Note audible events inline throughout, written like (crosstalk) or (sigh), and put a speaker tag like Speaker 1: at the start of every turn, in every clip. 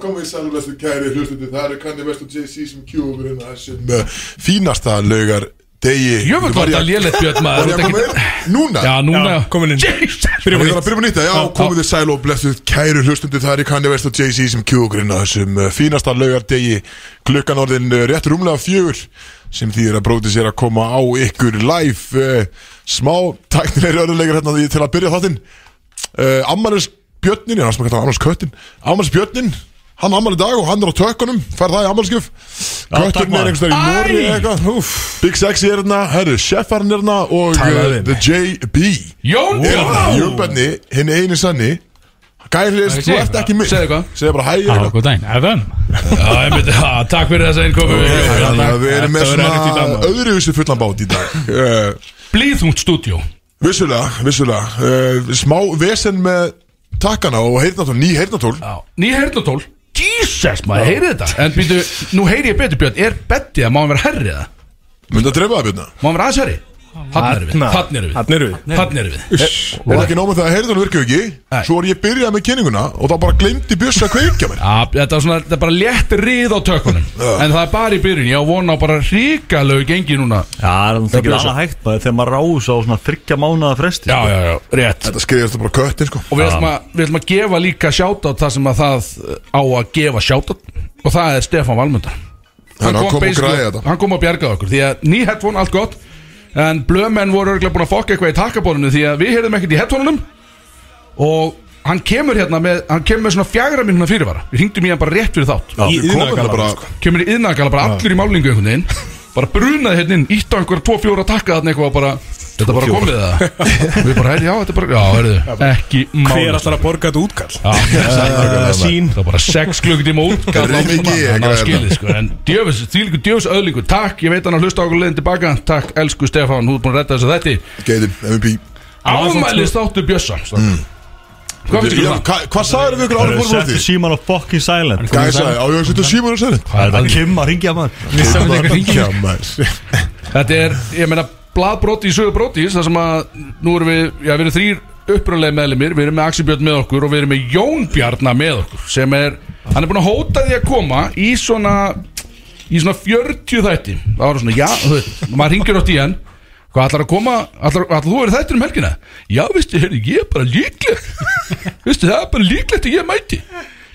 Speaker 1: komið sælulestu kæri hlustundi Það eru Kanye West og Jay-Z sem kjúfur hérna þessum uh, fínasta laugar degi
Speaker 2: Jöfnveld var þetta lélegt björn
Speaker 1: Var
Speaker 2: maður
Speaker 1: ég að koma inn? Núna?
Speaker 2: Já, núna
Speaker 3: Já, komin inn.
Speaker 2: Jesus
Speaker 1: Ég þarf að byrja með nýtt já,
Speaker 2: Já,
Speaker 1: komið þið sæl og blessuð kæru hlustundi Það eru Kanye West og Jay-Z sem kjúgrinn þessum uh, fínasta laugardegi klukkan orðin uh, rétt rúmlega fjögur sem þýðir að bróti sér að koma á ykkur live uh, smá tæknilegri örðulegur hérna því til að byrja þáttinn uh, Ammaris Björnin, já, það sem að kalla Ammaris Köttin Ammaris Björnin, hann ammar í dag og hann er á tökkunum, fær það í ammarskjöf
Speaker 3: takk,
Speaker 1: Köttin
Speaker 3: maður.
Speaker 1: er einhverstað í Nóri
Speaker 2: Æ!
Speaker 1: eitthvað Big Sexy er hérna, herru, Sheffarn er hérna og uh,
Speaker 3: Talaðu við
Speaker 1: The JB
Speaker 2: Jón
Speaker 1: Wow.
Speaker 2: Björn
Speaker 1: Jöfnbenni, hinn eini sanni Gæriðist, þú
Speaker 2: Segðu
Speaker 1: ert
Speaker 2: eitthvað.
Speaker 1: ekki mig
Speaker 2: Segðu eitthvað.
Speaker 1: Segðu bara hæ
Speaker 2: Ah,
Speaker 3: Já,
Speaker 1: eitthvað.
Speaker 3: góð daginn, FM
Speaker 2: Já, ég myndi- já, Takk fyrir þessa hérna. innkomu
Speaker 1: Þannig að Við erum með
Speaker 3: Þetta verður
Speaker 1: svona öðruvísi
Speaker 3: erfitt í dag, maður.
Speaker 1: fullan bát í dag Eh,
Speaker 2: Blíðhungt stúdjó
Speaker 1: Vissulega, vissulega Eh, Smá vesen með takkana og heyrnatól, ný heyrnatól
Speaker 2: Ný heyrnatól Jesus maður, heyrið þetta En býtu, nú heyri ég betur björn Er bettið að má hann vera herrið það?
Speaker 1: Myndi að drefa það björna
Speaker 2: Má hann vera aðeins herri? Þann erum við
Speaker 3: Þarna.
Speaker 2: Þann erum við
Speaker 3: Þarna erum við.
Speaker 2: Þann erum við
Speaker 1: Eh, Er það ekki nóg með það að heyrnatól virkið ekki
Speaker 2: Nei.
Speaker 1: Svo var ég byrjað með kynninguna og það bara glemdi bjöss að kveikja mér
Speaker 2: Já, þetta er svona, þetta er bara létt rið á tökunum En það er bara í byrjun, ég á vona á bara hrikalegu gengi núna
Speaker 4: Já, það er náttúrulega ekki
Speaker 2: bjósa.
Speaker 4: alveg hægt maður þegar maður rás á svona þryggja mánuða fresti
Speaker 2: Já, já, já, rétt
Speaker 1: Þetta skrifast bara á köttin sko
Speaker 2: Og við ætlum, að, við ætlum að gefa líka sjátátt það sem að það uh, á að gefa sjátátt Og það er Stefán Valmundar
Speaker 1: Hann kom og græði þetta
Speaker 2: Hann kom að bjargaði okkur Því að ný headphone, allt gott En blöðmenn voru örgulega búin að fokka eitthvað í takkabónunum Því að við heyrðum ekkert í headphoneunum Og hann kemur hérna með Hann kemur með svona fjagra mínuna fyrirvara Við hringdum í hann bara rétt fyrir þátt
Speaker 4: Í
Speaker 1: Þið komið
Speaker 4: iðnaðargalanum,
Speaker 1: þarna hérna bara-
Speaker 4: sko.
Speaker 2: Kemur í yðnagala bara allur í málingu einhvern veginn Bara brunaði hérna inn, ítt á einhverja 2-4 takka þarna eitthvað og bara Þetta bara komið það Við bara, heyrðu, já, þetta bara, já, heyrðu Ekki máli
Speaker 3: Hver allar að borga þetta útkall?
Speaker 2: Já,
Speaker 3: Nákvæmlega,
Speaker 2: sín Það var bara sex klukkutíma (laughs) út
Speaker 1: Reyni ekki, ég
Speaker 2: Það
Speaker 1: græði
Speaker 2: skilði sko En djöfis, þvílíku djöfis öðlingu Takk, ég veit hann að hlusta á okkur leiðin tilbaka Takk, elsku Stefán, þú er búin að redda þessu þætti
Speaker 1: Geitin, MVP
Speaker 2: Ámælis þáttu Bjössa Hvað
Speaker 1: Já,
Speaker 2: finnst ykkur um það?
Speaker 1: hva- Hvað sagður við ykkur
Speaker 4: Það
Speaker 1: árum
Speaker 4: er
Speaker 1: fórum út
Speaker 4: settu
Speaker 1: í?
Speaker 4: síman á fucking silent
Speaker 1: Gæði sagði, á ég að setja símur og segja
Speaker 4: Það er það Kim að ringja maður
Speaker 3: Missa með eitthvað hringi
Speaker 1: maður
Speaker 2: Þetta er, ég meina, bladbróti í sögu brótis Það sem að, nú erum við, já, við erum þrýr upprunalegi meðlumir Við erum með Axi Björn með okkur og við erum með Jón Bjarnar með okkur Sem er, hann er búin að hóta því að koma í svona Í svona 40 þætti Það var svona, já, þú veist, maður ringir átt í hann Hvað ætlar að koma, ætlar, ætlar þú að vera þættir um helgina? Já, veistu, heyrðu, ég er bara líklegt Veistu, það er bara líklegt að ég mæti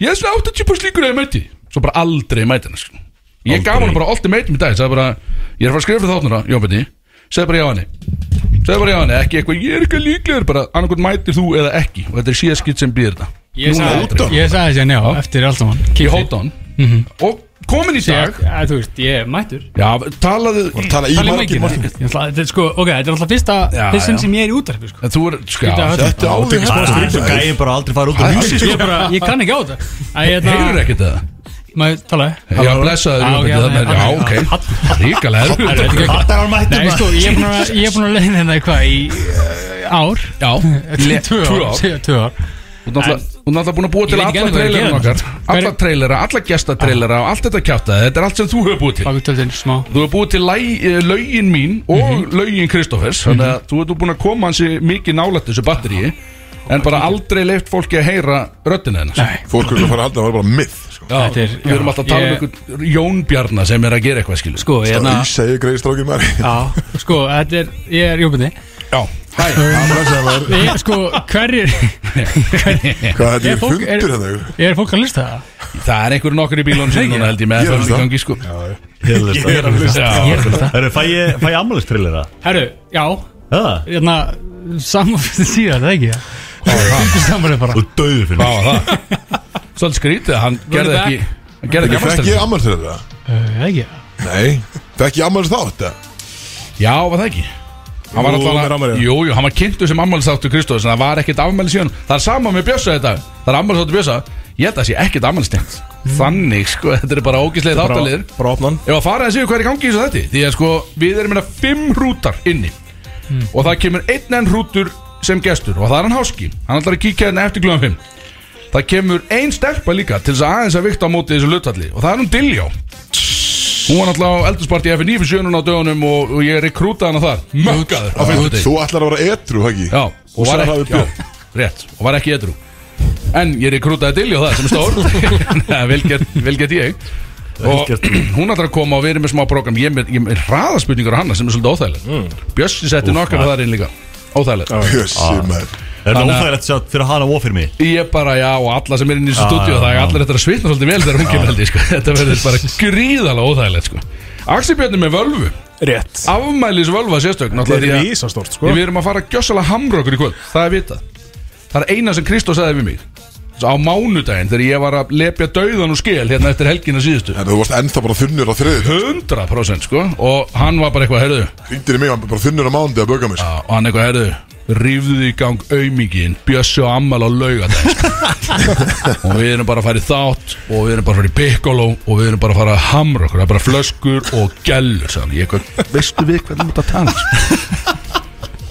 Speaker 2: Ég er svona 80% líkur að ég mæti Svo bara aldrei mæti hann, sko Ég gaf hann bara alltaf meitum í dag Sæði bara, ég er að fara að skrifa fyrir þáttunara, Jónbjörni Sæði bara já henni Sæði bara já henni, ekki eitthvað, ég er eitthvað líklegur Bara annarkot mætir þú eða ekki Og þetta er síðan skitt sem býðir þetta
Speaker 3: Ég
Speaker 2: Núna
Speaker 3: sagði
Speaker 2: aldrei.
Speaker 3: ég sagði þessi, já, eftir allt saman
Speaker 2: Ég hóta hann Og komin í dag
Speaker 3: Já, þú veist, ég er mættur
Speaker 2: Já, talaðu
Speaker 1: Tala í
Speaker 3: Talið
Speaker 1: margir
Speaker 3: mikið,
Speaker 1: margir
Speaker 3: nei? Ég ætla- Þetta er sko, ok, þetta er alltaf fyrsta
Speaker 2: Já,
Speaker 3: fyrst sinn
Speaker 2: já.
Speaker 3: sem ég er í útarpi sko.
Speaker 2: En Þú er, sko,
Speaker 3: Þetta
Speaker 2: já,
Speaker 3: er-
Speaker 1: Þetta á því
Speaker 4: Það er
Speaker 1: að
Speaker 4: svo gæði bara aldrei fara út úr húsi
Speaker 3: ég, bara, ég kann ekki á þetta Æ, hérna-
Speaker 2: heyrur ekkert það
Speaker 3: Maður talaði
Speaker 2: Já, blessaður,
Speaker 3: Já,
Speaker 2: Jónbjörni, þannig er,
Speaker 3: ok,
Speaker 2: já,
Speaker 3: hann-
Speaker 2: ok Ríkalega
Speaker 3: Þetta er ekki-
Speaker 4: Þetta var mættur (laughs)
Speaker 3: Nei, sko, ég er búin að- ég er búin að leiðin þetta eitthvað í uh, ár
Speaker 2: Já, le-
Speaker 3: Tvö
Speaker 2: tvö
Speaker 3: ár,
Speaker 2: ár.
Speaker 3: sé- tvö ár
Speaker 2: Þú er náttúrulega- þú er náttúrulega búin að búa til
Speaker 3: Ég veit ekki
Speaker 2: alla
Speaker 3: enn hvað ég er að
Speaker 2: trailerinn
Speaker 3: gera.
Speaker 2: okkar Alla
Speaker 3: Hver-
Speaker 2: trailera, alla gestatrailera og allt þetta kjátaði Þetta er allt sem þú hefur búið til
Speaker 3: Bakið tjöldin, smá
Speaker 2: Þú hefur búið til læ, eh, lögin mín og lögin Kristófers Þannig að þú hefur búin að koma hansi mikið nálætt þessu batteríi En bara aldrei leift fólki að heyra röddina hennar
Speaker 3: Nei,
Speaker 1: Fólk er að fara að halda að það var bara myth sko.
Speaker 2: Já,
Speaker 3: Þetta er-
Speaker 2: Við erum
Speaker 3: já,
Speaker 2: alltaf að tala um
Speaker 3: ég-
Speaker 2: einhvern Jón Bjarnar sem er að gera eitthvað skilu
Speaker 3: sko,
Speaker 1: Það
Speaker 3: hérna
Speaker 1: er segi greið strákið maður
Speaker 3: (laughs) Já, sko, þetta er, ég er júbindi
Speaker 2: Sko- Já, hæ
Speaker 3: Ég er sko, hverjir (laughs)
Speaker 1: Hvað þetta
Speaker 3: Er
Speaker 1: er
Speaker 3: fólk-
Speaker 1: fundur
Speaker 3: er-
Speaker 1: hérna ykkur?
Speaker 3: Ég er fólk að lista það
Speaker 2: Það er einhverjum nokkur í bílónu sem núna held ég með
Speaker 1: Ég er að
Speaker 2: það í
Speaker 1: hlusta.
Speaker 2: gangi sko
Speaker 4: Ég er að hlusta
Speaker 2: Já,
Speaker 4: Það eru, fæ ég, fæ ég ammalistrillera?
Speaker 3: Herru, já,
Speaker 4: Það?
Speaker 3: hérna Saman fyrir síðan, það ekki það Saman er bara
Speaker 4: Og döðu fyrir
Speaker 2: hvað var það? (laughs) Svolítið skrítið, hann gerði
Speaker 3: back.
Speaker 2: ekki Hann gerði ekki
Speaker 1: Fekk
Speaker 2: afmælistelefónu.
Speaker 1: ég ammars til þetta?
Speaker 3: Uh, Það ekki
Speaker 1: Nei Fekk ég ammars þátt það?
Speaker 2: Já, var það ekki? Hann var
Speaker 3: Jú, hann er
Speaker 2: alltaf
Speaker 3: afmælið.
Speaker 2: Jú, jú, hann var kynntu sem ammælisáttu Kristóðs En það var ekkert afmæli síðan Það er sama með Bjössa þetta Það er ammælisáttu Bjössa Ég held að það sé ekkert afmælistengt Þannig, sko, þetta er bara ógislega þáttalir
Speaker 4: Bara opnan
Speaker 2: Ef að fara þessi hvað er í gangi í þessu þetta Því að sko, við erum meina fimm hrútar inni Og það kemur einn enn hrútur sem gestur Og það er hann háski Hann ætlar að kíkja hérna eftir glöðan fimm Það kemur ein stelpa líka til þess að aðeins að vikta á móti þessu hlutfalli Og það er hún Diljá Hún var náttúrulega á eldursparti FNÍ fyrir sjönun á dögunum og, og ég rekrútaði hana þar Mökkaður á fimmtudegi
Speaker 1: Þú ætlar að vera etru, hagi
Speaker 2: Já, og var
Speaker 1: sagði
Speaker 2: ekki
Speaker 1: það við
Speaker 2: já, Rétt, og var ekki edru En ég rekrútaði Dilljó það sem er
Speaker 4: (laughs)
Speaker 2: stór Nei, vel gert- Vel gett ég Og
Speaker 4: Vel gert.
Speaker 2: (clears throat) hún ætlar að koma og við erum með smá program Ég er með, ég er með hraðaspurningar á hana sem er svolítið óþægilegt
Speaker 4: Mm.
Speaker 2: Bjössi setti nokkar þar inn líka Óþægilegt
Speaker 1: Jössi maður
Speaker 4: Er það
Speaker 2: Þannig að-
Speaker 4: óþægilegt sjá fyrir hana og fyrir mig?
Speaker 2: Ég bara, já, og alla sem er inn í þessu
Speaker 4: Já,
Speaker 2: stúdíu
Speaker 4: já,
Speaker 2: Það er
Speaker 4: já.
Speaker 2: allir eftir að svitna svolítið vel þegar hún kemur held ég sko. (laughs) Þetta verður bara gríðalega óþægilegt sko. Axibjörnum með völvu
Speaker 5: Rétt
Speaker 2: Afmælis völva sérstök
Speaker 5: Það
Speaker 2: náttúrulega
Speaker 5: er
Speaker 2: því að-
Speaker 5: rísastórt sko
Speaker 2: Sko? Við erum að fara að gjössalega hamra okkur í kvöld Það er vitað Það er eina sem Kristó sagði við mig Á mánudaginn þegar ég var að lepja dauðan og skil Hérna eftir helgina síðustu
Speaker 1: En þú varst ennþá bara þunnur á þriðið
Speaker 2: 100% sko Og hann var bara eitthvað, herðu
Speaker 1: Hringdir í mig, hann var bara þunnur á mándi að sko. böga mér
Speaker 2: Já, og hann eitthvað, herðu Rífðu í gang aumingin Bjössi og Amal á laugadaginn sko. (laughs) Og við erum bara að fara í þátt Og við erum bara að fara í byggaló Og við erum bara að fara að hamra okkur Það er bara flöskur og gellur sagði hann. Ég eitthvað, Veistu við hvernig þú ert að tala sko?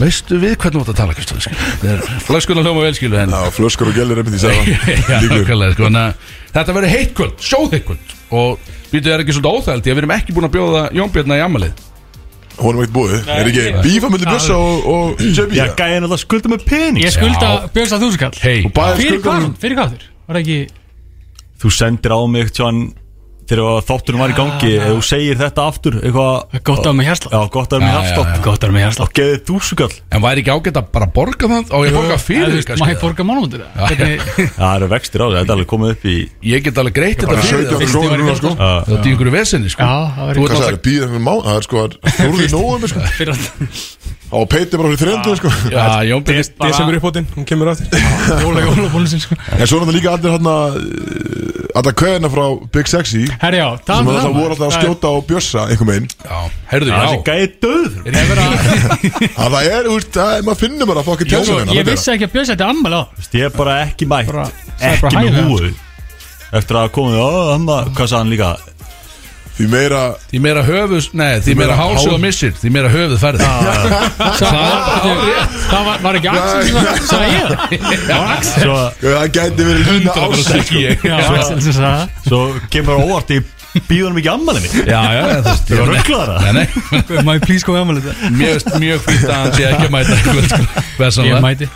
Speaker 2: Veistu við hvernig þú ert að tala Kristof, sko? Það er- Flöskurna hljóma vel skilu en
Speaker 1: Já, flöskur og gellir einmitt í segja
Speaker 2: (laughs) Já, nákvæmlega, sko, þannig að Þetta verður heitt kvöld, sjóðheitt kvöld Og við er ekki svolítið óþældi Við erum ekki búin að bjóða Jónbjörna í amalið
Speaker 1: Hún er ekkert búið Er ekki bífa myndi bjössa og, og JB
Speaker 4: Já, gæðin alltaf skulda með pening
Speaker 3: Ég skulda Björnstað þúsukall
Speaker 2: Hei,
Speaker 1: Bæði
Speaker 3: Fyrir
Speaker 1: skuldar-
Speaker 3: hvað? Fyrir hvað þurr? Var það ekki
Speaker 4: Þú sendir á mig tján Þegar þáttunum var í gangi Ef þú segir þetta aftur Eitthvað
Speaker 3: gott að með hjarsla?
Speaker 4: Já, gott að það er mér hafstótt
Speaker 3: Gott að með hjarsla
Speaker 4: Og geðið þúsugall
Speaker 2: en væri ekki ágætt að bara borga það Og ég borga fyrir kannski?
Speaker 3: Má ég borga mánumótið það? Hvernig- (laughs)
Speaker 4: Já, það eru vextir á því Þetta er alveg komið upp í
Speaker 2: Ég get alveg greitt þetta
Speaker 1: Það er 17
Speaker 2: fyrir það
Speaker 1: krónur núna sko
Speaker 2: Það er einhverju vesenni sko
Speaker 3: Já, það var
Speaker 2: Þú ert
Speaker 3: í-
Speaker 1: Hvað
Speaker 2: alltaf
Speaker 1: sagði, býða einhvern mánu Það er sko Þúrði nógum
Speaker 3: (laughs)
Speaker 1: sko
Speaker 3: Fyrir að
Speaker 1: Á peiti bara fyrir þrejöndu sko
Speaker 2: Já, Jón Björn
Speaker 5: Des- Desember uppbótin, hún kemur aftur
Speaker 3: Jóla jólabónusin sko
Speaker 1: En svo er þetta líka allir hann að Alltaf kveðina frá Big Sexy Sem
Speaker 3: Herri já, það
Speaker 1: að það voru alltaf að
Speaker 3: Það er-
Speaker 1: skjóta á bjössa einhver megin
Speaker 2: Já, herðu,
Speaker 4: Það er
Speaker 2: já
Speaker 4: gæðið döður
Speaker 2: Er ég verið að
Speaker 1: Að það er, þú veist, það er- maður finnur bara að fokka
Speaker 3: Ég-
Speaker 1: tjóðum
Speaker 3: Ég vissi ekki að Björn seti ammæli á
Speaker 4: Vist, Ég er bara ekki mætt
Speaker 3: Bara-
Speaker 4: Ekki
Speaker 3: bara
Speaker 4: með
Speaker 3: hægði
Speaker 4: húu Eftir að komið Ó, hann var Hvað sagði hann líka?
Speaker 1: Því meira
Speaker 2: Því meira höfuð, nei, því meira hálsu og missir Því meira höfuð færði
Speaker 3: Það var- var ekki Axel sem það- sagði ég það? Það var Axel
Speaker 4: Svo,
Speaker 1: Það gæti verið lína ási sko
Speaker 2: Já,
Speaker 3: Já, Axel sem sagði það
Speaker 4: svo kemur hann óvart í Býðunum ekki ammæli mitt
Speaker 2: já, það er
Speaker 4: Þú rugglar það
Speaker 2: Nei, nei,
Speaker 3: Má ég please koma ammæli þetta?
Speaker 2: mjög, mjög fýtt að hann sé ekki að mæta í kvöld, sko.
Speaker 3: Ég
Speaker 2: Vessanlega
Speaker 3: mæti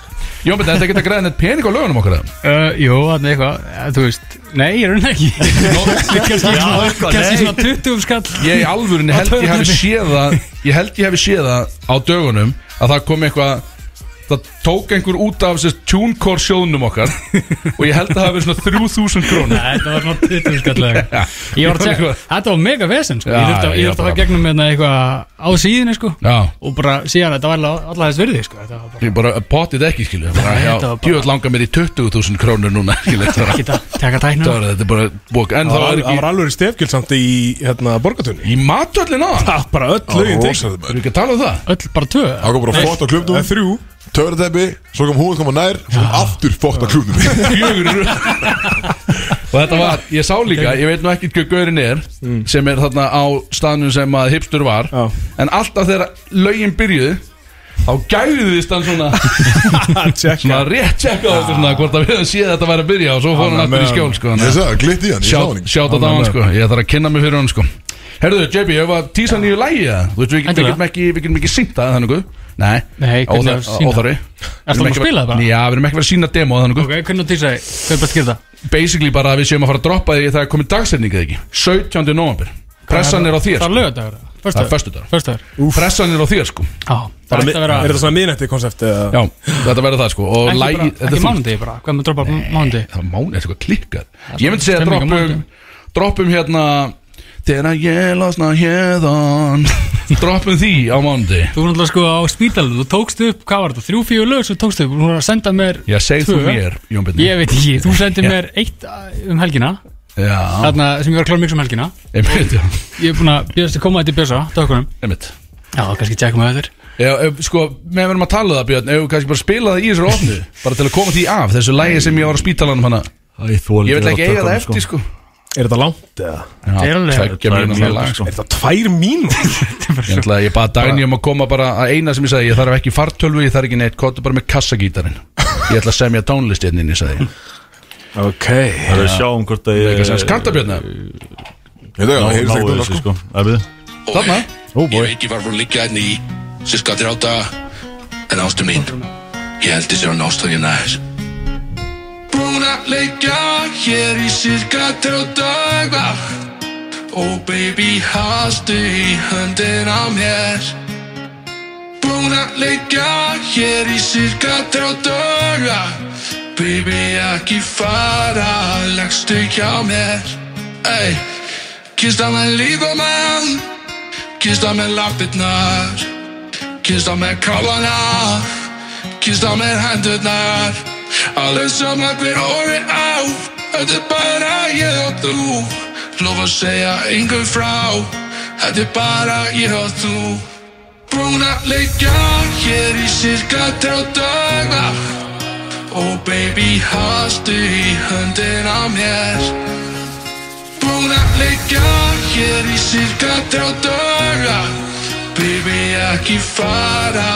Speaker 2: Jón Björn, þetta geta græðið neitt pening á lögunum okkar eða?
Speaker 3: Uh, Jú, þannig eitthvað, eh, þú veist Nei, ég er henni ekki Kanski svona-
Speaker 4: eitthvað,
Speaker 3: kannski
Speaker 4: nei.
Speaker 3: svona 20 skall
Speaker 2: Ég í alvörunni held ég hafi séð það Ég held ég hafi séð það á dögunum Að það kom eitthvað Það tók einhver út af sérst TuneCore sjóðnum okkar Og ég held að það hafi verið svona 3000 krónur
Speaker 3: Nei, Þetta var svona 20 skall eða eitthvað. (laughs) Ég var að tjekka, þetta var mega vesen sko. Ég
Speaker 2: Já,
Speaker 3: þurfti að-
Speaker 2: já,
Speaker 3: ég þurfti að
Speaker 2: bara-
Speaker 3: fara gegnum með eitthvað á síðinu sko.
Speaker 2: Já
Speaker 3: og bara síðan að þetta var alla- alla þess virði sko. Þetta var bara
Speaker 2: Ég bara potið ekki skilu bara,
Speaker 3: Nei,
Speaker 2: já,
Speaker 3: þetta var bara-
Speaker 2: Djúvöld langar mér í 20.000 krónur núna skilu Þetta var-
Speaker 3: ekki að taka tækna
Speaker 2: þetta var- þetta er bara bók En það
Speaker 5: Það
Speaker 2: var
Speaker 5: var- það var
Speaker 2: ekki
Speaker 5: alveg stefgjöld samt í hérna borgatunni
Speaker 2: Í matöllin á Það
Speaker 5: Það var bara öll
Speaker 1: Það
Speaker 5: lögin
Speaker 1: var
Speaker 5: tekið
Speaker 1: rosalega maður.
Speaker 2: er ekki að tala um það
Speaker 3: Öll bara tvö
Speaker 1: Það kom bara fótt á
Speaker 5: Það er
Speaker 1: klubnum
Speaker 5: þrjú
Speaker 1: Töfrateppi Svo kom hún koma nær Svo kom aftur fótt á klubnum
Speaker 2: (laughs) Fjögur í röð. Og þetta var, ég sá líka, ég veit nú ekkert hvað gaurinn er
Speaker 1: Mm.
Speaker 2: Sem er þarna á staðnum sem að hipstur var
Speaker 5: Já.
Speaker 2: En alltaf þegar lögin byrjuðu Þá gæðist hann
Speaker 1: (laughs)
Speaker 2: svona, svona
Speaker 5: Tjekka
Speaker 2: rétt tjekka á þetta svona Hvort að við höfum séð að þetta væri að byrja Og svo fór hann
Speaker 5: Hann
Speaker 2: aftur
Speaker 5: var
Speaker 2: í
Speaker 5: með
Speaker 2: skjól sko, þannig að-
Speaker 1: Ég sagði, það, glitti í hann Ég sá hann ekki
Speaker 2: Sjátt á hann sko, ég þarf að kynna mig fyrir hann sko Herðu, JB, ég hef að tísa nýju lægi það Þú veist, við við
Speaker 3: Endilega.
Speaker 2: getum ekki, við getum ekki sýnt það þannig Nei,
Speaker 3: Nei, hvernig
Speaker 2: óþar-
Speaker 3: að sýna?
Speaker 2: óþarfi
Speaker 3: Ertu búin að spila það bara?
Speaker 2: Já, við erum ekki verið að sína demo þannig
Speaker 3: Ok, hvernig þú týrsaði, hvað er bara að skilja það?
Speaker 2: Basically bara að við séum að fara að droppa því Það er komið dagsetning eða ekki 17. november Pressan er á þér
Speaker 3: Það er
Speaker 2: sko.
Speaker 3: lögadagur
Speaker 2: Það er
Speaker 3: Föstudagur
Speaker 2: föstudagur
Speaker 3: Föstudagur
Speaker 2: Pressan er á þér sko
Speaker 3: Já, það ætti að vera
Speaker 5: Er þetta svona minnætti konsept eða
Speaker 2: Já, þetta verður það sko Og
Speaker 3: Ekki,
Speaker 2: lægi
Speaker 3: bara,
Speaker 2: þetta er
Speaker 3: ekki
Speaker 2: þungt.
Speaker 3: mánudegi bara, hvað er maður að droppa mánudegi?
Speaker 2: Það var mánu, þetta er eitthvað klikkað Ég myndi segja að
Speaker 3: Stemming á
Speaker 2: droppum Droppum hérna Þegar ég losna
Speaker 3: (laughs)
Speaker 2: hérðan Droppum því á mándi
Speaker 3: Þú voru náttúrulega sko á spítalunum, þú tókst upp, hvað var þetta, þrjú, fjögur lög sem þú tókst upp, þú voru að senda mér
Speaker 2: Já, segð þú
Speaker 3: Tvö.
Speaker 2: mér, Jón Bjarni
Speaker 3: Ég veit ekki, þú sendið mér eitt uh, um helgina
Speaker 2: Já,
Speaker 3: Þarna sem ég var að klára mix um helgina
Speaker 2: einmitt, já,
Speaker 3: Ég er búin að bjöðast að koma þetta í bjösa, dökunum
Speaker 2: einmitt
Speaker 3: Já, kannski tjekkum við öður
Speaker 2: Já, ef- sko, meðan við erum að tala um það Björn Ef við kannski bara spila það í þessu ofnu Bara til að koma því af, þessu lægi sem ég var á spítalanum hana Ég vil ekki eiga það eftir, sko
Speaker 5: Er þetta langt eða?
Speaker 3: er alveg-
Speaker 2: tveggja
Speaker 4: Það er
Speaker 2: mínútna
Speaker 4: mjög
Speaker 2: lag, sko.
Speaker 5: Er þetta tvær mínútur?
Speaker 2: Ég ætla að ég baða Dagný um að koma bara að eina sem ég sagði Ég þarf ekki fartölvu, ég þarf ekki neitt Kottu bara með kassagítarinn Ég ætla að semja tónlist hérna inni, sagði ég
Speaker 5: (laughs) Ok
Speaker 4: Það er að sjá um hvort að
Speaker 2: Eitthvað
Speaker 4: ég
Speaker 2: sem skantabjörna
Speaker 1: Ég sagði,
Speaker 4: Ná-
Speaker 1: það heyrist
Speaker 4: náu
Speaker 1: ekki núna
Speaker 4: þessu,
Speaker 1: sko
Speaker 4: sko. Það er við.
Speaker 2: Þarna
Speaker 6: Ég veit ég var frá að liggja hérna í Sirka þrjá daga En ástu mín Ég held þessi var nástæðin aðeins Búin leikja hér í cirka trjá daga Og Oh, baby, haldu í höndina á mér Búin að leikja hér í cirka trjá daga Baby, ekki fara, leggstu hjá mér Ey, kista með lífamann Kista með lappirnar Kista með káfana Kista með hendurnar Alveg saman hver orði á Þetta er bara ég og þú Lof að segja engum frá Þetta er bara ég og þú Búin að leikja hér í cirka trjá daga Og Oh, baby, hastu í höndin á mér búin að leikja hér í cirka trjá daga Baby ekki fara,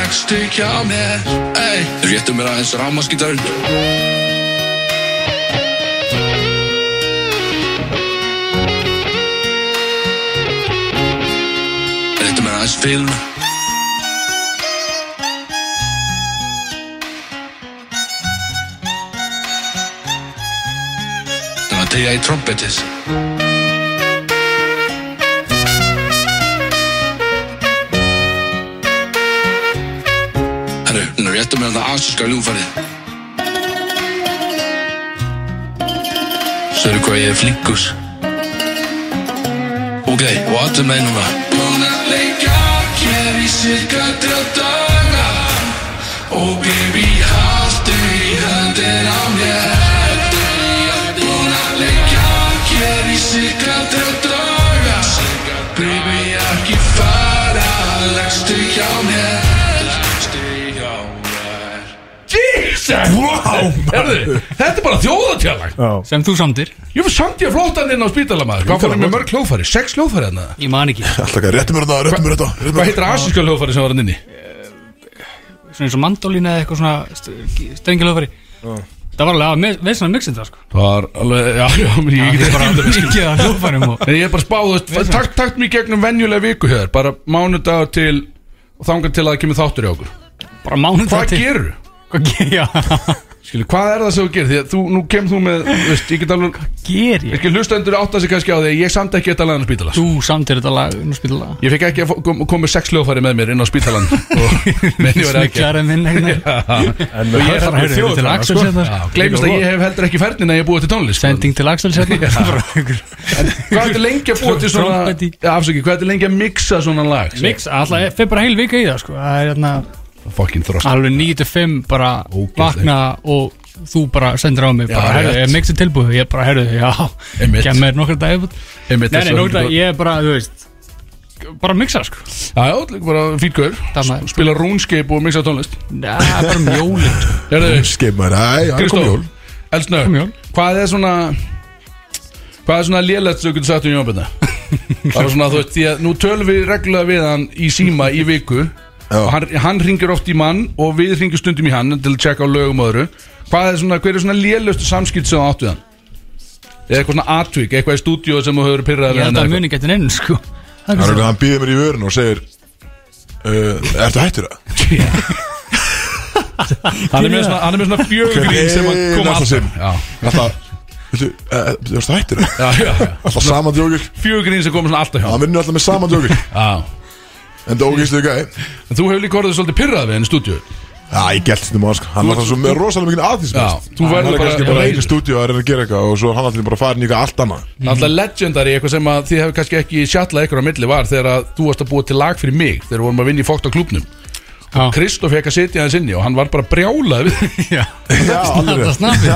Speaker 6: leggstu hjá mér Ey, réttu mér aðeins rámaskítarinn Réttu mér aðeins film Það var tegja í trompetið Herru, nú réttu mér hann að asíska ljúfarið. Sérðu hvað ég er flinkus. Ok, og allir með núna. Búin að leika hér í cirka trjá daga og baby, haltu í höndin á mér. Búin að leika hér í cirka trjá daga baby, ekki fara, leggstu hjá mér. Leggstu hjá mér.
Speaker 2: Jesus wow, Herðu, Þetta er bara þjóðatjálag
Speaker 3: Sem þú samtir
Speaker 2: Ég fyrir samt ég flóttan inn á spítalamæður Hvað fórum við mörg hljófari? Sex hljófari hérna
Speaker 3: Ég man ekki
Speaker 1: Alltaf ekki, réttu mér þetta, réttu mér þetta réttu mér
Speaker 2: Hvað heitir asíska hljófari sem var hann inni?
Speaker 3: Svona eins og mandolín eða eitthvað svona Strengilöfari Það var alveg að með, með svona mixin það sko
Speaker 2: Það var alveg, já, já, menn ég get bara sko. aldrei skil
Speaker 3: Mikið að hljófanum og
Speaker 2: Nei, ég er bara spáð takt, takt mig í gegnum venjulega viku hér Bara mánudag til og þangað til að það kemur þáttur í okkur
Speaker 3: Bara mánuð
Speaker 2: Hvað gerur?
Speaker 3: Hvað ger, já,
Speaker 2: Skilu, hvað er það sem þú gerir? Því að þú, nú kemur þú með, veist, ég get alveg
Speaker 3: ger
Speaker 2: Ég
Speaker 3: ég
Speaker 2: skil hlustendur átta sig kannski á því að Ég samt ekki þetta lagan á spítalas
Speaker 3: Þú samtir þetta lag Nú spila lag
Speaker 2: Ég fekk ekki að fó- kom- koma með sex hljófari með mér inn á (laughs) spítalan Og menn ég var ekki
Speaker 3: Smiklar en minn eitthvað
Speaker 5: En ég er
Speaker 3: Heyrðu,
Speaker 5: þarna
Speaker 3: til hérna, sko. Axel
Speaker 5: sko.
Speaker 3: setna
Speaker 2: sko. Já, Gleimist að ég hef heldur ekki færnin að ég búið til tónlist sko.
Speaker 3: Sending til hérna.
Speaker 2: (laughs)
Speaker 3: Axel setna
Speaker 2: Hvað er þetta lengi að búið til svona
Speaker 3: Trompet í.
Speaker 2: Já, Afsaki, hvað er þetta lengi að mixa svona lag?
Speaker 3: Mix, alltaf, fyrir bara heil vika í það sko Það er hérna
Speaker 2: Fucking þrost
Speaker 3: alveg 9-5 bara
Speaker 2: Ógeðslegt.
Speaker 3: vakna og þú bara sendir á mig
Speaker 2: Já,
Speaker 3: bara, herðu,
Speaker 2: rétt.
Speaker 3: ég mixið tilbúið, ég bara, herðu, já
Speaker 2: Einmitt.
Speaker 3: kem mér nokkra dagir búið
Speaker 2: Einmitt,
Speaker 3: nei, nei,
Speaker 2: þessu var
Speaker 3: nokkra,
Speaker 2: ekki
Speaker 3: ég er bara, þú veist bara mixa, sko
Speaker 2: Já, já, líka bara fýtgur
Speaker 3: Þarna-
Speaker 2: Spila RuneScape og mixa tónlist
Speaker 3: Nei, bara um jólin sko.
Speaker 2: Herðu,
Speaker 1: Skeip maður, æ, hann kom jól
Speaker 2: Kristóf Elsnö,
Speaker 3: Kom jól.
Speaker 2: hvað er svona Hvað er svona lélegt sem þú getur sagt
Speaker 1: (laughs)
Speaker 2: um jónbjörna? Bara svona þú veist, því að nú tölum við reglulega við hann í síma í viku
Speaker 1: Já.
Speaker 2: og hann, hann ringir oft í mann og við ringir stundum í hann til að tjekka á lögum og öðru Hvað er svona, hver er svona lélegustu samskipt sem þú átt við hann? Eða eitthvað svona atvík, eitthvað í stúdíu sem þú hefur hérna pyrrað
Speaker 3: ég held að muni getin inn, sko Það
Speaker 1: Það
Speaker 3: er
Speaker 1: er
Speaker 3: svo-
Speaker 1: að hann býður mér í vörun og segir uh, Ertu hættur það?
Speaker 2: Hann er með svona, hann er með svona fjögrín sem að
Speaker 1: Nei,
Speaker 2: koma
Speaker 1: næsta sinn.
Speaker 2: alltaf Já,
Speaker 1: Alltaf Viltu, uh, ertu hættur það?
Speaker 2: já, já
Speaker 1: Alltaf saman djókil
Speaker 2: Fjögrín sem koma svona alltaf hjá
Speaker 1: Hann vinnur alltaf með saman djókil
Speaker 2: Já
Speaker 1: En það ógæstu þau gæði
Speaker 2: En þú hefur líka orðið svolítið pyrrað við henni í stúdíu
Speaker 1: Já, ég gælt þetta maður sko Hann var svo með rosalega mikið aðtísmest
Speaker 2: Já, þú verður bara-
Speaker 1: Hann er bara
Speaker 2: Já,
Speaker 1: einu stúdíu að reyna að gera eitthvað Og svo hann allir bara farin í eitthvað allt annað
Speaker 2: Alltaf legendary, eitthvað sem að þið hefur kannski ekki sjallað ykkur á milli var þegar að þú varst að búa til lag fyrir mig þegar við vorum að vinna í fókt á klubnum
Speaker 3: Já.
Speaker 2: Kristoff fekk að sitja hans inni og hann var bara
Speaker 1: (laughs)
Speaker 2: brjálað við
Speaker 3: Já,
Speaker 1: Já, alveg
Speaker 3: það
Speaker 1: rétt.
Speaker 3: snabbi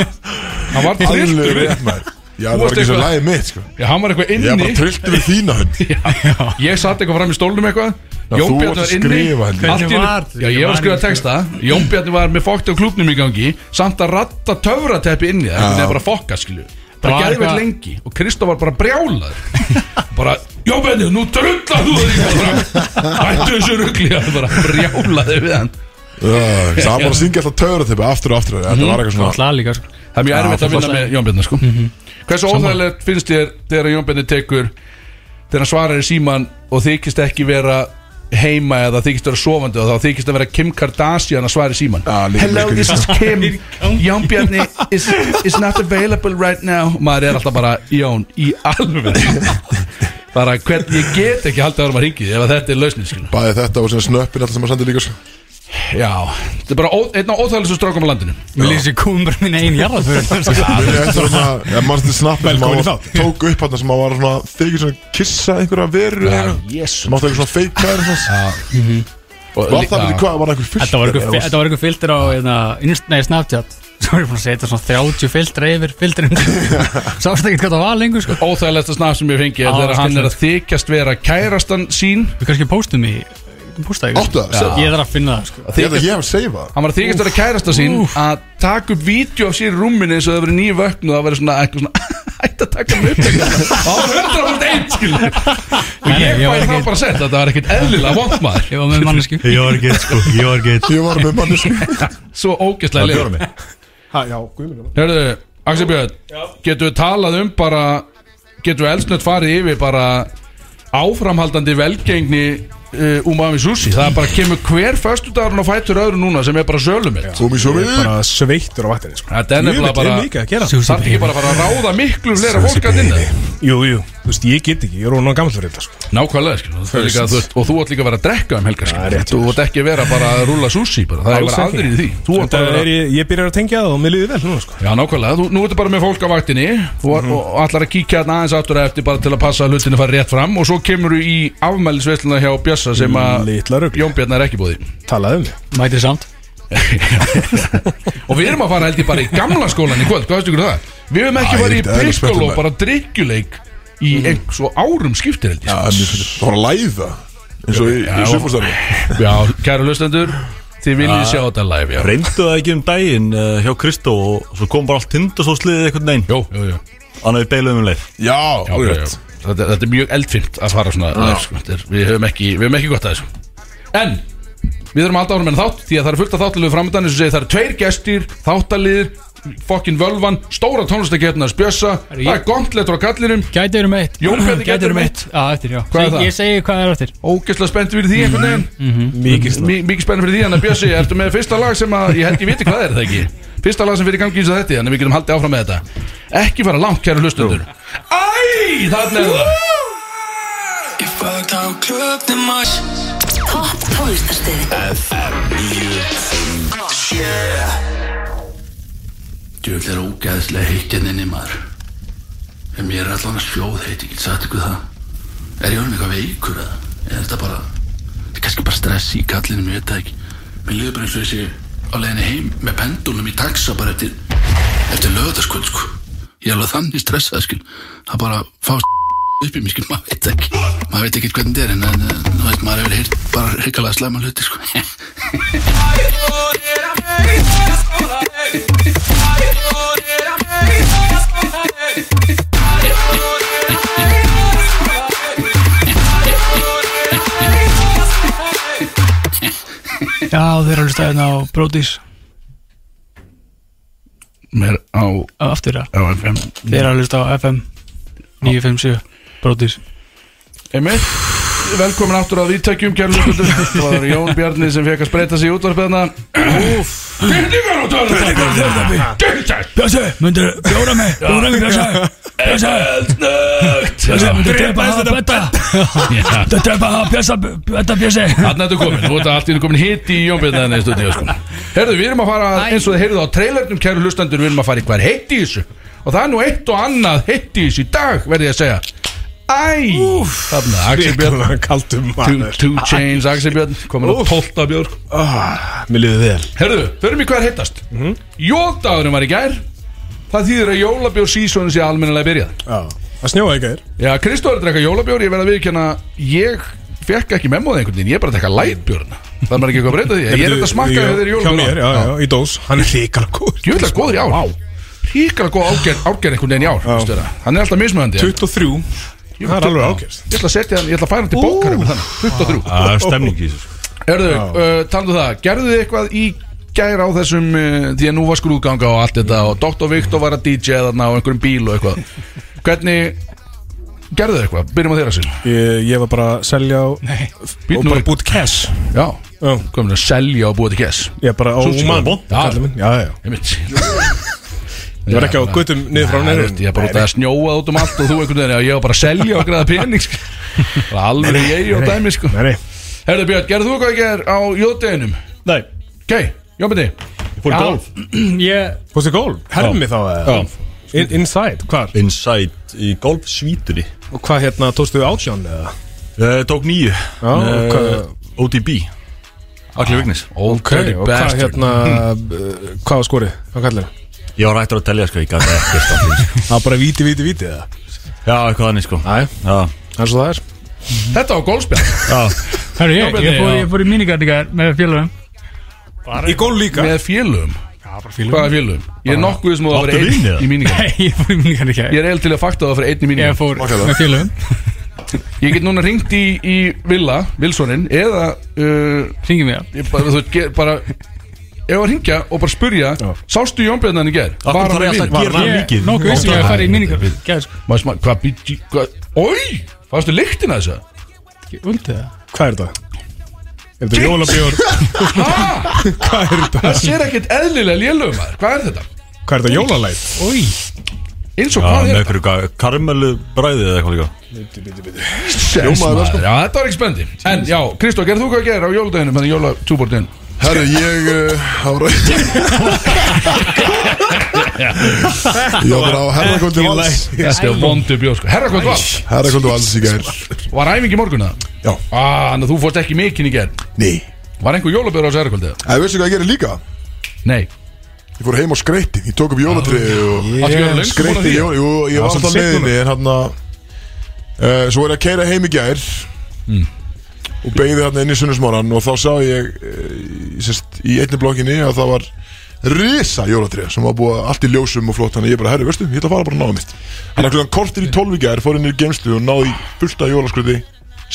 Speaker 2: Hann var trilltur
Speaker 1: Alveg
Speaker 2: við
Speaker 1: rétt maður Já, það
Speaker 2: Þú
Speaker 1: var
Speaker 2: varst
Speaker 1: ekki svo
Speaker 2: eitthvað-
Speaker 1: lagið mitt sko
Speaker 2: Já, hann var eitthvað
Speaker 1: Ég var
Speaker 2: inni
Speaker 1: bara trilltu við þína hund
Speaker 2: Ég satt eitthvað fram í stólnum eitthvað Jón
Speaker 1: þú
Speaker 2: Bjarni
Speaker 1: varst
Speaker 2: var
Speaker 1: að
Speaker 2: inni
Speaker 1: skrifa henni.
Speaker 2: allt í einu-
Speaker 3: Hvernig var-
Speaker 2: Já, ég var að skrifa
Speaker 3: Hvernig var-
Speaker 2: texta Jón Bjarni var með fókt á klubnum í gangi samt að ratta töfrateppi inni það er bara fokka skilju
Speaker 3: Var
Speaker 2: bara gerði vel
Speaker 3: eitthvað-
Speaker 2: lengi og Kristof var bara brjálaður (laughs) bara, já Benni, nú drullar þú þig bara, hættu þessu rugli (laughs) hann bara brjálaði við hann
Speaker 1: Já, Það var bara að syngja alltaf töfra tippa Aftur og aftur Þetta var eitthvað svona
Speaker 3: Alltaf líka, sko
Speaker 2: það er mjög erfitt að vinna með Jón Bjarni sko. hversu óþægilegt finnst þér þegar Jón Bjarni tekur þegar hann svarar í síman og þykist ekki vera heima eða þykist að vera sofandi og þá þykist að vera Kim Kardashian að svari síman
Speaker 1: Já, líka
Speaker 2: Hello,
Speaker 1: mikil-
Speaker 2: this is Kim Jón Bjarni is, is not available right now og maður er alltaf bara Jón í alveg bara hvernig ég get ekki haldið að vera maður hringið ef að þetta er lausnin skilur
Speaker 1: Bæði þetta og sem snöppin alltaf sem að senda líka svo.
Speaker 2: já, þetta er bara ó, einn á óþægilegstum strákum á landinu
Speaker 3: Mér lýsir kúmur mín einn
Speaker 2: (laughs)
Speaker 3: jarðaförin
Speaker 1: Muni eftir svona, ef mannstu snappin sem
Speaker 5: Velkomin í
Speaker 1: að
Speaker 5: þátt.
Speaker 1: tók upp hann sem að var svona, þykir svona kissa einhverja veru eða eitthvað.
Speaker 2: jésu
Speaker 1: Máttu eitthvað svona feika eða eitthvað Var það fyrir hvað, var það einhver fyrst
Speaker 3: Þetta var einhver fi- þetta var einhver filter á hérna, Inst- Nei, Snapchat (laughs) Svo er ég búin að setja svona 30 filtra yfir filtrin
Speaker 2: (laughs)
Speaker 3: Sást ekki hvað það var lengur sko
Speaker 2: óþægilegsta snaf sem ég fengi er
Speaker 3: Á,
Speaker 2: þegar hann
Speaker 3: skemmtilegt.
Speaker 2: er að þykjast vera kærastan sín
Speaker 3: Við kannski postum í Postaði
Speaker 1: Áttu það, segðu það.
Speaker 3: Ég þarf að finna það sko
Speaker 1: Ég held að ég hef að seifa það
Speaker 2: hann var að þykjast vera kærasta sín að taka upp vídeo af sér í rúminu eins og það verið nýju vöknu og það verið svona (laughs) eitthvað svona ætti að taka mig upp og það var hundra fórt einn skilur og
Speaker 3: Nei,
Speaker 2: ég
Speaker 3: nei, ég var
Speaker 2: fæði það
Speaker 3: ekki-
Speaker 2: bara sett að það var ekkert eðlilega vond maður
Speaker 3: Ég var með mannesku
Speaker 4: Ég var gett sko, ég var gett
Speaker 1: Ég var með manni sem
Speaker 2: svo ógeðslega
Speaker 4: Björn
Speaker 2: lið
Speaker 4: mig
Speaker 5: Ha, já, guðminn
Speaker 2: Hörðu, Axel Björn getur við talað um bara getur við elsnött farið yfir bara áframhaldandi velgengni uh, umami sushi það bara kemur hver föstudagurinn og fætur öðru núna sem er bara sölumitt
Speaker 1: Komi svo
Speaker 5: Ég
Speaker 1: við
Speaker 5: er bara sveittur á vatninni sko.
Speaker 2: Þetta er nefnilega
Speaker 5: Jöfull,
Speaker 2: bara-
Speaker 5: er mikið að gera
Speaker 2: þarf ekki bara að fara að ráða miklu fleira fólk
Speaker 5: hérna
Speaker 2: að dinna
Speaker 5: Jú, jú, þú veist, ég get ekki, ég er orðin á gammal fyrir þetta sko.
Speaker 2: Nákvæmlega, skilur, þú líka, þú veist, og þú átt líka að vera að drekka um helgar
Speaker 5: Það er
Speaker 2: skilur.
Speaker 5: rétt
Speaker 2: Þú átt ekki að vera bara að rúla sushi bara. Það er
Speaker 5: Alls
Speaker 2: bara
Speaker 5: ekki.
Speaker 2: aðrið í því Þú átt
Speaker 5: Þetta
Speaker 2: að
Speaker 5: er
Speaker 2: vera
Speaker 5: ég, ég byrjar að tengja það og mér liði vel núna sko.
Speaker 2: Já, nákvæmlega, þú, nú ertu bara með fólk á vaktinni og, og allar að kíkja þarna aðeins aftur eftir bara til að passa að hlutinu fara rétt fram og svo kemur þú í afmælisveisluna hjá Bjössa sem að
Speaker 5: Litla rugl.
Speaker 2: Jónbjörn er ekki búið
Speaker 5: Talaðu um
Speaker 3: Mætið samt
Speaker 2: og við erum að fara held ég bara í gamla skólan í kvöld, hvað veistu ykkur það? Við erum ekki
Speaker 1: Æ,
Speaker 2: farið í
Speaker 1: þetta er spennandi,
Speaker 2: prikkóló
Speaker 1: maður.
Speaker 2: bara drikkjuleik í eins og árum skiptir held ég sko.
Speaker 1: Já, en ég- Það var að læða eins og í, í sjöfúrstarfi
Speaker 2: Já, kæra hlustendur, þið viljið sjá þetta live já.
Speaker 4: Reyndu það ekki um daginn uh, hjá Kristó og svo kom bara allt tindastóðsliðið einhvern veginn
Speaker 2: Jó, jó, jó
Speaker 4: Þannig að við beiluðum um leið
Speaker 1: Já,
Speaker 2: Já, já, já. Þetta, þetta er mjög eldfimt að fara svona live, sko. Þetta er, við, höfum ekki, við höfum ekki gott að þessu En Við þurfum alltaf að vera með þátt Því að það er fullt af þáttalegu framöndan eins og segir það eru tveir gestir Þáttaliðir Fokkin völvan Stóra tónlistaketnar spjössa Það er gontletur á kallinum
Speaker 3: Gæti verið meitt
Speaker 2: Jón Bjarni gæti verið meitt.
Speaker 3: Já, eftir, já
Speaker 2: Hvað er það?
Speaker 3: Ég segi hvað er eftir
Speaker 2: Ógeðslega spennt fyrir því einhvern veginn
Speaker 5: það Mikið
Speaker 2: Mi- Mikið spennt fyrir því Þannig að Bjössi, ertu með fyrsta lag sem að Ég held ég viti hvað er það ekki Fyrsta lag sem fyrir gangi eins og þetta Þannig að við getum haldið áfram með þetta Ekki fara langt, kæru hlustundur Æ, þarna er það
Speaker 6: Ég fagt á klöfnum að
Speaker 7: Topp tónlistarstöð
Speaker 6: Djöfl er ógæðslega heittinn inni maður En mér er allan að sjóð heitt, ég get sagt ykkur það Er ég orðin eitthvað veikur eða? Eða er þetta bara Þetta er kannski bara stress í kallinu, mér veit það ekki Mér liður bara eins og þessi á leiðinni heim Með pendulum í taxa bara eftir Eftir lögðarskvöld sko Ég er alveg þannig stressað skil Það bara fást upp í mér skil, maður veit ekki Maður veit ekki hvernig þetta er En, en, en þú veit, maður hefur heyrt bara hrikalega slæma hluti sko (laughs)
Speaker 3: Já, þeir eru alveg stæðin á Brodís
Speaker 2: Mér á
Speaker 3: Aftur, já
Speaker 2: á FM
Speaker 3: Þeir eru alveg stæðin á FM 957 Brodís
Speaker 2: Einmitt, velkomin aftur að viðtækjum kjærleikundur Það var Jón Bjarni sem fekk að spreita sig í útvarpiðna Byrningar á törnum Gengtæk
Speaker 3: Mundur bjóra mig Bjóra mig Bjössi Bjössi
Speaker 2: Eldnögt
Speaker 3: Mundur drepa hafa betta Mundur drepa hafa bjössa Betta bjössi
Speaker 2: Þannig að þú komin, þú ert allt í einu komin hitt í Jón Bjarni í stundinu sko. Herðu, við erum að fara eins og þið heyrðu á trailernum kæru hlustendur Við erum að fara í hver heitt í þessu Og það er nú eitt og annað heitt í þessu í dag verði ég að segja Æ, þarna, Axel Björn
Speaker 5: Ríkulega kaldum
Speaker 2: Two,
Speaker 5: maður
Speaker 2: two Chains, Axel Björn komin á 12 björn
Speaker 5: Ah, Mér liði vel
Speaker 2: Herðu, förum í hvað er hittast mm var í gær Það þýðir að jólabjór sísónu sé almennilega byrjað
Speaker 5: Já. Það snjóaði ekki þér
Speaker 2: Já, Kristóður drekka jólabjór, ég verð að viðkjanna Ég fekk ekki memóð einhvern veginn Ég er bara að drekka lætbjórna Það er maður ekki eitthvað að breyta því Ég er þetta að smakka þegar þeir eru
Speaker 5: Hjá mér,
Speaker 2: jólabjór
Speaker 5: já, já, í dós Hann er ríkala góð
Speaker 2: Ég vil að góður í ár Ríkala góð árgerð árgerð einhvern veginn í ár veistu það. Hann er alltaf mismöðandi
Speaker 5: 23 Það er alveg ákjörst
Speaker 2: Ég ætla að setja hann, ég ætla að færa hann til bókarum með þannig, 23
Speaker 4: Það er stemning í þessu sko.
Speaker 2: Herðu, uh, talandu það, gerðu þið eitthvað í gæra á þessum uh, því að nú var skrúðganga og allt þetta og Dr. Viktor var að DJ þarna á einhverjum bíl og eitthvað hvernig gerðu þið eitthvað, byrjum að þeirra sér
Speaker 5: Ég, ég var bara að selja á,
Speaker 2: Býtt
Speaker 5: og
Speaker 2: nú
Speaker 5: bara
Speaker 2: ekki,
Speaker 5: búið til cash
Speaker 2: já,
Speaker 5: Já.
Speaker 2: komin að selja og búa til kess
Speaker 5: Ég er bara á
Speaker 2: Sushi
Speaker 5: mann
Speaker 2: og bond.
Speaker 5: kallinn minn. Já, já, já
Speaker 2: Einmitt
Speaker 5: (laughs) Ég var ekki á guttum niður frá
Speaker 2: Nei,
Speaker 5: neyrum
Speaker 2: veist, ég bara út að snjóa út um allt og þú einhvern veginn að ég var bara að selja og græða pening
Speaker 5: (laughs)
Speaker 2: sko. Það er alveg ég og dæmi sko.
Speaker 5: Nei, nei
Speaker 2: Herðu Björn, gerðu þú hvað ég ger á jóðdeginum?
Speaker 4: Nei,
Speaker 2: Ok, jóðbindi
Speaker 4: ég fór í golf
Speaker 3: Ég,
Speaker 5: Fórstu gól? Hermi þá eða? In, Inside, hvar?
Speaker 4: Inside í golfsvítunni
Speaker 5: Og hvað hérna, tókstuðu átján eða?
Speaker 4: uh, Tók Eh, nýju
Speaker 5: Já, og hvað-
Speaker 4: ODB Allir vignis
Speaker 2: Ok,
Speaker 5: og hvað hérna
Speaker 2: (laughs)
Speaker 5: uh, Hvað var skorið? Hvað kallir það?
Speaker 4: Ég var hættur að telja sko, ég gæti ekkert að því
Speaker 5: (laughs)
Speaker 4: sko.
Speaker 5: Það var bara víti, víti, víti eða?
Speaker 4: Já, eitthvað þannig sko
Speaker 5: Æ,
Speaker 4: Já,
Speaker 5: eins og það er
Speaker 2: Þetta var golfspjall
Speaker 4: já
Speaker 3: herru ég,
Speaker 2: Bjarni,
Speaker 3: ég fór,
Speaker 2: já.
Speaker 3: ég fór í minigarningar með félagum
Speaker 5: Í gól líka
Speaker 2: Með félögum Hvað er félögum? Ég er nokkuð sem að það
Speaker 4: Áttu
Speaker 2: fyrir
Speaker 4: vini eða?
Speaker 2: einn í míningar
Speaker 3: Nei, ég fór í
Speaker 2: Ég
Speaker 3: minigarningar
Speaker 2: er eil til að fakta það fyrir einn í
Speaker 3: Ég
Speaker 2: míningar
Speaker 3: fór með félagum
Speaker 2: Ég get núna ringt í, í Villa, Vilssonin Eða uh,
Speaker 3: Ringið mér
Speaker 2: ég bara, þú veit, ge- bara Ef að ringja og bara spurja Sástu Jón Bjarnan í ger?
Speaker 4: Akkur þarf ég alltaf að gera það
Speaker 3: Ég,
Speaker 4: mikið
Speaker 3: nokkuð vissum ég að fara í sko. minigarningar
Speaker 2: Maður sem að, hvað býtti, hvað, oi, fannstu lyktin að þessu?
Speaker 3: Völdið það?
Speaker 5: Hvað er þetta? Er þetta jólabjór?
Speaker 2: Hæ?
Speaker 5: Hvað er þetta?
Speaker 2: Það sér ekkert eðlilega lélögum maður, hvað er þetta?
Speaker 5: Hvað er þetta jólalæt?
Speaker 3: Új
Speaker 2: Eins og
Speaker 4: Já,
Speaker 2: hvað
Speaker 4: með
Speaker 2: er þetta?
Speaker 4: einhverju ga- karmelu bræðið eða eitthvað líka
Speaker 2: Sess maður, já þetta var ekki spendi En já, Kristó, gerð þú hvað að gera á hérna, jóladeginu Þannig jóla túbordin
Speaker 1: Herru, ég uh, á rætt Ég var bara á herrakvöldu vals
Speaker 2: Þetta er vondu bjóð, sko Herrakvöld var,
Speaker 1: Herrakvöldu vals í gær
Speaker 2: var æfing í morgun það?
Speaker 1: Já,
Speaker 2: Ah, þannig að þú fórst ekki mikinn í gerð
Speaker 1: nei
Speaker 2: Var einhver jólabjörn á þessu herrakvöldið?
Speaker 1: Það veistu hvað ég gerir líka?
Speaker 2: Nei
Speaker 1: Ég fór heim á skreyti, ég tók upp jólatriði og
Speaker 2: Varstu ekki orðin löngu búin að
Speaker 1: Skreyti,
Speaker 2: því?
Speaker 1: jól, jú, ég var alltaf á
Speaker 5: svolítið
Speaker 1: leiðinni En hann að uh, Svo er ég að keira heim í gær
Speaker 2: Mm.
Speaker 1: Og beigði hann inn í sunnismóran Og þá sá ég uh, í, sest, Í einni blokkinni að það var Risa jólatriði sem var búið allt í ljósum og flott Þannig að ég bara, herru, veistu, ég ætla að fara bara að náða mitt Þannig að klukkan kortir í tólf í gær Fór inn í geimslu og náði í fullta jólaskruti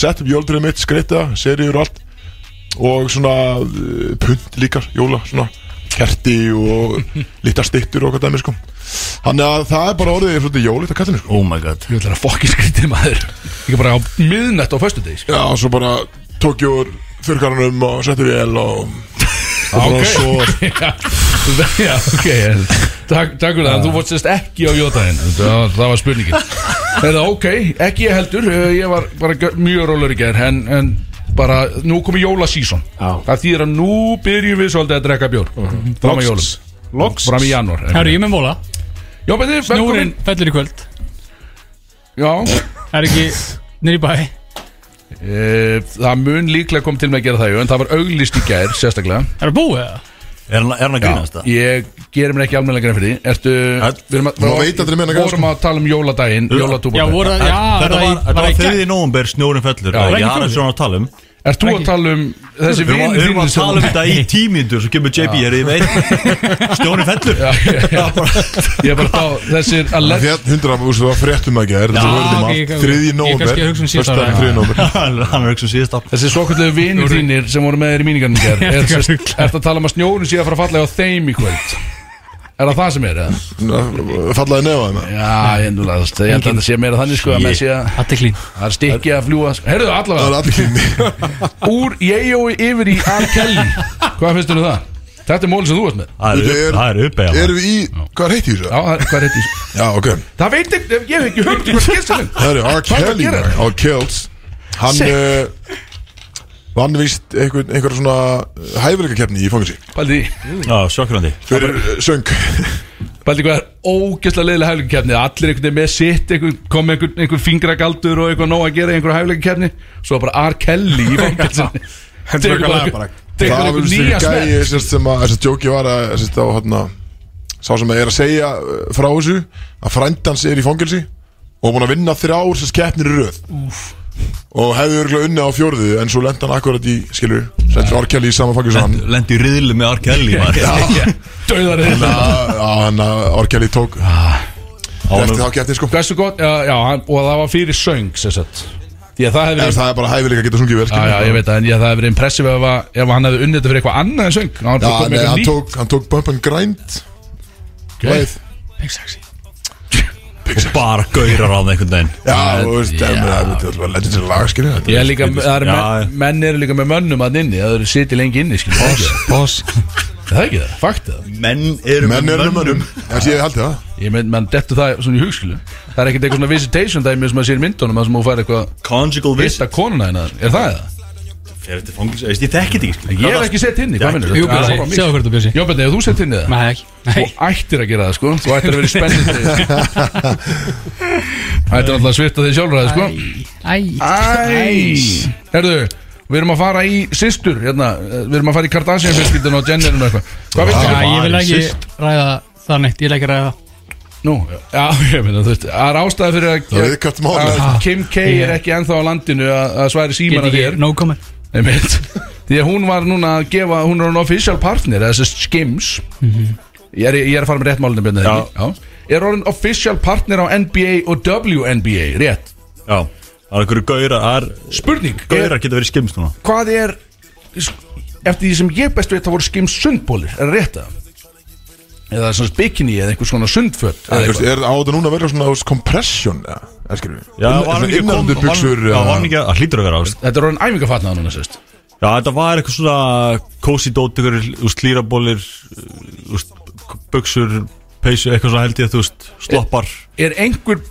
Speaker 1: Sett upp jólatriði mitt, skreita, seriður og allt og svona uh, punt líka, jóla, svona kerti og
Speaker 2: (laughs)
Speaker 1: lítar stittur og hvað dæmi sko Þannig að það er bara orðið svolítið jólíkt að kallinu sko
Speaker 4: Oh my god
Speaker 2: Ég ætla að fokki skrítið maður Ég er bara á miðnett á föstudegi sko.
Speaker 1: Já, og svo bara tók ég úr þurrkaranum og setti vél og
Speaker 2: ah,
Speaker 1: og svo
Speaker 2: (laughs) Já, ok en Takk, takk fyrir það, en þú fórst sérst ekki á jótaðin það, það var spurningin Eða ok, ekki ég heldur eh, Ég var bara gö- mjög rólur í gerð en, en bara, nú komið jólasíson
Speaker 5: Já. Mhm.
Speaker 2: Það þýðir að nú byrjum við svolítið að drekka bjór Fram að jólum
Speaker 5: Loks
Speaker 2: Fram í janúar
Speaker 3: Herru, ég er með móla
Speaker 2: Já, betur,
Speaker 3: Núrin
Speaker 2: velkomin
Speaker 3: fellur í kvöld
Speaker 2: Já,
Speaker 3: Það er ekki nýri bæ
Speaker 2: e, það mun líklega kom til með að gera það jú, En það var auglýst í gerð, sérstaklega
Speaker 3: Það er búið það?
Speaker 4: Er hann er hann að grínast það?
Speaker 2: Ég gerir mér ekki almennilega grein fyrir því Ertu
Speaker 4: Það-
Speaker 2: Við erum að,
Speaker 1: Má veit aldrei meina grein,
Speaker 4: sko.
Speaker 2: vorum að tala um jóladaginn
Speaker 3: Já,
Speaker 2: Jólatúbordaginn
Speaker 3: voru það, já
Speaker 4: Þetta
Speaker 3: það
Speaker 4: var,
Speaker 3: í-
Speaker 4: þetta
Speaker 3: í
Speaker 4: var
Speaker 3: gær.
Speaker 4: þriði nóvumber snjórin fellur
Speaker 2: Já.
Speaker 4: Já,
Speaker 3: Var
Speaker 4: ég
Speaker 3: ekki
Speaker 4: aðeins
Speaker 3: fjórði?
Speaker 4: svona að tala um Við
Speaker 2: Ert þú að tala um þessi
Speaker 4: erum að-
Speaker 2: vinur
Speaker 4: við erum að
Speaker 2: sem-
Speaker 4: tala um þetta í tímindur Svo kemur JP hér í veit Snjórin fellur
Speaker 2: Já, já,
Speaker 4: (laughs)
Speaker 2: já. Ég er bara að þá Þessir að
Speaker 1: Því
Speaker 2: legg
Speaker 1: að hundra, þú veist, það var fréttum að gera
Speaker 3: Já,
Speaker 1: Þetta verður
Speaker 3: ok,
Speaker 1: margt,
Speaker 3: ég-
Speaker 1: þriðji
Speaker 3: ég
Speaker 1: nómber
Speaker 3: kannski að hugsa um síðasta
Speaker 1: Föstudaginn
Speaker 3: ára.
Speaker 1: þriðji nómber
Speaker 4: Hann hann er um ekki svo síðast á
Speaker 2: Þessir svokullu vinur þínir sem voru með þér í míningarnir gerð
Speaker 3: Ég er
Speaker 2: Er
Speaker 3: ekki að
Speaker 2: sérst-
Speaker 3: hugla.
Speaker 2: ertu að tala um að snjórun sé að fara að falla á þeim í kvöld Er það það sem er eða?
Speaker 1: Fallaði nefað það
Speaker 2: Já, ég endur að það Ég held að þetta sé meira þannig sko að menn sé að
Speaker 3: Athygli.
Speaker 2: Það er stikki að fljúa Herðu
Speaker 1: Það er
Speaker 2: allavega
Speaker 1: allir kynni
Speaker 2: Úr ég yfir í R. Kelly Hvað finnst þér um það? Þetta er mólið sem þú varst með
Speaker 4: Það
Speaker 1: Þetta er-
Speaker 4: er- það er uppeyja
Speaker 1: Erum við í, hvað er heitt í
Speaker 2: Já,
Speaker 1: þessu?
Speaker 2: það- hvað er þetta í þessu?
Speaker 1: Já, ok
Speaker 2: Það veit ekki, ég hef ekki um höfð hvað skilst hann
Speaker 1: Herru, R.
Speaker 2: Hvað er að
Speaker 1: Kelly
Speaker 2: gera
Speaker 1: maður,
Speaker 2: þetta?
Speaker 1: R. Kells Hann uh, vann vist einhver, einhver svona hæfileikakefni í fangelsi
Speaker 2: Paldi,
Speaker 4: Já, sjokkrandi
Speaker 1: Fyrir uh, söng
Speaker 2: paldi hvað er ógeðslega leiðilega hæfleikakeppni Allir einhvern veginn með sitt, einhver, kom með einhver, einhver fingragaldur og eitthvað nóg að gera í einhver hæfleikakeppni Svo bara R. Kelly í fangelsinni
Speaker 5: Hendur
Speaker 2: Tekur
Speaker 5: eitthvað
Speaker 2: bara
Speaker 5: lag
Speaker 2: einhver-
Speaker 5: bara.
Speaker 2: tekur bara einhver
Speaker 1: þessi
Speaker 2: nýja smell
Speaker 1: gæi sérst, sem að þessi djóki var að sérst, á, hana, Sá sem er að segja uh, frá þessu Að frændans er í fangelsi Og búin að vinna þrjár sérst keppnir í röð Og hefði örgulega unni á fjórðu En svo lenda hann akkurat í, skilur Settur R. Kelly í sama fangelsi og hann
Speaker 4: Lendi í riðlu með R. Kelly maður.
Speaker 2: Dauðar er hérna. þetta
Speaker 1: Þannig að R. Kelly tók Eftir þá keppni sko
Speaker 2: Hversu gott, já, já, hann- og það var fyrir söng sem sagt. Því að það hefði
Speaker 1: En
Speaker 2: verið
Speaker 1: það er bara hæfileika að geta sungið vel
Speaker 2: Já,
Speaker 1: skilur.
Speaker 2: já, ég veit það, en ég, það hefði verið impressiv ef, að- ef hann hefði unnið þetta fyrir eitthvað annað en söng Hann
Speaker 1: Já,
Speaker 2: kom með
Speaker 1: nei,
Speaker 2: eitthvað
Speaker 1: hann
Speaker 2: nýtt.
Speaker 1: tók, hann tók Bump and Grind
Speaker 2: Ok.
Speaker 1: Leið
Speaker 3: Big sexy
Speaker 1: Big Six
Speaker 4: bara gaurar á það einhvern veginn
Speaker 1: Já, þú veist, en það er þetta var legendary lagskynni
Speaker 2: Ég er líka, það eru
Speaker 4: Já,
Speaker 2: menn, menn eru líka með mönnum að inni Það eru sitið lengi inni, skilur Boss, boss Það er ekki það, fakt það
Speaker 4: menn eru
Speaker 1: Menn eru með Um mönnum Það sé ég haldi það
Speaker 2: Ég meint, menn dettu það svona í hugskilu Það er ekkert eitthvað svona visitation dæmi sem að sér í myndunum að sem hún fær eitthvað
Speaker 4: conjugal visit
Speaker 2: Vista konuna hennar, er það það?
Speaker 4: fyrir til fangils ég þekki þetta ekki
Speaker 2: Ég hef ekki sett inn í, hvað minnur
Speaker 3: Jú, Bjössi, sjáðu hvernig þú Bjössi
Speaker 2: Jóbjörn, hefur þú sett inn í það?
Speaker 3: Nei, ekki Nei,
Speaker 2: Þú ættir að gera það, sko Þú ættir að vera spennandi Ættir alltaf að svipta þig sjálfur að það, sko
Speaker 3: æ
Speaker 2: Æs Herðu, við erum að fara í systur hérna, eh, Við erum að fara í Kardashian fjölskyldun og Jenner og eitthvað Hvað veit
Speaker 3: Æ,
Speaker 2: það?
Speaker 3: ég vil
Speaker 4: Varir
Speaker 3: ekki ræða það neitt Ég vil ekki ræða það.
Speaker 2: Nú, já, ég meina þú veist Það er ástæða fyrir að,
Speaker 1: Það er viðkvæmt mál.
Speaker 2: að Kim K er ekki ennþá á landinu að, að sværi
Speaker 3: Get
Speaker 2: síman að þér
Speaker 3: ekki, no comment
Speaker 2: Nei, mitt Því að hún var núna að gefa, hún er hún official partner eða þessi skims Mhm. ég, er, ég er að fara með rétt málunum björnir
Speaker 4: Já.
Speaker 2: já Er hún official partner á NBA og WNBA, rétt
Speaker 4: já það er einhverju gaurar það er
Speaker 2: Spurning, er,
Speaker 4: gaurar geta verið skimst núna
Speaker 2: hvað er eftir því sem ég best veit þá voru skims sundbólir, er það rétt að eða svona bikini eða einhvers konar sundföt
Speaker 1: En
Speaker 2: eða
Speaker 1: þú veist,
Speaker 2: eitthvað.
Speaker 1: Er á þetta núna að vera svona þú veist, compression eða? Eða skilur við?
Speaker 4: já var hann ekki
Speaker 1: Innanundir
Speaker 4: var hann-
Speaker 1: Um buxur,
Speaker 4: já var hann
Speaker 1: eða-
Speaker 4: ekki að það hlýtur að vera þú veist.
Speaker 2: þetta er orðin æfingafatnað núna sérst
Speaker 4: já þetta var eitthvað svona cozy dót einhverju slírabólir buksur peysu eitthvað svona held ég þú veist sloppar
Speaker 2: er einhver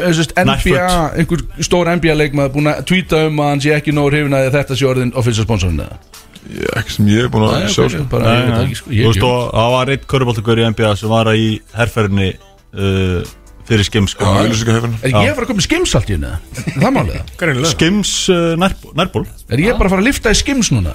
Speaker 2: eh, sérst, NBA,
Speaker 4: Nærföt.
Speaker 2: einhver stór NBA leikmaður búin að tweeta um að hann sé ekki nóg hrifin að þetta sé orðin official sponsorin eða
Speaker 1: Ég- Ekki sem ég er búin að
Speaker 2: Nei,
Speaker 1: sjá
Speaker 2: ok,
Speaker 1: sko.
Speaker 2: bara, ég veit það ekki, sko,
Speaker 4: Þú
Speaker 2: ég,
Speaker 4: veist,
Speaker 2: ég,
Speaker 4: og það var einn köruboltakur í NBA sem var í herrferðinni uh, fyrir skims
Speaker 1: Já, auglýsingahefurinn.
Speaker 2: er ég að fara að koma í skims allt í henni er það málið það?
Speaker 4: skims uh, nærb- nærból
Speaker 2: er ég bara að fara að lifta í skims núna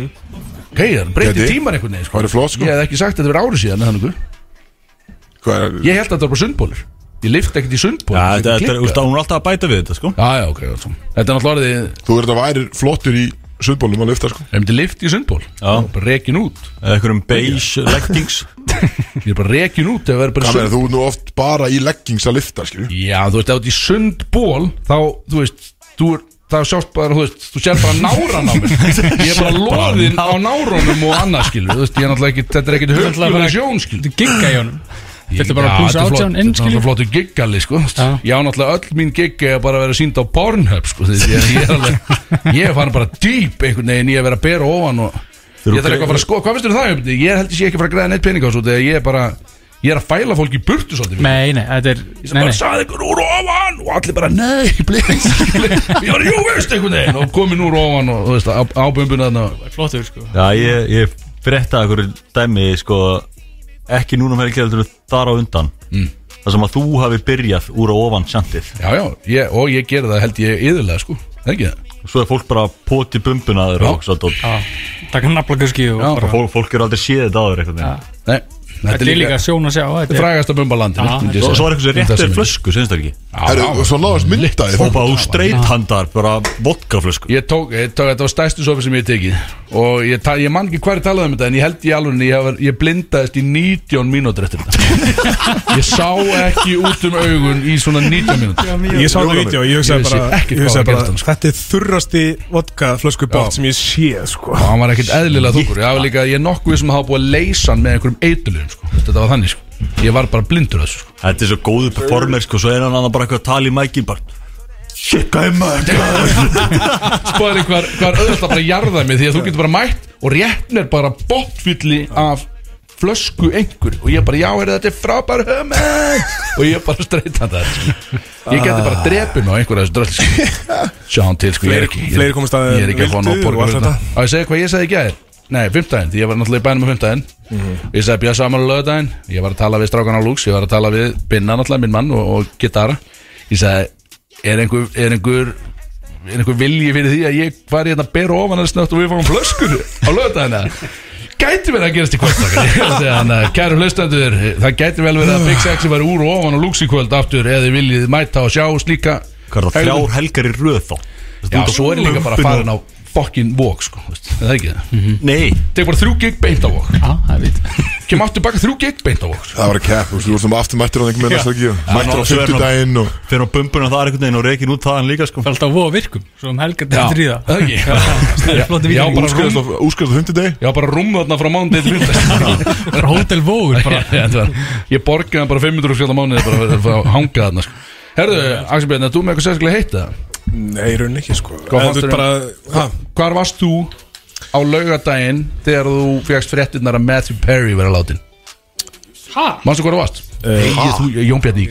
Speaker 2: ok, það breytir
Speaker 1: Gæti.
Speaker 2: tímar einhvern veginn sko.
Speaker 1: Væri flott, sko.
Speaker 2: ég hef ekki sagt að þetta verið árið síðan eða þannig.
Speaker 1: Hvað er-
Speaker 2: ég held að þetta var bara sundbólur ég lifta ekkert í
Speaker 4: Já,
Speaker 2: sundból
Speaker 4: þetta þetta er, þú veist, hún er alltaf að bæta við þetta, sko
Speaker 2: Já, já, ok, já, svo. þetta er náttúrulega orðið
Speaker 1: Þú verður að væri flottur í sundbólum að lifta sko
Speaker 2: Ég myndi lift í sundból
Speaker 4: Já.
Speaker 2: Bara rekin út
Speaker 4: Eða einhverjum beige leggings
Speaker 2: Ég er bara rekin út ef það er bara í
Speaker 1: Þannig að
Speaker 2: sund
Speaker 1: þú er nú oft bara í leggings að lifta skilur við?
Speaker 2: Já, þú veist, ef þú ert í sundból Þá, þú veist, þú er Það sjást bara, þú veist, þú sér bara náran
Speaker 4: (laughs)
Speaker 2: á mér Ég er bara loðinn á nárónum og annað skilu Þú veist, ég er náttúrulega ekki, þetta er ekkit höfnum sjón skilu
Speaker 3: Þetta gigga í honum Þetta er bara plus
Speaker 2: þetta er flott-
Speaker 3: 18 inn,
Speaker 2: Þetta er
Speaker 3: skilju
Speaker 2: náttúrulega flottu giggali, sko
Speaker 3: Já.
Speaker 2: Já, náttúrulega öll mín gig er bara að vera sínd á Pornhub, sko Því að ég er alveg Ég er farin bara dýp einhvern veginn Ég er að vera að bera ofan og Ég þarf eitthvað að fara að skoða Hvað finnst þér um það, Jöfndi? Ég held ég sé ekki að fara að græða neitt pening á svo Þegar ég er bara Ég er að fæla fólk í burtu svolítið
Speaker 3: Nei, nei, þetta er
Speaker 2: Ég sem
Speaker 3: Nei,
Speaker 2: bara
Speaker 3: nei
Speaker 2: sagði ykkur úr ofan Og allir bara, nei, blíðins (laughs) Ég var, jú, veist einhvern veginn Og komin úr ofan og, þú veist, á- ábömbuna þarna
Speaker 3: Flottur, sko
Speaker 4: Já, ég, ég frétta einhverju dæmi, sko Ekki núna um helgir, heldur þar á undan mm. Það sem að þú hafi byrjað úr á ofan sjantið
Speaker 2: Já, já, ég, og ég gerði það held ég yðurlega, sko Er Ekki það?
Speaker 4: Svo er fólk bara póti bumbuna þér og svo dót
Speaker 3: Já, Takk hann nafla kuski og
Speaker 2: Já,
Speaker 3: bara
Speaker 4: Fólk, fólk er aldrei séð þetta áður einhvern veginn
Speaker 2: Nei,
Speaker 3: Þetta er líka sjón að sjá Þetta er
Speaker 2: frægasta bumbalandi
Speaker 3: Já,
Speaker 4: Svo, svo er eitthvað sem réttir flösku, syns það ekki
Speaker 1: Herru, og Svo náðast myndaði
Speaker 4: Og bara úr streithandar, bara vodkaflösku
Speaker 2: Ég tók, ég tók þetta var stærstu sofi sem ég hef tekið Og ég, ta- ég man ekki hver talaði um þetta En ég held í alveg ég, hef- ég blindaðist í 19 mínútur eftir
Speaker 4: (laughs)
Speaker 2: þetta Ég sá ekki út um augun Í svona 19 mínútur
Speaker 5: Ég sá þetta vídeo og ég hugsaði
Speaker 2: Ég vissi
Speaker 5: bara,
Speaker 2: ekkert
Speaker 5: ég
Speaker 2: hvað var
Speaker 5: hugsaði bara
Speaker 2: gert hann, sko.
Speaker 5: Þetta er þurrasti vodka flösku
Speaker 2: Já.
Speaker 5: bort sem ég sé sko.
Speaker 2: Og hann var ekkert eðlilega þungur Ég hafa líka, ég er nokkuð sem hafa búið að leysa hann Með einhverjum eitulugum, sko Þetta var þannig, sko Ég var bara blindur að þessu, sko
Speaker 4: Þetta er svo góðu performer sko, svo er hann annað bara eitthvað að tala í mækin bara Shit, hvað er maður?
Speaker 2: Spáðið hvar, hvar öðvitað bara jarðaði mig Því að þú getur bara mætt Og rétt mér bara botfylli af flösku einhver og ég bara já, er þetta er frábær höfum og ég bara streyta það sko. ég geti bara drepin á einhverja þessu dröll sko.
Speaker 5: (laughs)
Speaker 2: sjá hann til sko, ég er
Speaker 5: Fleiri-
Speaker 2: ekki ég,
Speaker 5: fleiri komast að
Speaker 2: ég er ekki að fá
Speaker 5: vildu
Speaker 2: nóg
Speaker 5: og allt
Speaker 2: borgar
Speaker 5: þetta.
Speaker 2: á ég segja hvað ég segði í gæðir nei, fimmtæðin, því ég var náttúrulega í bænum á fimmtæðin
Speaker 4: Mhm.
Speaker 2: og ég segði bjöð saman á lögdæðin ég var að tala við strákan á Lux, ég var að tala við Binna náttúrulega, minn mann og, og gitara ég segði, er einhver er einhver er einhver vilji fyrir því að ég var í hérna að bera ofan að snögt og við fáum flöskur á lögdæðina gæti verið að gerast í kvöld krakkar. Ég er að segja hann, eh, Kæru hlustendur, eh, það gæti vel verið að
Speaker 4: Ah.
Speaker 2: Big Sexy var úr og ofan og lúks í kvöld aftur eða þið viljið mæta og sjá slíka
Speaker 4: Hvað er það,
Speaker 2: hegðun.
Speaker 4: þrjár helgar í röð þá?
Speaker 2: Já, svo er ég líka bara farin á fucking walk sko, veist, er það ekki það
Speaker 4: Nei,
Speaker 2: Tek bara þrjú gig beint á walk
Speaker 3: Já, það er vít
Speaker 2: kem aftur baka þrjú gig beint á okkur
Speaker 1: Það var að kepp, þú veist, þú aftur mættur á einhvern veginn næsta ekki
Speaker 4: Já,
Speaker 1: Mættur á
Speaker 4: ná, svo er nú-
Speaker 1: fymtudaginn og
Speaker 4: Fyrir á bumbuna þar einhvern veginn og rekin út þaðan líka sko
Speaker 3: Það er alltaf voða virkum Svo um helgar til þrýða
Speaker 2: það ekki Já,
Speaker 3: er flottir
Speaker 2: já,
Speaker 3: vídeó.
Speaker 2: bara rúm
Speaker 1: útskrifast á- útskrifast á fymtudagi
Speaker 2: Já, bara rúmu þarna frá mánuði til (laughs) fyrndast
Speaker 3: Bara Hótel Vógur
Speaker 2: (laughs)
Speaker 3: bara
Speaker 2: Ég borgaði hann bara 500 skall á mánuði bara fyrir að fá að hanga þarna sko. Herðu, Axel Björn, er þú með eitthvað sérstaklega heitt það?
Speaker 5: Nei, raun ekki sko
Speaker 2: Hvað
Speaker 5: En þú
Speaker 2: fannst
Speaker 5: ert bara ha,
Speaker 2: Hvar varst þú á laugadaginn þegar þú fegst fréttirnar að Matthew Perry vera látin?
Speaker 3: Hæ?
Speaker 2: Manstu hvað það varst? Egið þú, Jón Bjarni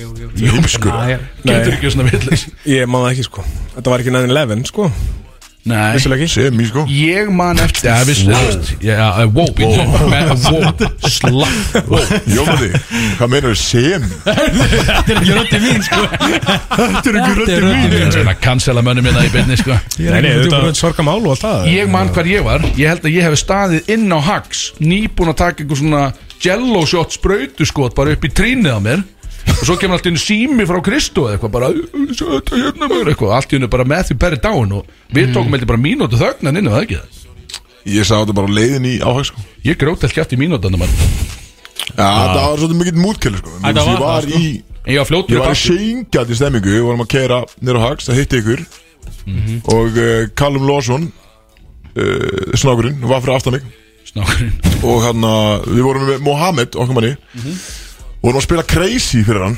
Speaker 2: Jómskur,
Speaker 3: Nei,
Speaker 2: getur ekki svona villis
Speaker 5: Ég man það ekki sko Þetta var ekki 9-11 sko
Speaker 2: Nei
Speaker 5: Vissulega ekki
Speaker 1: Sem í sko
Speaker 2: Ég man eftir, já, vissu, wow. veist, já, já, wow, wow, wow, slapp, wow,
Speaker 1: Jónati, hvað meinar þau sem?
Speaker 3: Þetta er ekki röndi mín sko Þetta er ekki röndi
Speaker 2: ég er svona að cancela mönnum minna í beinni, sko.
Speaker 5: Nei, nei, þetta var sorgamál og allt það
Speaker 2: Ég man hvar ég var, ég held að ég hef staðið inn á Hax, nýbúin að taka einhver svona jello shot sprautuskot bara upp í trínið á mér og svo kemur allt í hennu sími frá Kristó eða eitthvað bara, "Sjá þetta hérna mér eitthvað, allt í hennu bara Matthew Perry down og við tókum heldur bara mínútu þögnan inn og það ekki það.
Speaker 1: Ég sá þetta bara á leiðin í áhæg sko
Speaker 2: Ég grót allt kjátt í mínútanum mann.
Speaker 1: Já, það var svolítið mikill mútkæli sko Þú
Speaker 3: Þetta
Speaker 1: veist, Ég var
Speaker 3: var það, sko.
Speaker 1: í
Speaker 2: En ég var fljótur
Speaker 1: Ég var í
Speaker 2: bakið.
Speaker 1: seingjandi stemmingu Við vorum að kera nýra á hags Það hitti ykkur
Speaker 3: Mhm.
Speaker 1: Og eh, Callum Lawson eh, Snákurinn var fyrir aftan mig
Speaker 2: Snákurinn.
Speaker 1: og hérna við vorum með Mohamed okkar manni og vorum að spila Crazy fyrir hann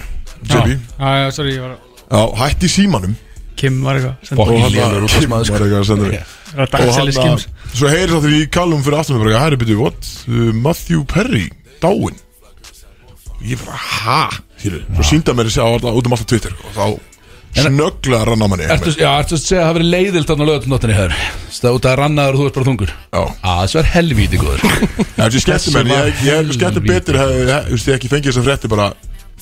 Speaker 1: JB,
Speaker 3: Mhm. Já, já, sorry, ég var að
Speaker 1: á hætti símanum
Speaker 3: Kim var eitthvað sendi-
Speaker 1: og
Speaker 2: Fokkin
Speaker 1: hann var
Speaker 2: lélegur útvarpsmaður, sko.
Speaker 1: eitthvað að senda mér
Speaker 3: var að
Speaker 1: og
Speaker 3: dagselja
Speaker 1: hann
Speaker 3: Skims.
Speaker 1: svo heyrið það því kallum fyrir aftur mér hæri byrju, what, uh, Matthew Perry dáin ég bara, ha Skilur, svo sínda mér þessi á alltaf út um alltaf Twitter og þá snögglaði hann á manni
Speaker 2: Ertu, já, ertu að segja að það hafi verið leiðilt þarna lögatunóttinni hér Það er út að rannaður og þú ert bara þungur
Speaker 1: Já.
Speaker 2: Á, þessi var helvíti góður
Speaker 1: Já, þessi skemmti mér, ég, ég hef skemmti betur eh, hefði, hef, hef, hef ekki fengið þess að frétti bara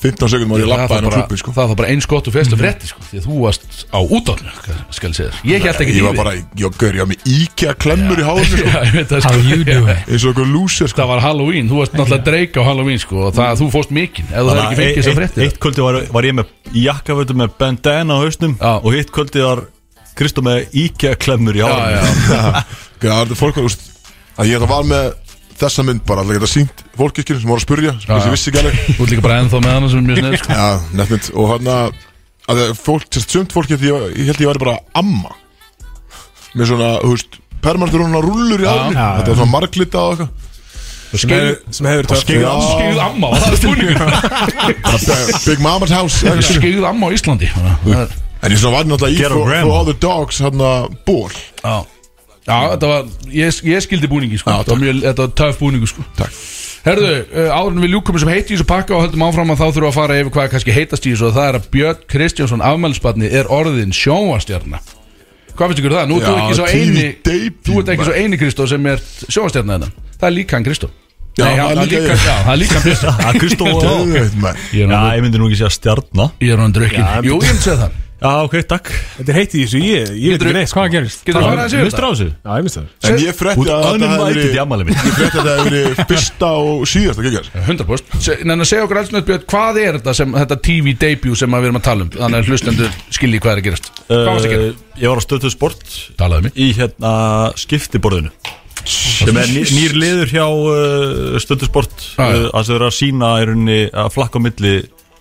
Speaker 1: 15 sekundum og ég
Speaker 2: það,
Speaker 1: lappaði
Speaker 2: það,
Speaker 1: hann á
Speaker 2: bara,
Speaker 1: klubbi sko.
Speaker 2: það var bara eins gott og fyrst og frétti sko, Því að þú varst á útofnu Skal ég segja þér. Ég held ekki
Speaker 1: Ég var
Speaker 2: (laughs)
Speaker 1: bara, ég gaur, ég var með íkja klemmur í hálfum sko.
Speaker 3: How you
Speaker 2: sko. Já,
Speaker 3: do it
Speaker 1: eins og einhver lúsir
Speaker 2: (laughs)
Speaker 1: sko.
Speaker 2: Það var Halloween, þú varst náttúrulega dreik á Halloween sko, og það, þú fóst mikinn ef þú hefði ekki fengið þess að
Speaker 4: Eitt
Speaker 2: frétti
Speaker 4: eitt kvöldi var, var ég með jakkafötum með bandana á hausnum
Speaker 2: Já.
Speaker 4: Og hitt kvöldi var Kristó með íkja klemmur í
Speaker 2: Já, já,
Speaker 4: hálfum
Speaker 1: Það er fólk var, úst, að ég þetta var með þessa mynd bara, alltaf geta sínt fólkiskir sem voru að spurja, sem
Speaker 2: Já, já.
Speaker 1: ég vissi ekki alveg
Speaker 2: þú ert líka bara ennþá með hana sem er mjög snið sko.
Speaker 1: Já, nefnint, og hann að að það er fólk, sérst sumt fólki því ég, ég held ég væri bara amma með svona, þú veist, permanentur hún rúllur í aðri,
Speaker 5: já,
Speaker 1: þetta var svona marglita og eitthvað
Speaker 5: Sem hefur- sem hefur töff
Speaker 1: skeið á-
Speaker 2: Skeið amma, var það er spurningur
Speaker 1: (laughs) Bara Big Mama's House eitthvað svona.
Speaker 2: Skeið amma á Íslandi þannig að það er-
Speaker 1: En ég svona var náttúrulega í
Speaker 4: Get a
Speaker 1: for,
Speaker 4: gram.
Speaker 1: for All the Dogs hérna, hann að ból
Speaker 2: Já, já þetta var, ég, ég skildi búningi sko. þetta, var mjög, þetta var töf búningu sko.
Speaker 1: Takk.
Speaker 2: Herðu, uh, áður en við ljúkum sem heiti í þessu pakka og höldum áfram að þá þurfum við að fara yfir hvað er kannski heitast í þessu og það er að Björn Kristjánsson afmælisbarni er orðin sjónvastjarna Hvað finnst ykkur um það? Nú
Speaker 1: Já,
Speaker 2: þú ekki svo
Speaker 1: TV
Speaker 2: eini
Speaker 1: debut,
Speaker 2: Þú ert ekki svo eini Kristó sem er sjónvastjarna þennan Það er líka hann Kristó
Speaker 1: Já,
Speaker 2: Nei, hann,
Speaker 1: það er
Speaker 2: hann
Speaker 1: líka
Speaker 2: líka,
Speaker 1: ég.
Speaker 2: já, það er líka hann Kristó
Speaker 4: (laughs) Já, Kristó og
Speaker 1: Döðveit maður
Speaker 2: Ég er
Speaker 4: Já,
Speaker 2: hann-
Speaker 4: ég myndi nú ekki segja stjarnar
Speaker 2: Ég er hann drukkin Jú, ég myndi segja það
Speaker 4: Já, ok, takk
Speaker 5: Þetta er heitt í þessu, ég, ég veit ekki neitt sko
Speaker 3: Hvað gerist?
Speaker 2: Getur þú farið að segja um
Speaker 4: Mistur á
Speaker 2: það?
Speaker 4: þessu
Speaker 5: Já, ég minnst það
Speaker 1: En ég frétti
Speaker 4: Út
Speaker 1: að þetta hefði
Speaker 4: uninvited
Speaker 1: verið
Speaker 4: í ammæli mitt
Speaker 1: Ég frétti að þetta hefði verið fyrsta og síðasta kikjar
Speaker 2: 100% Se- Nenna, segja okkur alls neitt Björn, hvað er þetta sem þetta TV debut sem að við erum að tala um þannig að hlustendur skilji hvað er að gerast Hvað varst að gera?
Speaker 4: Uh, Ég var á stöðtöð sport
Speaker 2: Talaðu mig
Speaker 4: í hérna skiptiborðinu sem er ný- nýr liður hjá uh, stöðtöð sport
Speaker 2: Já, já.
Speaker 4: uh, að það er að sína í rauninni að flakka á milli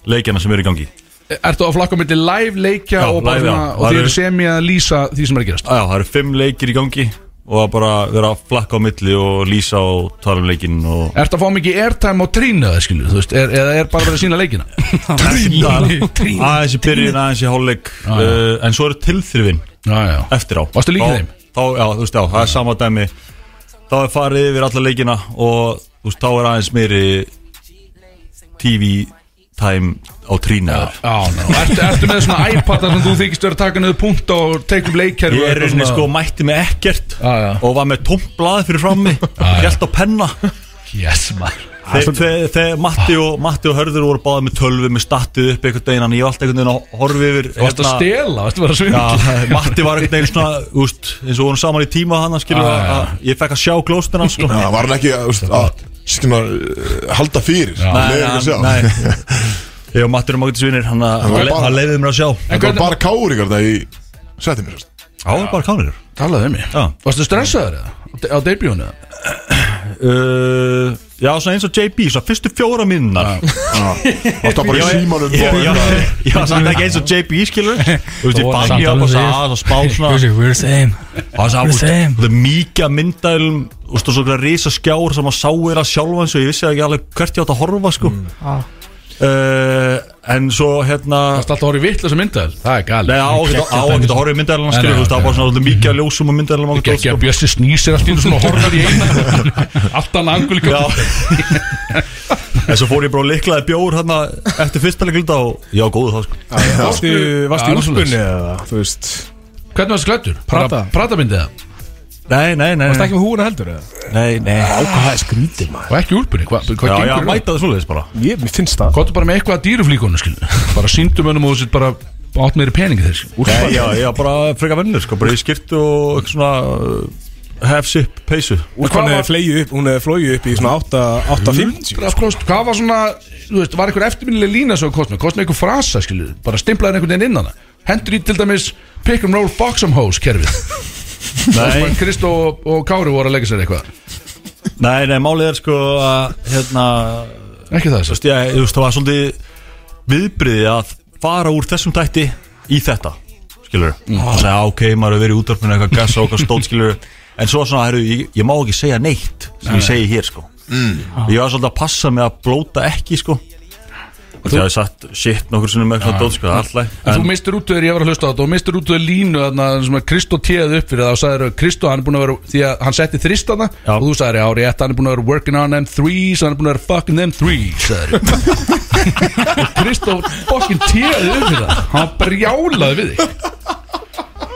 Speaker 4: leikjana sem eru í gangi
Speaker 2: Ertu á flakka myndi live leikja
Speaker 4: Já,
Speaker 2: og, bara
Speaker 4: live,
Speaker 2: svona,
Speaker 4: já.
Speaker 2: og
Speaker 4: Það
Speaker 2: þið eru
Speaker 4: eru-
Speaker 2: semi að lýsa því sem er að gerast
Speaker 4: Já, það eru fimm leikir í gangi og að bara vera að flakka á milli og lýsa og tala um leikinn og
Speaker 2: Ertu að fá mikið airtime á trínu það skilju þú veist er, eða er bara verið að sína leikina
Speaker 4: Trín. aðeins í byrjun, aðeins í hálfleik uh, en svo eru tilþrifin
Speaker 2: Já, já
Speaker 4: eftir á
Speaker 2: Varstu líka
Speaker 4: Þá-
Speaker 2: þeim?
Speaker 4: Þá, já, þú veist, já, það er sama dæmi Þá er farið yfir alla leikina og þú veist, þá er aðeins meiri TV time á trínaðar
Speaker 2: Já, ná Ertu, ertu með svona iPada sem þú þykist vera að taka niður punkt og teikum leikkerfi
Speaker 4: Ég
Speaker 2: og
Speaker 4: er
Speaker 2: eitthvað
Speaker 4: rauninni
Speaker 2: svona-
Speaker 4: sko mætti með ekkert
Speaker 2: Já, já.
Speaker 4: og var með tómt blað fyrir frammi Hjælt á penna
Speaker 2: Yes, maður
Speaker 4: Þeir, þeir, þeir Matti, og, Matti og Hörður voru báðið með tölvu með statið upp einhvern veginn en ég var alltaf einhvern veginn að horfi yfir
Speaker 2: Þú varst að
Speaker 4: hérna-
Speaker 2: stela, varstu bara að svindla
Speaker 4: Já, Matti var einhvern veginn svona úst, eins og vorum saman í tíma hann skilur,
Speaker 2: Já, já.
Speaker 4: að ég fekk að sjá glóstina sko.
Speaker 1: Það var hann ekki að, úst, að skilna, halda fyrir
Speaker 4: Nei,
Speaker 1: Nei,
Speaker 4: hann-
Speaker 1: nei,
Speaker 4: nei
Speaker 1: nei
Speaker 4: (laughs) Ég og Mattur er mágætis vinnir Hann
Speaker 1: var bara-
Speaker 4: leiði mér að sjá
Speaker 1: Það var bara káur ykkur þetta í Sætti mér sérst
Speaker 4: Já, það er bara kánir
Speaker 2: Talaðu um mig
Speaker 4: Já.
Speaker 2: Varstu stressaður eða? Á debutinu eða?
Speaker 4: uh, Já, svona eins og JB, svona fyrstu fjóra minnar
Speaker 1: Alltaf bara í símanum
Speaker 4: Já,
Speaker 1: og- hérna-
Speaker 4: já, já, samt ekki eins og JB, skilur Þú veist, ég
Speaker 3: Og
Speaker 4: bangi
Speaker 3: samt
Speaker 4: á
Speaker 3: alveg
Speaker 4: þess
Speaker 3: sér.
Speaker 4: að spá
Speaker 2: (laughs)
Speaker 4: svona
Speaker 3: Guðsi, we're the same
Speaker 4: Og
Speaker 3: We're the
Speaker 4: það
Speaker 3: same
Speaker 4: er mikið að myndaðilum og stóð svona risa skjár sem að sá er að sjálfa eins og ég vissi ekki alveg hvert ég átt að horfa sko
Speaker 3: Ah.
Speaker 4: uh, en svo hérna
Speaker 2: Það er alltaf horið vitt þessum myndaðil Það er
Speaker 4: Nei,
Speaker 2: galið
Speaker 4: á að geta- á að geta horfið myndaðilum skilur,
Speaker 2: Nei,
Speaker 4: þú veist, það
Speaker 2: ok.
Speaker 4: var bara svona mikið að ljósum á sko. myndaðilum
Speaker 2: Ekki, ekki að Bjössi snýsir allt í einu svona og horfar í eina
Speaker 4: (laughs)
Speaker 2: Allt annað angul
Speaker 4: Já sko.
Speaker 2: (laughs)
Speaker 4: En svo fór ég bara og liklaði bjór hérna eftir fyrsta leikluta og já, góðu það sko
Speaker 5: Varstu, varstu
Speaker 2: Já,
Speaker 5: í
Speaker 2: alveg svoleiðis.
Speaker 5: úlpunni eða, þú veist
Speaker 2: Hvernig var þessi klættur?
Speaker 5: Prada.
Speaker 2: Prata myndið það
Speaker 4: Nei, nei, nei
Speaker 5: Varstu ekki með húuna heldur eða?
Speaker 4: Nei, nei
Speaker 5: Ákvað er skrítið maður
Speaker 2: Og ekki úlpunni Hvað hva
Speaker 4: Já, já,
Speaker 2: gengur það?
Speaker 4: mæta það svoleiðis bara
Speaker 5: Ég, mér finnst það
Speaker 2: Kottu bara með eitthvað að dýruflíkonu skil Bara síndum önum og þessi bara átt meiri peningi þeir skilur.
Speaker 4: Nei, já, já, bara freka vennir sko, bara í skirtu og eitthvað svona uh, hefsip, peysu
Speaker 5: Úlpunni
Speaker 2: hvað var-
Speaker 5: var... flögið upp, hún hefði flóið upp í svona 8 8.50
Speaker 2: Hvað kost- hvað var svona Þú veist, var einhver eftirminnileg lína sem kostna Kostna einhver frasa skilur Bara stimplaði einhvern veginn innan það Hendur í til dæmis pick and roll box and hose kerfið
Speaker 4: Nei,
Speaker 2: Kristó og, og Kári voru að leggja sér eitthvað
Speaker 4: nei, nei, málið er sko að hérna,
Speaker 2: Ekki það
Speaker 4: þú
Speaker 2: þess
Speaker 4: veist, ég, þú veist, það var svolítið viðbriði að fara úr þessum tætti í þetta, skilur Þannig að ok, maður hefur verið í útvarpinu eitthvað gassa og eitthvað stótt, skilur En svo svona, heru, ég, ég má ekki segja neitt sem ég segi hér, sko Ég var svolítið að passa með að blóta ekki, sko Þú hefði sagt shit nokkur sinnum með eitthvað dót, sko, alltaf
Speaker 2: En þú mistur út þegar ég var að hlusta á þetta og mistur út þegar línu þarna sem að Kristó tíði upp fyrir það og sagðir Kristó hann er búin að vera því að hann setti þrist þarna
Speaker 4: Já.
Speaker 2: og þú sagðir já rétt hann er búin að vera working on them threes hann er búin að vera fucking them threes sagðir (laughs) og Kristó fucking tíði upp fyrir það hann brjálaði við þig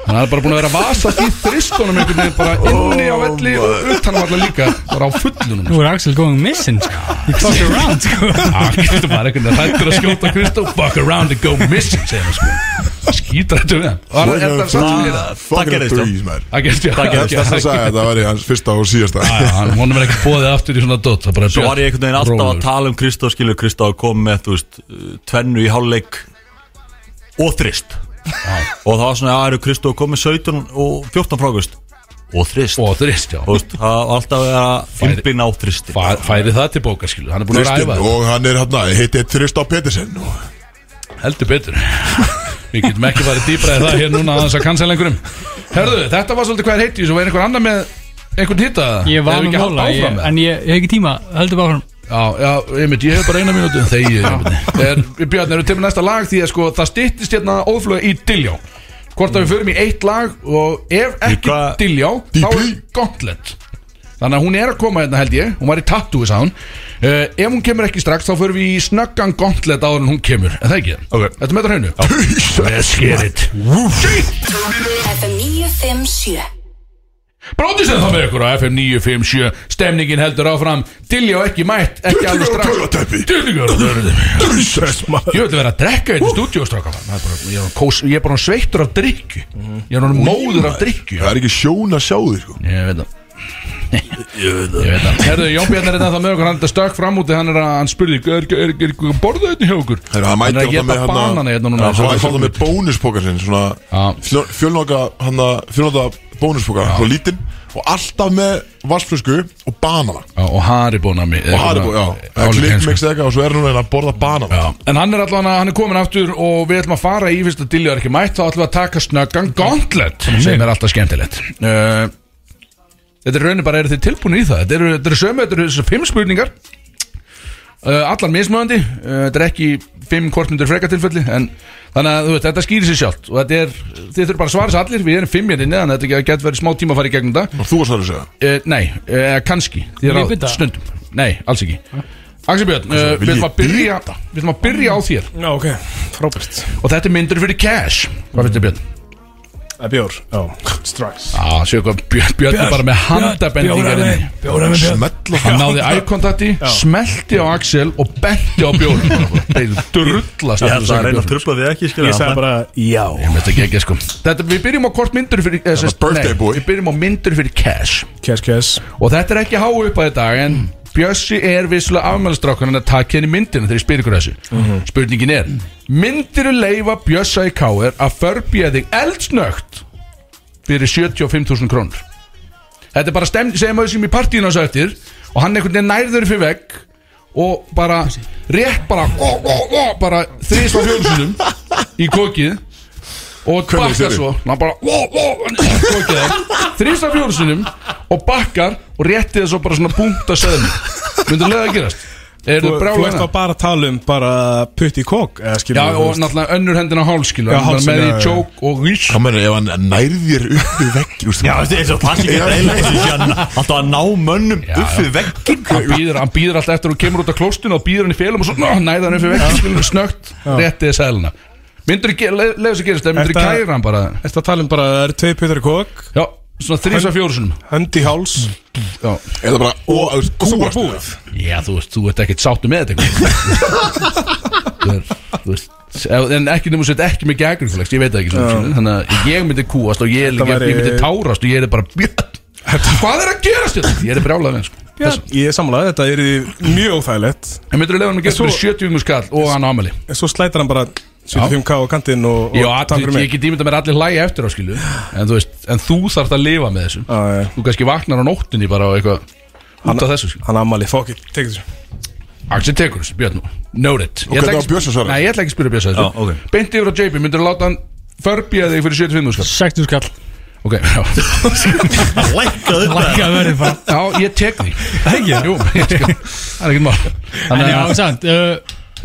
Speaker 2: hann er bara búin að vera að vasast í þristunum einhvern veginn bara inni á velli og utan allar líka bara á fullunum
Speaker 3: Nú er Axel going missing sko. He fucked around sko.
Speaker 2: Ah, Kristó var einhvern veginn hættur að skjóta Kristó Fuck around and go missing segir hann sko Skítrættur við hann Var hann er það satt sem við það?
Speaker 4: Það
Speaker 1: hérna Fucking
Speaker 4: gerðist, já.
Speaker 1: threes, maður
Speaker 2: Það gerst ég
Speaker 4: Það gerðist,
Speaker 1: Þess að sagði að það var í hans fyrsta og síðasta
Speaker 2: Hann vonum er ekki bóðið aftur í svona dot það bara
Speaker 4: Svo var ég einhvern veginn alltaf
Speaker 2: Rólegur.
Speaker 4: að tala um Kristó skilur Kristó kom með, þú veist, tvennu í hálfleik og þrist og það var svona, já, eru Kristó kom með 17 og 14 frákvist og þrist
Speaker 2: Og þrist já
Speaker 4: Þú veist, það var alltaf að
Speaker 2: Færi-
Speaker 4: innblina á þristi
Speaker 2: Fæ- Færi það til bókar skilu Hann er búin að
Speaker 1: Þristin
Speaker 2: ræfa það.
Speaker 1: og hann er hérna, hann að heiti Þristá Pettersen og
Speaker 2: Heldur betur Við getum ekki farið dýbra í það hér núna aðeins að cancel einhverjum Herðu, þetta var svolítið hvað er heitið Svo er einhver annar með einhvern hitta
Speaker 3: Ég var
Speaker 2: Eigum við ekki
Speaker 3: með
Speaker 2: að halda
Speaker 3: móla ég,
Speaker 2: áfram með það?
Speaker 3: En ég, ég hef ekki tíma Heldur bara áfram
Speaker 2: Já, já, ég mynd, ég hef bara eina mínútu Þegi, er, Björn, erum við til með næsta lag Því að sko, það styttist hérna óflöga í Dilljá Hvort að við förum í eitt lag Og ef ekki
Speaker 4: hvað-
Speaker 2: Dilljá Þá er
Speaker 1: DP?
Speaker 2: Gauntlet Þannig að hún er að koma hérna held ég Hún var í tattoo, sagði hún uh, Ef hún kemur ekki strax, þá förum við í snöggan Gauntlet Áður en hún kemur, en það ekki
Speaker 4: Ok.
Speaker 2: Þetta með það hreinu Let's get it
Speaker 7: FM 957
Speaker 2: Bróndisinn það með ykkur á FM 957 Stemningin heldur áfram Dilljá ekki mætt, ekki
Speaker 1: Dilljá
Speaker 2: alveg
Speaker 1: á
Speaker 2: strax
Speaker 1: taugateppi.
Speaker 2: Dilljá á taugateppi
Speaker 1: Stress maður
Speaker 2: Ég vil vera að drekka einu stúdíóstráka Ég er kós- ég er bara orðinn sveittur af drikku Ég er hann móður af drikku
Speaker 1: Það er ekki sjón að sjá þig sko
Speaker 2: Ég veit það Ég veit það Herðu, Jón Bjarni er þetta það með okkur Hann er stökk fram úti Hann er að Hann spurði Er er- er- er- er- borðað þetta hjá okkur
Speaker 1: Herra, hann mætir
Speaker 2: er að
Speaker 1: alltaf
Speaker 2: geta
Speaker 1: með hana-
Speaker 2: banana hérna núna
Speaker 1: Það var
Speaker 2: svo-
Speaker 1: alltaf með bónuspoka sinn Svona
Speaker 2: Já.
Speaker 1: fjö- fjölnota hann að Fjölnota bónuspoka Svo lítinn Og alltaf með vassflösku og banana
Speaker 2: Já, Og Haribo nami
Speaker 1: Og haribo, já Eða Klikkmix eða eitthvað Og svo er hún að borða banana
Speaker 2: Já. En hann er allan að hann er komin aftur og við ætlum að fara í fyrst að Dilljó er ekki mætt þá ætlum við að taka snöggan Gauntlet sem er alltaf skemmtilegt uh, Þetta er raunin bara, eru þið tilbúin í það? Þetta eru, þetta eru sömu, þetta eru þessar fimm spurningar uh, allar mismöðandi uh, þetta er ekki fimm kortmyndur freka tilfelli en þannig að þú veist, þetta skýrir sér sjálft og þetta er, þið þurfum bara að svara sér allir við erum fimm hérna inni, þannig að þetta getur verið smá tíma að fara í gegnum það
Speaker 1: Og þú var svar að segja
Speaker 2: Uh, nei, uh, kannski Því
Speaker 3: Vil ég
Speaker 2: ráð-
Speaker 3: bita?
Speaker 2: Stundum Nei, alls ekki Axel Björn, uh,
Speaker 1: vil
Speaker 2: við ætlum
Speaker 1: ég
Speaker 2: að byrja Við ætlum að byrja á þér
Speaker 5: Já, ok, frábært
Speaker 2: Og þetta er myndur fyrir cash Hvað finnst þér Björn?
Speaker 5: Það er bjór, já, strax
Speaker 2: Á, séu hvað, Björn, Björn er bara með handabendingar inni.
Speaker 1: Smetla
Speaker 2: Hann náði ækontakti, smelti á Axel Og benti á Björn Þeir drullast
Speaker 4: Ég held að reyna að trubla því ekki, skilur
Speaker 5: Ég sagði bara, já
Speaker 2: Þetta er geggjað, sko Þetta, við byrjum á kort myndur fyrir eh, sest-
Speaker 1: birthday
Speaker 2: nei,
Speaker 1: boy.
Speaker 2: Við byrjum á myndur fyrir cash
Speaker 5: Kess, kess
Speaker 2: Og þetta er ekki há upp að dag En Bjössi er visslega afmælstrákan En að taka henni myndina þegar ég spyr ykkur þessu Spurningin er Myndiru leifa Bjössa í K.R. að förbjöða þig eldsnögt Fyrir 75.000 krónur Þetta er bara stemning Segjum að við sem í partíinu hans eftir og hann einhvern veginn nærður fyrir vegg og bara rétt bara ó, ó, ó, bara þrýsla fjölsunum í kokið og
Speaker 1: Hvernig
Speaker 2: bakkar
Speaker 1: sérðu?
Speaker 2: svo hann bara ó, ó, þrýsla fjölsunum og bakkar og rétti það svo bara svona búnta seðum myndur leiða að gerast er
Speaker 5: Þú,
Speaker 2: þau
Speaker 5: þú ert
Speaker 2: brjálæðina
Speaker 5: að bara tala um bara putt í kók eða skilur
Speaker 2: Já
Speaker 5: við,
Speaker 2: og
Speaker 5: þú veist.
Speaker 2: náttúrulega önnur hendina á hálskil
Speaker 5: Já,
Speaker 2: með
Speaker 5: hálsinn,
Speaker 2: í
Speaker 5: já, já.
Speaker 2: tjók og rís
Speaker 1: Hann meina ef hann nærðir upp við vegg úst,
Speaker 4: Já, þetta er svo passið ekki reyla Alltaf að ná mönnum upp við veggin
Speaker 2: hann býður, hann býður alltaf eftir að þú kemur út af klostinu og býður hann í félum og svo ná, næða hann upp í vekk skilur snögt réttið sæluna myndur þú leiða þess að gerist eða myndur þú
Speaker 5: Þetta-
Speaker 2: kæra hann bara
Speaker 5: Ertu að tala um bara það eru tvei puttar í kók
Speaker 2: já svona þrís að fjórusunum
Speaker 5: hönd í háls
Speaker 2: Mm. já.
Speaker 1: Eða bara ó, þú veist,
Speaker 5: svo bara
Speaker 1: kúast
Speaker 5: búið.
Speaker 2: já þú veist þú ert ekkert sáttu með þetta
Speaker 5: (laughs)
Speaker 2: eitthvað. þú er, þú veist ef- en ekki nema sett ekki mikið agrikúlegs ég veit það ekki svona, skilur. þannig að ég myndi kúast og ég, er
Speaker 5: Þetta
Speaker 2: líka,
Speaker 5: væri-
Speaker 2: ég myndi tárast og ég er bara björn hvað er að gerast þetta ég er brjálað með sko.
Speaker 5: Já, ég er samlega, þetta er mjög óþægilegt
Speaker 2: en myndur þú leiða hann að
Speaker 5: En
Speaker 2: gera
Speaker 5: svo-
Speaker 2: 70 skall og hann ámæli
Speaker 5: en svo slætar hann bara 75k á kantinn og, og
Speaker 2: Já, allir,
Speaker 5: tangur
Speaker 2: ég get ímynda mér að allir hlæja eftir á skilu En þú veist, en þú þarft að lifa með þessu
Speaker 5: Já, já.
Speaker 2: Þú kannski vaknar á nóttinni bara og eitthvað Út af þessu skilu
Speaker 5: hann ammali, fuck it, tek þessu
Speaker 2: Axel tekur þessu, Björn Note it
Speaker 1: Og
Speaker 2: Ég ætla
Speaker 1: hvernig
Speaker 2: ekki-
Speaker 1: á Bjössi að svara?
Speaker 2: Nei, ég ætla ekki að spyrja Bjössa
Speaker 4: Já, ok.
Speaker 2: þessu Beint yfir á JP, myndir að láta hann Förbja þig fyrir 75 skall
Speaker 3: 60 skall
Speaker 2: Ok, já,
Speaker 4: Lækkaðu
Speaker 3: Lækka verið bara
Speaker 2: já ég tek
Speaker 4: (laughs)
Speaker 2: því Ekki? Jú, ég tek því Það er ekkert mál
Speaker 3: En
Speaker 2: Þannig
Speaker 3: já,
Speaker 2: að
Speaker 3: sant uh,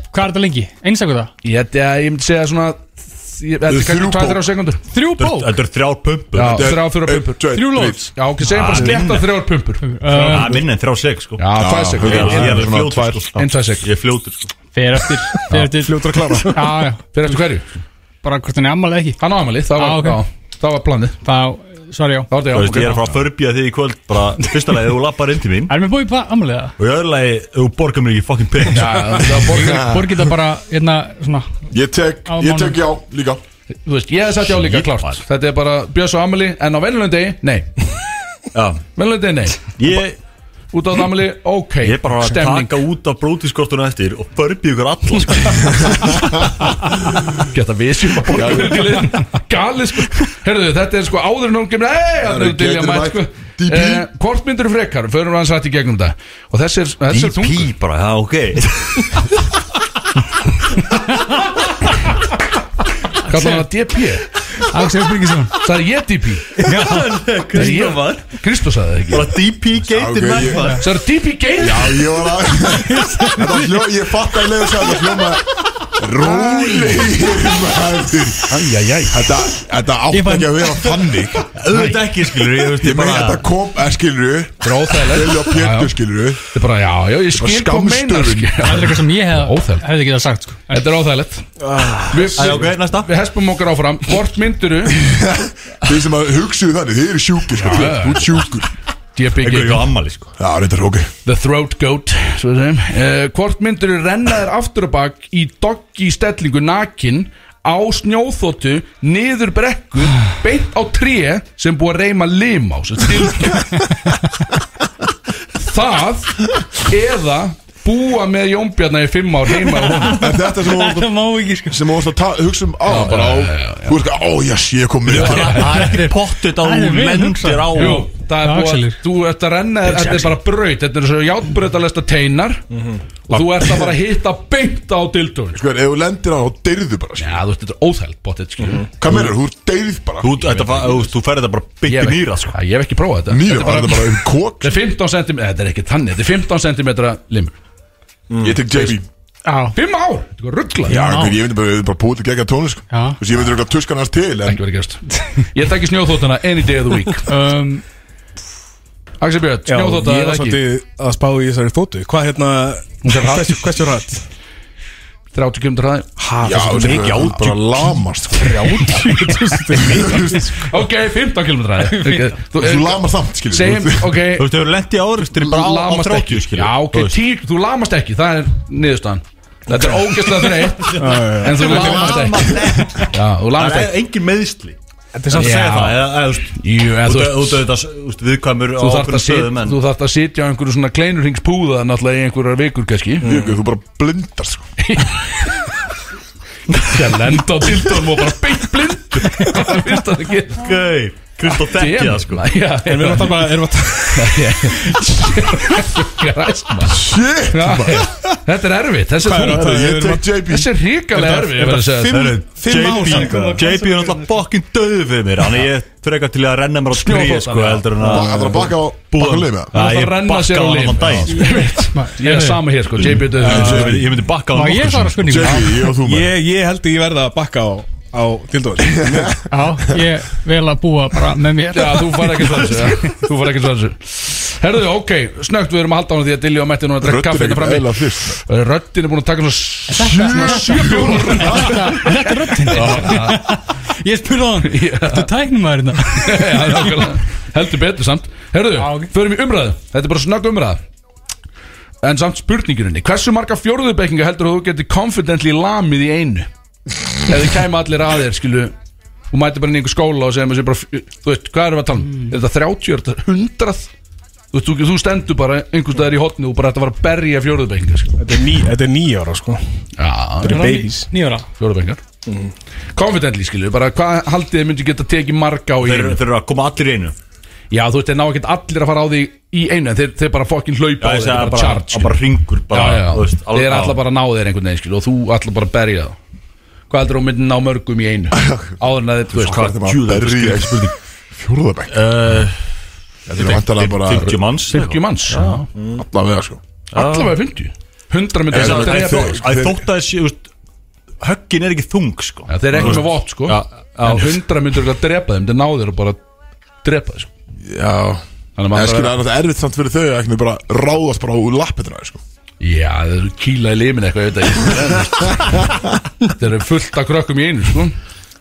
Speaker 3: Hvað er þetta lengi? Einsakur það?
Speaker 2: ég, ég, ég myndi segja svona ég- Þetta er kannski
Speaker 1: Þrjú
Speaker 2: 2-3 sekundur
Speaker 3: Þrjú bó
Speaker 4: þetta Þetta er þrjár pumpur
Speaker 2: Já,
Speaker 4: Þetta er-
Speaker 2: þrjá fjóra
Speaker 1: Einn,
Speaker 2: pumpur
Speaker 1: tveir,
Speaker 3: Þrjú
Speaker 1: þrír.
Speaker 3: lóts
Speaker 2: Já, ok, segjum
Speaker 4: Ah,
Speaker 2: bara slétta þrjár pumpur
Speaker 4: Það
Speaker 3: Uh,
Speaker 4: er minna en þrjár seg sko
Speaker 2: Já, tvær
Speaker 4: Ég
Speaker 2: sekundur
Speaker 4: ég er alveg
Speaker 1: Svona tvær.
Speaker 4: fljótur sko
Speaker 2: Einn, tvær sek.
Speaker 4: Ég er fljótur sko
Speaker 3: Fer eftir Fer eftir
Speaker 5: fljótur að klára
Speaker 3: Já, já
Speaker 2: Fyrir eftir hverju?
Speaker 3: Bara hvort hann er ammalið ekki
Speaker 2: Hann á amali, það var,
Speaker 3: Ah, ok.
Speaker 2: já, það var planið
Speaker 3: Þá, sorry já
Speaker 2: Það var þetta, já,
Speaker 4: Þú veist,
Speaker 2: ok.
Speaker 4: ég er að fara að förbja þig í kvöld Bara fyrsta lagi, þú lappar inn til mín
Speaker 3: Erum við búið í ammalið það?
Speaker 4: Og í öðru lagi, þú borgar mér ekki fucking pening
Speaker 2: Já, það var
Speaker 4: (laughs)
Speaker 2: borgar
Speaker 3: Borgir það bara, hérna, svona
Speaker 1: Ég tek,
Speaker 3: Á
Speaker 1: ég tek
Speaker 3: mánum.
Speaker 1: já líka
Speaker 2: Þú veist, ég hef sagt já líka
Speaker 4: Shit,
Speaker 2: klart
Speaker 4: maður.
Speaker 2: Þetta er bara Björns og Amelie En á venjulegum degi, nei
Speaker 4: Já
Speaker 2: Venjulegum degi, nei
Speaker 4: Ég
Speaker 2: Út á það Amelie, ok
Speaker 4: ég er bara að
Speaker 2: Stemning,
Speaker 4: taka út af brótiskortuna eftir Og förbja ykkur alla sko
Speaker 2: (laughs) geta vissi Gali, sko Herðu, þetta er sko áður en hún kemur Nei, það
Speaker 1: eru
Speaker 2: er dilja
Speaker 1: getur
Speaker 2: mætt, sko
Speaker 1: mætt. DP.
Speaker 2: Eh, Hvort myndir þú frekar, förum við hans rætt í gegnum það Og þessi er, þessi er tungur
Speaker 4: DP bara, (laughs) já ok
Speaker 2: Kallar hann að DP
Speaker 3: Axel Birgisson
Speaker 2: Það er ég DP
Speaker 4: Hvað ég var?
Speaker 2: Kristó sagði það ekki
Speaker 4: Bara DP
Speaker 1: Ok,
Speaker 4: geitin
Speaker 1: ég-
Speaker 4: nærfar
Speaker 2: Það er DP Gain
Speaker 1: Já, ég var að Þetta hljó, ég fatt að leiða sér Þetta hljóma Rólegir maður
Speaker 2: Æjæjæj
Speaker 1: Þetta, þetta átt
Speaker 3: fann-
Speaker 1: ekki að vera þannig
Speaker 4: Auðvitað ekki skilur ég, veist,
Speaker 1: Ég meina þetta kom, eh, skilur
Speaker 2: Það er óþægilegt
Speaker 1: Vilja pétur, skilur
Speaker 2: Þetta er bara, já, já, ég skil hvað
Speaker 1: Bara
Speaker 2: meinar
Speaker 1: skammstöfun.
Speaker 2: skil.
Speaker 3: Það er eitthvað sem ég hef,
Speaker 2: Óþægilegt.
Speaker 3: hefði ekki það sagt sko.
Speaker 2: Þetta er óþægilegt Við
Speaker 4: Æ, ok, næsta.
Speaker 2: Við hespum okkar áfram Hvort mynduru
Speaker 1: Þið sem að hugsuðu þannig, þið eru sjúkir sko
Speaker 2: Já.
Speaker 1: Þú ert sjúkur
Speaker 2: DPG
Speaker 4: Ekkur ekki á ammali sko
Speaker 1: Já, reyndar, ok
Speaker 2: The Throat Goat Svo við segjum uh, Hvort mynduru renna þér aftur og bak Í doggi stellingu nakin Á snjóþóttu Niður brekku Beint á tré Sem búið að reyma lim á sem stilgjum. Það Eða Búa með Jónbjarnar í fimm ár heima á honum
Speaker 1: Er þetta sem þú varst
Speaker 3: Þetta má ekki sko
Speaker 1: að- sem þú varst að ta- hugsa um á bara á Þú veist að, ó, jæs, ég kom með þetta
Speaker 4: Það er ekki pottet á
Speaker 3: Það er vel hugsað.
Speaker 4: lendir á
Speaker 2: Jú, það er
Speaker 3: Já,
Speaker 2: búið
Speaker 3: Axelir.
Speaker 2: að þú ert að renna þér- Þetta er bara braut, þetta er svo játbrautalesta teinar Og þú ert að bara hitta beint á dildun
Speaker 1: Sko, ef þú lendir á, þá deyrðu bara sko.
Speaker 2: Já, þú veist, þetta er óþælt bóttið, skilur
Speaker 1: Hvað meður, þú deyrð bara
Speaker 4: Þú, þetta, fa- þú, veist, þú ferði þetta bara
Speaker 2: Ég
Speaker 4: bytti
Speaker 2: hef-
Speaker 4: nýra sko
Speaker 2: Já, Ég hef ekki prófað þetta
Speaker 1: Nýra,
Speaker 2: Þetta
Speaker 1: var þetta
Speaker 2: er bara
Speaker 1: bara um kók
Speaker 2: Þetta er 15 cm, þetta er ekki þannig Þetta er 15 cm limur
Speaker 1: Ég tek JB
Speaker 2: 5 ár, þetta er ruggla
Speaker 1: Já, hver, ég myndi bara, ég myndi bara búið til gegja tónlist sko.
Speaker 3: Já.
Speaker 1: Þú veist, ég myndi röglega tuskan hans til en
Speaker 2: Ekki verið gerst Ég tekki snjóþóttana any day (laughs) of the week
Speaker 3: um,
Speaker 2: Axel Björn,
Speaker 5: Já,
Speaker 2: snjóþótta
Speaker 5: ég
Speaker 2: eða
Speaker 5: var
Speaker 2: ekki
Speaker 5: svolítið að spá í þessari þóttu Hvað hérna, hversu, hversu rætt?
Speaker 2: 30 km hraði
Speaker 1: Já, þú veist,
Speaker 4: mikið
Speaker 1: þú bara lamast sko.
Speaker 2: Ok, 15 km (laughs) hraði Ok, þú-
Speaker 1: Þú lamast samt, skilur
Speaker 2: Segjum,
Speaker 1: Þú veist,
Speaker 2: ok
Speaker 4: Þú veist, þau eru lendi áreikstri bara á, á
Speaker 2: lamast ekki
Speaker 4: 30 skilur
Speaker 2: Já, ok,
Speaker 4: Þú veist,
Speaker 2: tík, þú lamast ekki, það er niðurstaðan Þetta er ógæslega þreitt En þú lamast ekki Já, þú
Speaker 4: Það
Speaker 2: lamast
Speaker 4: er
Speaker 2: ekki
Speaker 4: engin meðsli
Speaker 5: Þetta er samt að
Speaker 2: Já.
Speaker 5: segja það
Speaker 4: Það er, eða, þú veist,
Speaker 2: Jú, eða þú
Speaker 4: þú veist, þú
Speaker 2: veist
Speaker 4: veist, þú veist, viðkvæmur á
Speaker 2: Þú þarft
Speaker 4: okkur
Speaker 2: að, sit,
Speaker 4: stöðum en
Speaker 2: þú þarft að sitja á einhverju svona kleinurringspúða náttúrulega í einhverjar vikur kannski
Speaker 1: Jökull, Þú bara blindar sko.
Speaker 2: (laughs) Það lenda á tildónum og bara beint blind Það finnst að það gerist
Speaker 4: Ok,
Speaker 2: Ah,
Speaker 4: Kristof þekkja það sko
Speaker 2: Já,
Speaker 5: En við erum að
Speaker 2: (laughs)
Speaker 3: um-
Speaker 5: tala bara, erum að
Speaker 3: (laughs)
Speaker 5: tala
Speaker 2: Græst maður
Speaker 1: Shit
Speaker 2: Já, Þetta er erfitt, þessi
Speaker 5: Hvað er
Speaker 2: er þú
Speaker 5: það?
Speaker 1: Ég
Speaker 5: við erum
Speaker 1: tek JB
Speaker 2: Þessi er ríkalega
Speaker 5: Er
Speaker 2: erfitt
Speaker 5: þetta- er
Speaker 2: ég verð að segja
Speaker 5: þetta
Speaker 2: það.
Speaker 4: Herru,
Speaker 5: fimm- fimm ár
Speaker 4: JB
Speaker 5: síðan.
Speaker 4: JB er náttúrulega fokkin döðu fyrir mér Þannig ég frekar til að renna mér á tré
Speaker 2: Snjófótann,
Speaker 4: sko
Speaker 2: já.
Speaker 4: heldur en
Speaker 1: Það er að baka á
Speaker 4: Búa-
Speaker 1: bakkulegum eða?
Speaker 4: Já,
Speaker 2: Það er
Speaker 4: Ég
Speaker 2: að renna
Speaker 4: bakkaði
Speaker 2: sér á
Speaker 4: hann
Speaker 2: lim.
Speaker 4: allan daginn sko.
Speaker 2: Ég veit, Ég er sama hér sko, JB Döður
Speaker 4: Ég myndi- Ég myndi bakka á
Speaker 3: Má
Speaker 4: hann
Speaker 3: ég svara spurningu?
Speaker 1: JB, ég og þú með
Speaker 5: Ég, ég held að ég verða að bakka á, á dildóri (laughs)
Speaker 3: Já, ég vel að búa bara með mér
Speaker 2: Já, þú fara ekki svo þessu ja. Þú fara ekki svo þessu Herðu, ok, snögt við erum að halda á hann því að Dilljó mætti núna að drekka
Speaker 1: Röddin
Speaker 2: kaffi
Speaker 1: er sko.
Speaker 2: hérna
Speaker 1: ekki
Speaker 2: frammi
Speaker 1: eðla fyrst
Speaker 2: Röddin er búin að taka svona sjö- sjö bjónur
Speaker 3: Þetta er röddinn Ég spurði á hann hérna?" Þetta er tæknumæðurinn
Speaker 2: Já, nákvæmlega. Heldur betur samt Herðu,
Speaker 3: Já, ok.
Speaker 2: förum í umræðu Þetta er bara snögg umræða En samt spurningurinni Hversu marga fjórðubekkinga heldur þú getur confidently lamið í einu? Ef þið kæma allir að þér, skilu Og mæti bara inn í einhver skóla og segja mér sem bara Þú veit, hvað erum við að tala um?
Speaker 3: Mm.
Speaker 2: Er þetta 30, er þetta 100? Þú, þú, þú stendur bara einhvers staðar í hotni og bara þetta var að berja fjórðubekkinga skilu.
Speaker 5: Þetta er ný- þetta er nýjára sko
Speaker 2: Já,
Speaker 5: Babies
Speaker 3: Nýjóra
Speaker 2: fjórðubekkingar
Speaker 4: Mm.
Speaker 2: Confidently, skilu, bara hvað haldið þið myndi geta tekið marga á í
Speaker 4: Þeir
Speaker 2: einu?
Speaker 4: þeir eru að koma allir í einu
Speaker 2: Já, þú veist, þeir ná ekkert allir að fara á því í einu en þeir, þeir bara fokkin hlaupa á
Speaker 4: Já, ég
Speaker 2: þeir
Speaker 4: segi
Speaker 2: bara, bara
Speaker 4: að bara,
Speaker 2: charge
Speaker 4: að bara ringur bara,
Speaker 2: já, já,
Speaker 4: þú veist, alveg-
Speaker 2: Þeir
Speaker 4: já.
Speaker 2: allar bara að ná þeir einhvern veginn skil, og þú allar bara að berja þá Hvað heldur þú myndir ná mörgum í
Speaker 1: (laughs)
Speaker 2: einu áður en að þeir, þú veist,
Speaker 1: Hvað er
Speaker 2: hvað
Speaker 1: það maður
Speaker 4: djúðar
Speaker 1: að berri í
Speaker 4: skil.
Speaker 1: einspildi Fjórðabæk
Speaker 4: Eh,
Speaker 1: Þetta er vantalega bara
Speaker 4: 50 manns
Speaker 2: 50 manns
Speaker 1: allavega sko
Speaker 2: Allavega 50 100 myndir
Speaker 1: Eða-
Speaker 2: að
Speaker 1: Þeir-
Speaker 2: drepa
Speaker 1: þeir-
Speaker 2: þá.
Speaker 4: Æ, Þótt að þessi, þú veist, höggin er ekki þung sko
Speaker 2: Já, Þeir eru ekki með vott, sko En 100 myndir að drepa þeim, þeir ná þeir að bara drepa þeir, sko
Speaker 1: Já
Speaker 2: Þannig að
Speaker 1: En
Speaker 2: maður
Speaker 1: skilja,
Speaker 2: bara-
Speaker 1: það er erfitt samt fyrir þau að ekki bara ráðast bara úr lappetina sko.
Speaker 2: Já, þeir eru kýla í limin eitthvað, ég veit ekki
Speaker 1: (laughs)
Speaker 2: Þeir eru fullt af krökkum í einu, sko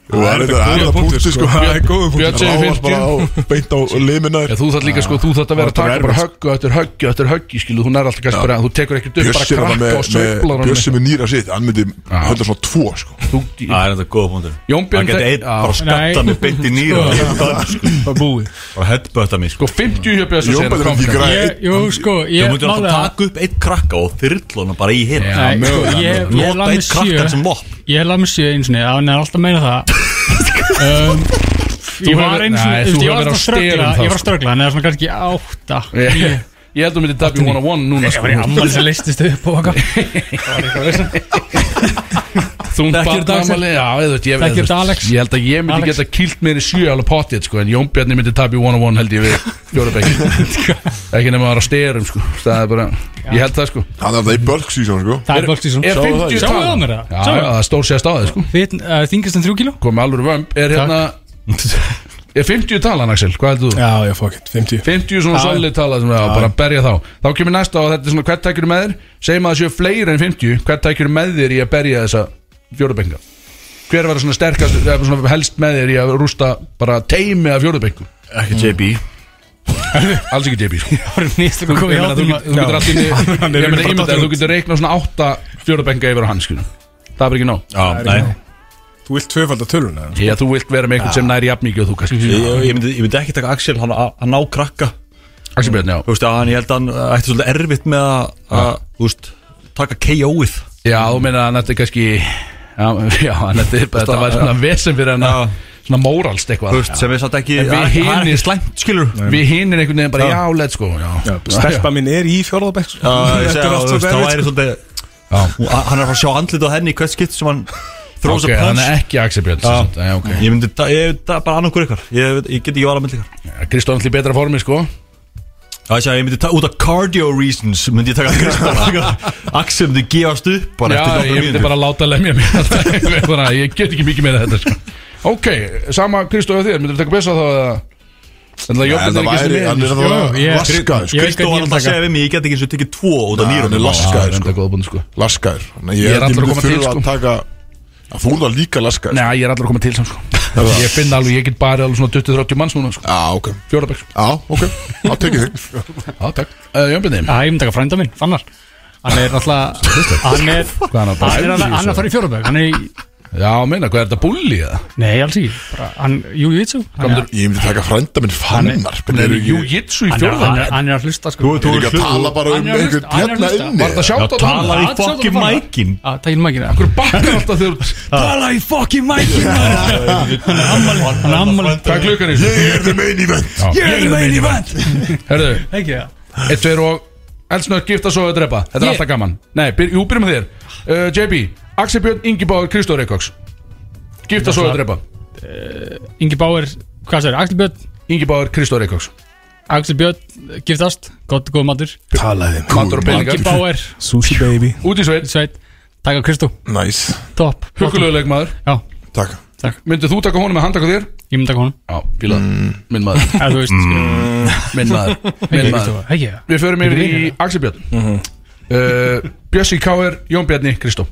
Speaker 1: Og það er
Speaker 2: þetta
Speaker 1: þetta
Speaker 2: góður
Speaker 1: erfitt að
Speaker 2: punktur,
Speaker 1: punkti sko.
Speaker 2: sko.
Speaker 1: Það er góður punktur.
Speaker 2: Björn segir
Speaker 1: Ráðast bara á, beint á limina
Speaker 2: Já,
Speaker 1: þér
Speaker 2: þú þarf líka, sko, þú þarf að
Speaker 1: Það
Speaker 2: vera að
Speaker 1: er
Speaker 2: taka bara
Speaker 1: erfitt.
Speaker 2: höggu eftir höggu eftir höggu, skilu, þú nær alltaf kannski bara, þú tekur ekkert upp, bara
Speaker 1: Bjössi er það
Speaker 2: krakka
Speaker 1: með,
Speaker 2: og
Speaker 1: með
Speaker 2: sveiflar
Speaker 1: Bjössi með nýra sitt Hann myndi
Speaker 2: Já.
Speaker 1: hölda svona tvo sko.
Speaker 2: Þú,
Speaker 4: Það er þetta góða punktur
Speaker 2: Jón Björn
Speaker 4: Það geti
Speaker 2: Þe-
Speaker 4: einn
Speaker 2: Já.
Speaker 4: bara skatta
Speaker 3: Nei.
Speaker 4: mig beint í nýra
Speaker 3: (laughs) Sko.
Speaker 4: og búið og headbutta mig sko
Speaker 2: sko, 50 hjá Bjössi
Speaker 1: Jón
Speaker 2: segir
Speaker 1: Björn
Speaker 2: hann
Speaker 1: myndi
Speaker 2: confident.
Speaker 1: græða.
Speaker 3: Ég- Jú, sko,
Speaker 4: Þú
Speaker 3: ég
Speaker 4: myndir alltaf
Speaker 3: málið að-
Speaker 4: taka upp eitt krakka og þyrluna bara í hinn
Speaker 2: Já,
Speaker 3: Nei, sko,
Speaker 2: mögulega,
Speaker 3: ég- ég
Speaker 4: Nota
Speaker 3: lami
Speaker 4: eitt krakkan
Speaker 3: sjö.
Speaker 4: sem vopn
Speaker 3: Ég hef lafði sjö einu sinni, að hann er alltaf meina það um, Ég
Speaker 2: hefur-
Speaker 3: var einu
Speaker 2: Nei,
Speaker 3: sinni,
Speaker 2: þú
Speaker 3: þú veist,
Speaker 2: hefur
Speaker 3: ég
Speaker 2: verið á
Speaker 3: var alltaf að ströggla
Speaker 2: sterum þá,
Speaker 3: Ég var
Speaker 2: sko.
Speaker 3: að ströggla, hann er svona kannski
Speaker 2: (laughs)
Speaker 3: átta
Speaker 2: Ég ég held að þú myndi dabbi one on one núna,
Speaker 3: Það var í
Speaker 2: sko
Speaker 3: ammali sem leistist upp og hvað
Speaker 2: Þú
Speaker 3: Þekkir
Speaker 2: bara
Speaker 3: þetta, Axel?
Speaker 2: ammali, já, þú veit, ég
Speaker 3: Þekkir
Speaker 2: þú
Speaker 3: þetta,
Speaker 2: veist,
Speaker 3: Alex?
Speaker 2: Ég held að ég myndi
Speaker 3: Alex?
Speaker 2: geta kýlt mér í sjö alveg potið, sko, en Jón Björn myndi dabbi one on one held ég við fjórabækki
Speaker 3: (laughs)
Speaker 2: Ekki nema að vera á styrum, sko, það er bara, ég held það, sko
Speaker 1: Hann er alltaf í bölk síðan sko.
Speaker 3: Það er bóltísum
Speaker 2: Er 50
Speaker 3: Sjáum við á mér
Speaker 2: Já, já,
Speaker 3: það Sjáum við
Speaker 2: það stór sér staðið, sko
Speaker 3: það Þingist um þrjú kíló
Speaker 2: komið alveg vömb er hérna er 50 talan Axel, hvað heldur þú?
Speaker 5: Já, já, fuck it, 50
Speaker 2: 50 svona solid tala sem við á, bara berja þá þá kemur næsta og þetta er svona hvert tækjur með þér segjum að það séu fleiri en 50 hvert tækjur með þér í að berja þessa fjórubenga hver var svona sterkast eða svona helst með þér í að rústa bara teimi af fjórubengu
Speaker 4: Ekki JB
Speaker 2: alls
Speaker 5: (laughs)
Speaker 2: ekki JB sko.
Speaker 3: Það var nýst að
Speaker 2: Ég
Speaker 3: koma í
Speaker 2: meina, þú
Speaker 3: átum
Speaker 2: get- þú getur allt inni ég
Speaker 5: Hann er
Speaker 2: meina
Speaker 5: bara
Speaker 2: ímyndaði
Speaker 5: dottur
Speaker 2: þú getur reiknað svona 8 fjórubenga yfir á hans skilur. það er bara ekki nóg
Speaker 4: Já, nei
Speaker 5: Þú vilt tvöfald að töluna
Speaker 2: ég að þú vilt vera með einhvern sem næri jafnmikið og þú kannski
Speaker 4: Ég, ég, myndi, ég myndi ekki taka Axel, hann, hann á krakka
Speaker 2: Axel Björn, já
Speaker 4: Þú veist, hann, ég held að hann ætti svolítið erfitt með að, að þú veist, taka KO-ið
Speaker 2: Já, þú meina að þetta er kannski Já, (laughs) já hann þetta, er- þetta var svona vesen fyrir hann að- Svona móralst
Speaker 4: Þú
Speaker 2: eitthvað
Speaker 4: veist, sem við satt ekki,
Speaker 2: En við
Speaker 4: hann hann er
Speaker 2: hinir-
Speaker 4: ekki slæmt, skilur
Speaker 2: Við hinir einhvern veginn bara, já, let's go Já, já,
Speaker 5: Stelpa mín er í fjórðabæk sko.
Speaker 4: Já, ég
Speaker 5: (laughs) Þetta
Speaker 4: segi,
Speaker 5: er allt
Speaker 4: þú
Speaker 5: svo
Speaker 4: veist, þá
Speaker 5: verið
Speaker 4: væri svolítið Hún- Hann er að fara að sjá andlit á henni í hvert skipt sem hann þrósa
Speaker 2: Ok,
Speaker 4: okay,
Speaker 2: hann
Speaker 4: punch
Speaker 2: er ekki Axel Björn sem sagt, Já, ok
Speaker 4: Ég myndi, ta- ég, ta- bara annað hver ykkar Ég, veit- ég get ekki vala með ykkar
Speaker 2: Kristó er alltaf í betra formi, sko
Speaker 4: Já, ég segi, ég myndi, ta- út af cardio reasons
Speaker 2: (laughs)
Speaker 4: myndi ég taka Kristján Axel myndi gefast upp bara
Speaker 2: Já, ég
Speaker 4: eftir nokkra
Speaker 2: myndi
Speaker 4: mínútur
Speaker 2: bara láta lemja mér (laughs) Þannig að ég get ekki mikið meira þetta, sko Ok, sama Kristó og þér, myndir taka besa þá eða Þannig að
Speaker 1: En
Speaker 2: jobbið
Speaker 1: það
Speaker 2: er ekki
Speaker 1: væri,
Speaker 2: sem sko.
Speaker 1: hann er
Speaker 2: við
Speaker 1: alltaf
Speaker 3: ég-
Speaker 1: laskaður sko.
Speaker 3: ég-
Speaker 4: Kristján var alltaf að segja við mig, ég get ekki eins og tekið tvo út af
Speaker 1: Nei, hann er
Speaker 4: nýrum
Speaker 2: Það er
Speaker 1: laskaður
Speaker 2: enda
Speaker 1: sko.
Speaker 2: góða búin, sko
Speaker 1: Laskaður Þannig
Speaker 2: Ég
Speaker 1: Ég
Speaker 2: er
Speaker 1: held
Speaker 2: allur
Speaker 1: ég
Speaker 2: að
Speaker 1: myndi
Speaker 2: koma til,
Speaker 1: þurfa
Speaker 2: sko.
Speaker 1: að taka að Þú er það líka laskaður
Speaker 2: Nei, ég er allra að koma til sem, sko Ég finn alveg, ég get bara alveg svona 20-30 manns núna, sko
Speaker 1: Já, ok
Speaker 2: Fjórabæk, sko
Speaker 1: Já, ok Já, tekið þig
Speaker 2: Já, takk uh, Jömbinni,
Speaker 3: Já, ég myndi taka frænda minn, Fannar Hann er alltaf Hann er
Speaker 2: Hvað er hann að fara í
Speaker 3: Hann er að- hann er að fara í fjórðabæk Hann er í
Speaker 2: Já, meina, hvað er þetta bulli eða?
Speaker 3: Nei, alls ekki Bara, Hann, jú, jú, jú Hann er-
Speaker 1: Ég myndi taka frænda minn fannar
Speaker 2: Hann er
Speaker 1: Ég
Speaker 2: jujitsu í
Speaker 3: hann er- hann
Speaker 2: fjórðan
Speaker 3: er- hann er að hlusta sko
Speaker 4: Þú- þú-
Speaker 1: er ekki að tala bara um
Speaker 3: Hann er að hlusta,
Speaker 1: einhvern
Speaker 3: hann er að
Speaker 1: hérna
Speaker 3: hlusta.
Speaker 1: inni
Speaker 2: Var þetta
Speaker 4: Já,
Speaker 2: sjátt á
Speaker 4: tala
Speaker 2: hann?
Speaker 4: í
Speaker 3: Hann sjá
Speaker 4: fokkin
Speaker 3: þetta bara.
Speaker 4: mækin
Speaker 3: Já, takkir mækina
Speaker 2: Akkur bakkar alltaf þegar
Speaker 3: (laughs)
Speaker 4: Tala í fokkin mækin Hann er ammali Hann er ammali
Speaker 2: Hvað er klukkan í
Speaker 1: Ég er the main event
Speaker 4: Ég er með einu vend
Speaker 2: Herðu,
Speaker 3: Ekki það
Speaker 2: eitt, tveir og Elsnöð, gifta svo að drepa Þetta er
Speaker 3: Ég-
Speaker 2: alltaf gaman Nei, byr, jú, byrjum með þér uh, JB, Axel Björn, Ingi Báður, Kristóð Reykjóks Gifta svo að drepa
Speaker 3: Ingi Báir, hvað sér, Axel Björn
Speaker 2: Ingi Báður, Kristóð Reykjóks
Speaker 3: Axel Björn, eh, giftast, gott og góð matur
Speaker 5: Talaði
Speaker 2: Mandur og
Speaker 3: Ingi
Speaker 2: peningar
Speaker 3: Báir,
Speaker 5: Sushi baby
Speaker 2: Út í sveit,
Speaker 3: sveit, taka Kristó
Speaker 1: Næs
Speaker 3: Topp
Speaker 2: huguleguleik maður
Speaker 3: Já,
Speaker 1: Takk
Speaker 2: Myndið þú taka honum með handtaka þér?
Speaker 3: ég myndi taka honum
Speaker 2: Já, fílað Minn maður,
Speaker 3: Eða þú veist, mm,
Speaker 2: minn maður, minn
Speaker 3: ekki Kristó
Speaker 2: maður
Speaker 3: Ekki það
Speaker 2: Við förum yfir í Axel Björn
Speaker 4: Mhm.
Speaker 2: uh, Bjössi Káir, Jón Bjarni, Kristó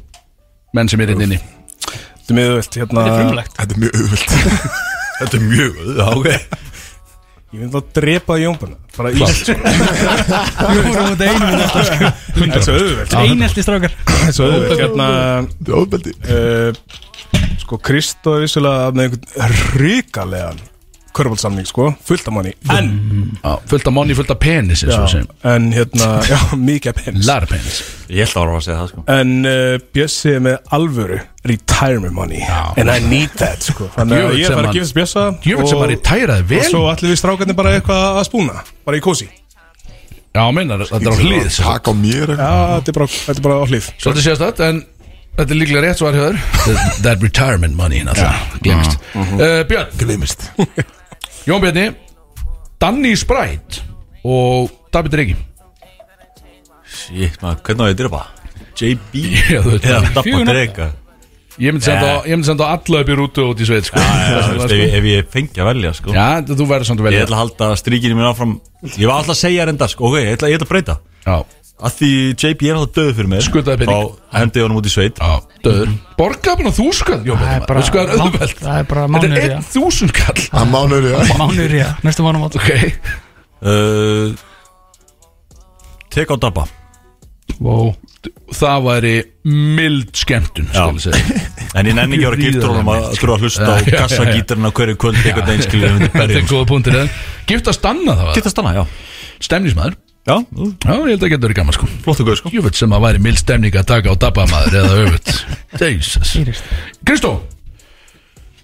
Speaker 2: Menn sem er inn inni
Speaker 5: Þetta er miðvöld hérna
Speaker 3: Þetta er frumlegt
Speaker 1: Þetta er mjög
Speaker 2: (laughs)
Speaker 1: auðvöld
Speaker 4: Þetta er mjög Já, ok
Speaker 5: Ég myndi að drepa Jónbjörn Bara í sko. (laughs) Þetta
Speaker 3: Við vorum út einu með þetta sko.
Speaker 5: er svo auðvöld
Speaker 3: Einelti strákar
Speaker 5: Þetta er svo auðvöld Hérna
Speaker 1: Þetta er ofbeldi
Speaker 5: uh, Sko Kristó er vissulega með einhvern ríkalegan Körbólsamning sko Fullt af manni En
Speaker 2: Já, Fullt af manni, fullt af penis eins og við segjum.
Speaker 5: En hérna Já, mikið af penis
Speaker 2: Lara penis
Speaker 4: Ég ætla að vera að segja það sko
Speaker 5: En uh, Bjössi er með alvöru retirement money And I need that sko (laughs) Þannig að
Speaker 2: Djöfull
Speaker 5: ég
Speaker 2: sem
Speaker 5: fara
Speaker 2: hann-
Speaker 5: að gefast Bjössa
Speaker 2: Djöfull sem
Speaker 5: og-
Speaker 2: að retæraði
Speaker 5: Og
Speaker 2: vel
Speaker 5: svo allir við strákarnir bara eitthvað að spúna Bara í kósi
Speaker 2: Já, meinar, þetta er á hlið sem sagt.
Speaker 1: Takk á mér
Speaker 5: Já, þetta er bara, þetta er bara á hlið
Speaker 2: Svolítið séast þetta, en þetta er líklega rétt svar hér That retirement money,
Speaker 4: hérna,
Speaker 2: náttúrulega Glemst
Speaker 4: Mhm.
Speaker 2: uh, Björn,
Speaker 1: Gleimist
Speaker 2: Jón Björni Danny Sprite og David Regi
Speaker 4: Shit, maður, hvernig á ég að drepa? JB
Speaker 2: (laughs) Já, þú veit
Speaker 4: Eða
Speaker 2: það.
Speaker 4: Dabba
Speaker 3: Fjögur nöfn.
Speaker 4: Drega
Speaker 2: Ég myndi senda, yeah. mynd senda á alla upp í rútu út í sveit sko.
Speaker 4: Já, þú veist,
Speaker 2: sko.
Speaker 4: ef ég- ef ég fengi að velja sko
Speaker 2: Já, þú verður samt að
Speaker 4: Ég
Speaker 2: velja
Speaker 4: ætla að halda stríkinu mín áfram Ég var alltaf að segja reynda sko Ok, ég ætla, ég ætla að breyta
Speaker 2: Já,
Speaker 4: Að því JB er alltaf döðu fyrir mér
Speaker 2: Skutaði pening.
Speaker 4: Þá hendi ég honum út í sveit
Speaker 2: já, döður Borgaði bara þúskall, Jón Björni maður. Veistu hvað er auðvelt?
Speaker 3: Það er bara
Speaker 2: Þetta er
Speaker 3: mánuður í
Speaker 2: einn þúsunkall
Speaker 1: Það mánur ég
Speaker 3: það Mánuður í það, næstu mánum átt
Speaker 2: Ok,
Speaker 4: Uh, Tek á Dabba
Speaker 2: wow. það væri mild skemmtun
Speaker 4: Já.
Speaker 2: skal ég segja.
Speaker 4: (laughs) En ég nenni ekki að vera giftur honum að þurfa að hlusta á
Speaker 2: Já, já, já.
Speaker 4: kassagítarinn á hverju kvöld eitthvað einskilur um þetta
Speaker 2: Þetta er
Speaker 4: berjum
Speaker 2: góða punktir eða Giftast annað það var
Speaker 4: Geta stanna, já
Speaker 2: Stemnismæður
Speaker 4: Já, ú,
Speaker 2: Já, ég held að geta verið gaman sko
Speaker 4: flott og góð sko
Speaker 2: Jöfut sem að væri mild stemning að taka á dabamaður eða
Speaker 4: (laughs)
Speaker 2: öfut Jesus Kristó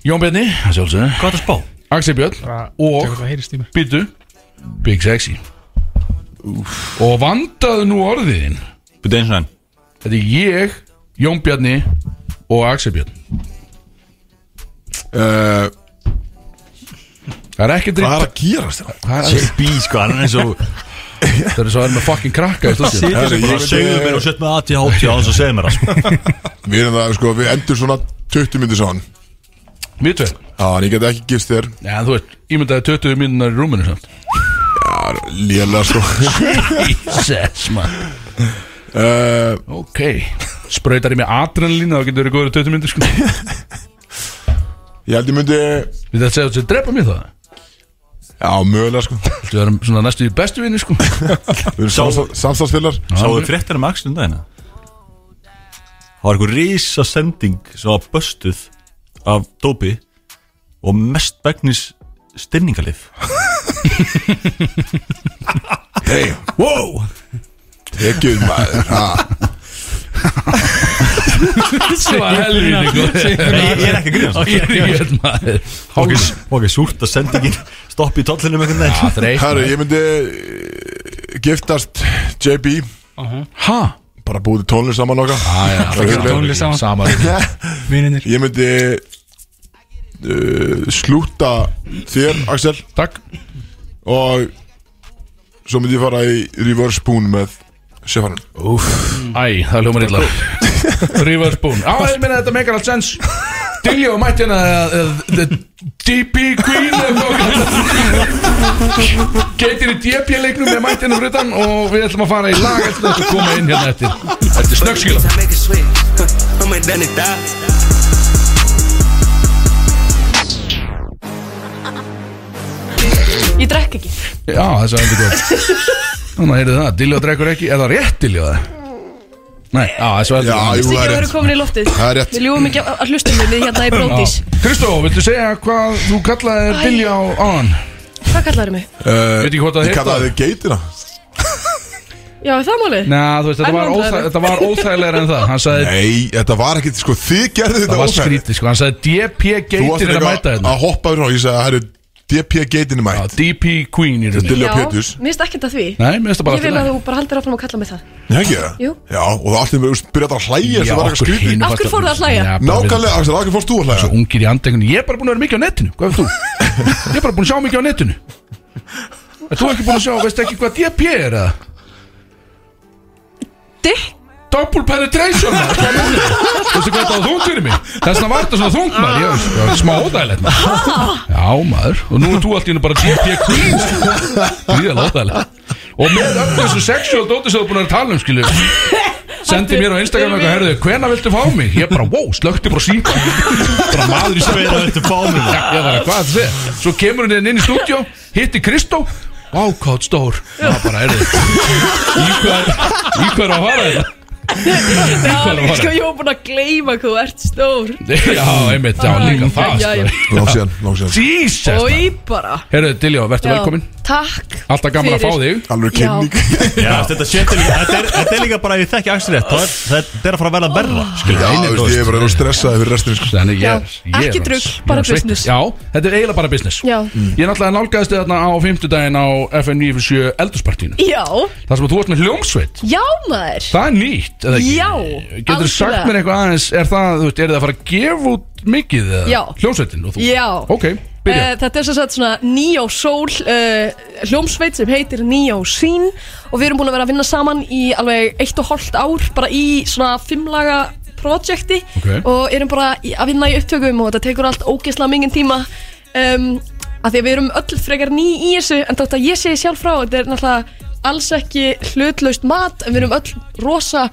Speaker 2: Jón Bjarni, að sjálfsögðu
Speaker 4: Hvað er það spá?
Speaker 2: Axel Björn og
Speaker 3: Það heyrist í mér
Speaker 2: Bítu Big Sexy Og vandaðu nú orðiðin
Speaker 4: Byrja eins og enn
Speaker 2: Þetta er ég, Jón Bjarni og Axel Björn
Speaker 1: Uh,
Speaker 2: Það er ekki
Speaker 1: Hvað er
Speaker 2: dritt
Speaker 1: að gerast þér?
Speaker 4: JB sko, hann er eins og
Speaker 2: Það er svo að vera með fucking krakka í stúdíu.
Speaker 1: Herri, ég
Speaker 4: bara
Speaker 1: veit-
Speaker 4: segðu mér og sett með aðti hátti á hans og segðu mér það sko
Speaker 1: Við erum það, sko, við endur svona 20 myndir saman
Speaker 2: Við tveir
Speaker 1: Já, en ég get ekki gifst þér
Speaker 2: Já, þú veist, ímyndaði 20 mínunar í rúminu samt
Speaker 1: Lélega, sko (laughs)
Speaker 2: Jesus, man
Speaker 1: uh,
Speaker 2: Ok, sprautar ég með adrenalín þá getur verið góður í 20 myndir sko Við
Speaker 1: Ég held ég myndi
Speaker 2: þetta segja þetta að drepa mér það
Speaker 1: Já, mögulega, sko Við
Speaker 2: Þú erum svona næstu í bestu vinni sko
Speaker 1: erum samstarf- samstarfsfélagar
Speaker 4: Sáðu fréttina með axlum dagina um Það var einhver risa sending sem var böstuð af dópi og mest begnis styrningalif
Speaker 1: Hey,
Speaker 4: Wow!
Speaker 1: tekjum maður ha.
Speaker 2: Þessi var helvíni sko
Speaker 4: Ég er ekki að grýna
Speaker 2: Ég er ekki öll maður
Speaker 4: Ok, ok, súrt að sendingin stoppi í tóllinum einhvern veginn
Speaker 2: Þreit
Speaker 1: Herri, ég myndi eh, giftast JB
Speaker 2: Ha?
Speaker 1: Bara búið tónlist saman okkar
Speaker 3: tónlist saman.
Speaker 2: Sama
Speaker 3: Vinninir
Speaker 1: Ég myndi uh, slúta þér, Axel
Speaker 2: Takk
Speaker 1: Og svo myndi ég fara í reverse spoon með Stefanum
Speaker 2: Æ, það hljómar (laughs) illa Rífar spún Á, ég meina þetta meikar allt sens Dilljó mætti hérna uh, uh, The DP Queen Geitir í DP leiknum Við mætti hérna fruttan Og við ætlum að fara í lag Eftir þetta og koma inn hérna eftir Þetta er snöggskila
Speaker 8: I make it sweat. Huh, (laughs) I'm a done and die.
Speaker 9: Ég drekk ekki
Speaker 2: Já, þess að endur gott Þannig að heyrðu það Dilljó drekkur ekki Er það rétt Dilljó það? Nei, á, þessu
Speaker 1: Já,
Speaker 2: heldur
Speaker 1: jú,
Speaker 9: Þessi
Speaker 1: það er
Speaker 9: ekki voru
Speaker 1: rétt
Speaker 9: komin í loftið
Speaker 1: Það er rétt.
Speaker 9: Við ljúum ekki að hlustum við við hérna í brótis
Speaker 2: Kristó, viltu segja hvað þú kallaðir
Speaker 9: Æ.
Speaker 2: Billy á áðan?
Speaker 9: Hvað kallar mig?
Speaker 1: Veit
Speaker 2: ekki hvað það
Speaker 1: Ég
Speaker 2: heitir.
Speaker 1: kallaði Eh, þið geitina
Speaker 9: Já, er það málið?
Speaker 2: Næ, þú veist, þetta
Speaker 9: Enn
Speaker 2: var, óþæ,
Speaker 9: vandræðalegri.
Speaker 2: þetta var óþægilegar en það Hann sagði,
Speaker 1: Nei, þetta var ekkit, sko, þið gerðu
Speaker 2: það
Speaker 1: þetta
Speaker 2: var
Speaker 1: óþægilegt.
Speaker 2: skrítið, sko Hann sagði DP
Speaker 1: Þú varst
Speaker 2: Geitin er að mæta
Speaker 1: eitthvað
Speaker 2: hérna. þetta
Speaker 1: að hoppa yfir og ég sagði að það eru DP geitinni
Speaker 2: Já,
Speaker 1: mætt
Speaker 2: DP Queen í rauninni
Speaker 1: Dilljá
Speaker 9: Já,
Speaker 1: Péturs
Speaker 9: mér finnst ekkert að því
Speaker 2: Nei, mér finnst það bara
Speaker 9: Ég vil að
Speaker 2: allt í
Speaker 9: þú bara haldir áfram að kalla mig það
Speaker 1: Ég ekki það?
Speaker 9: Jú.
Speaker 1: Já, og það allir verið byrjað að hlæja
Speaker 2: lagi.
Speaker 1: sem var eitthvað
Speaker 2: okkur
Speaker 1: skrítið
Speaker 2: hinum
Speaker 9: Af hverju
Speaker 2: fannst
Speaker 9: fóruð þið að hlæja?
Speaker 2: Já, bara við-
Speaker 1: Nákvæmlega, Axel, aðeins fórst þú að hlæja
Speaker 2: Svo ungir í andegunni, ég er bara búin að vera mikið á netinu Hvað er þú? Ég er bara búin að sjá mikið á netinu En þú ekki búin að sjá, veist ekki hvað DP er eða?
Speaker 9: Dick
Speaker 2: Double penetration maður, hvað meinarðu? Veistu hvað þetta var þungt fyrir mig? Þess vegna var þetta svona þungt maður Ég var- ég var smá óþægilegt maður Já maður, og nú er þú allt í hennu bara GP Queen Gríðalega óþægilegt Og með öllu þessu sexual dóti sem þú er búin að vera að tala um skilu Sendi mér á Instagram eitthvað, herðu, hvena viltu fá mig? Ég bara, wow, slökkti bara síma Bara maður í
Speaker 4: Hvenær
Speaker 2: sambandi.
Speaker 4: viltu fá mig?
Speaker 2: Já, Ég bara, hvað þetta segja? Svo kemur hún hérna inn í stúdíó, hitti Kristó Vá, hvað þú ert stór Það bara, herðu, í hvað í hvað er að fara hérna?" þetta?
Speaker 9: Já,
Speaker 2: var
Speaker 9: sko, ég var búin að gleyma hvað þú ert stór
Speaker 2: (laughs) Já, einmitt, já, líka það
Speaker 9: já, já.
Speaker 2: sko.
Speaker 1: Langt síðan, langt síðan
Speaker 2: Jesus
Speaker 9: Oi, bara
Speaker 2: Herru, Diljó, verður
Speaker 9: Já.
Speaker 2: velkomin
Speaker 9: Takk
Speaker 2: Alltaf gaman að
Speaker 9: fyrir.
Speaker 2: fá þig
Speaker 1: Alveg
Speaker 9: Já.
Speaker 1: kynning
Speaker 4: Já, þetta shit er líka Þetta er, þetta er líka bara, ég þekki Axel rétt það er- Þetta er að fara að verða verra
Speaker 1: Já, þú veist, ég er bara að stressa fyrir restinu sko.
Speaker 2: Þannig
Speaker 9: Já,
Speaker 2: ég, ég er
Speaker 9: ekki
Speaker 2: orðin-
Speaker 9: drugl,
Speaker 2: ég er
Speaker 9: bara
Speaker 2: orðin sveittur.
Speaker 9: business.
Speaker 2: Já, þetta er eiginlega bara business
Speaker 9: Já.
Speaker 2: Mm. Ég náttúrulega nálgæðist þig þarna á fimmtudaginn á FN 97 eldurspartínu
Speaker 9: Já,
Speaker 2: Það sem að þú varst með hljómsveit
Speaker 9: já maður
Speaker 2: Það er nýtt, eða ekki?
Speaker 9: Já,
Speaker 2: Getur þú sagt
Speaker 9: algjörlega.
Speaker 2: mér eitthvað aðeins Er það, þú veist, er það að fara að gefa út mikið eða?
Speaker 9: Já.
Speaker 2: Hljómsveitin og þú
Speaker 9: Já.
Speaker 2: Ok, byrja
Speaker 9: Eh, Þetta er sem sagt svona Neo Soul uh, hljómsveit sem heitir Neo Scene og við erum búin að vera að vinna saman í alveg eitt og hálft ár bara í svona fimmlaga projekti
Speaker 2: Ok.
Speaker 9: og erum bara í- að vinna í upptökum og þetta tekur allt ógeðslega mingin tíma um, að því að við erum öll frekar ný í þessu en þátt að ég segi sjálf frá þetta er náttúrulega alls ekki hlutlaust mat en við erum öll rosa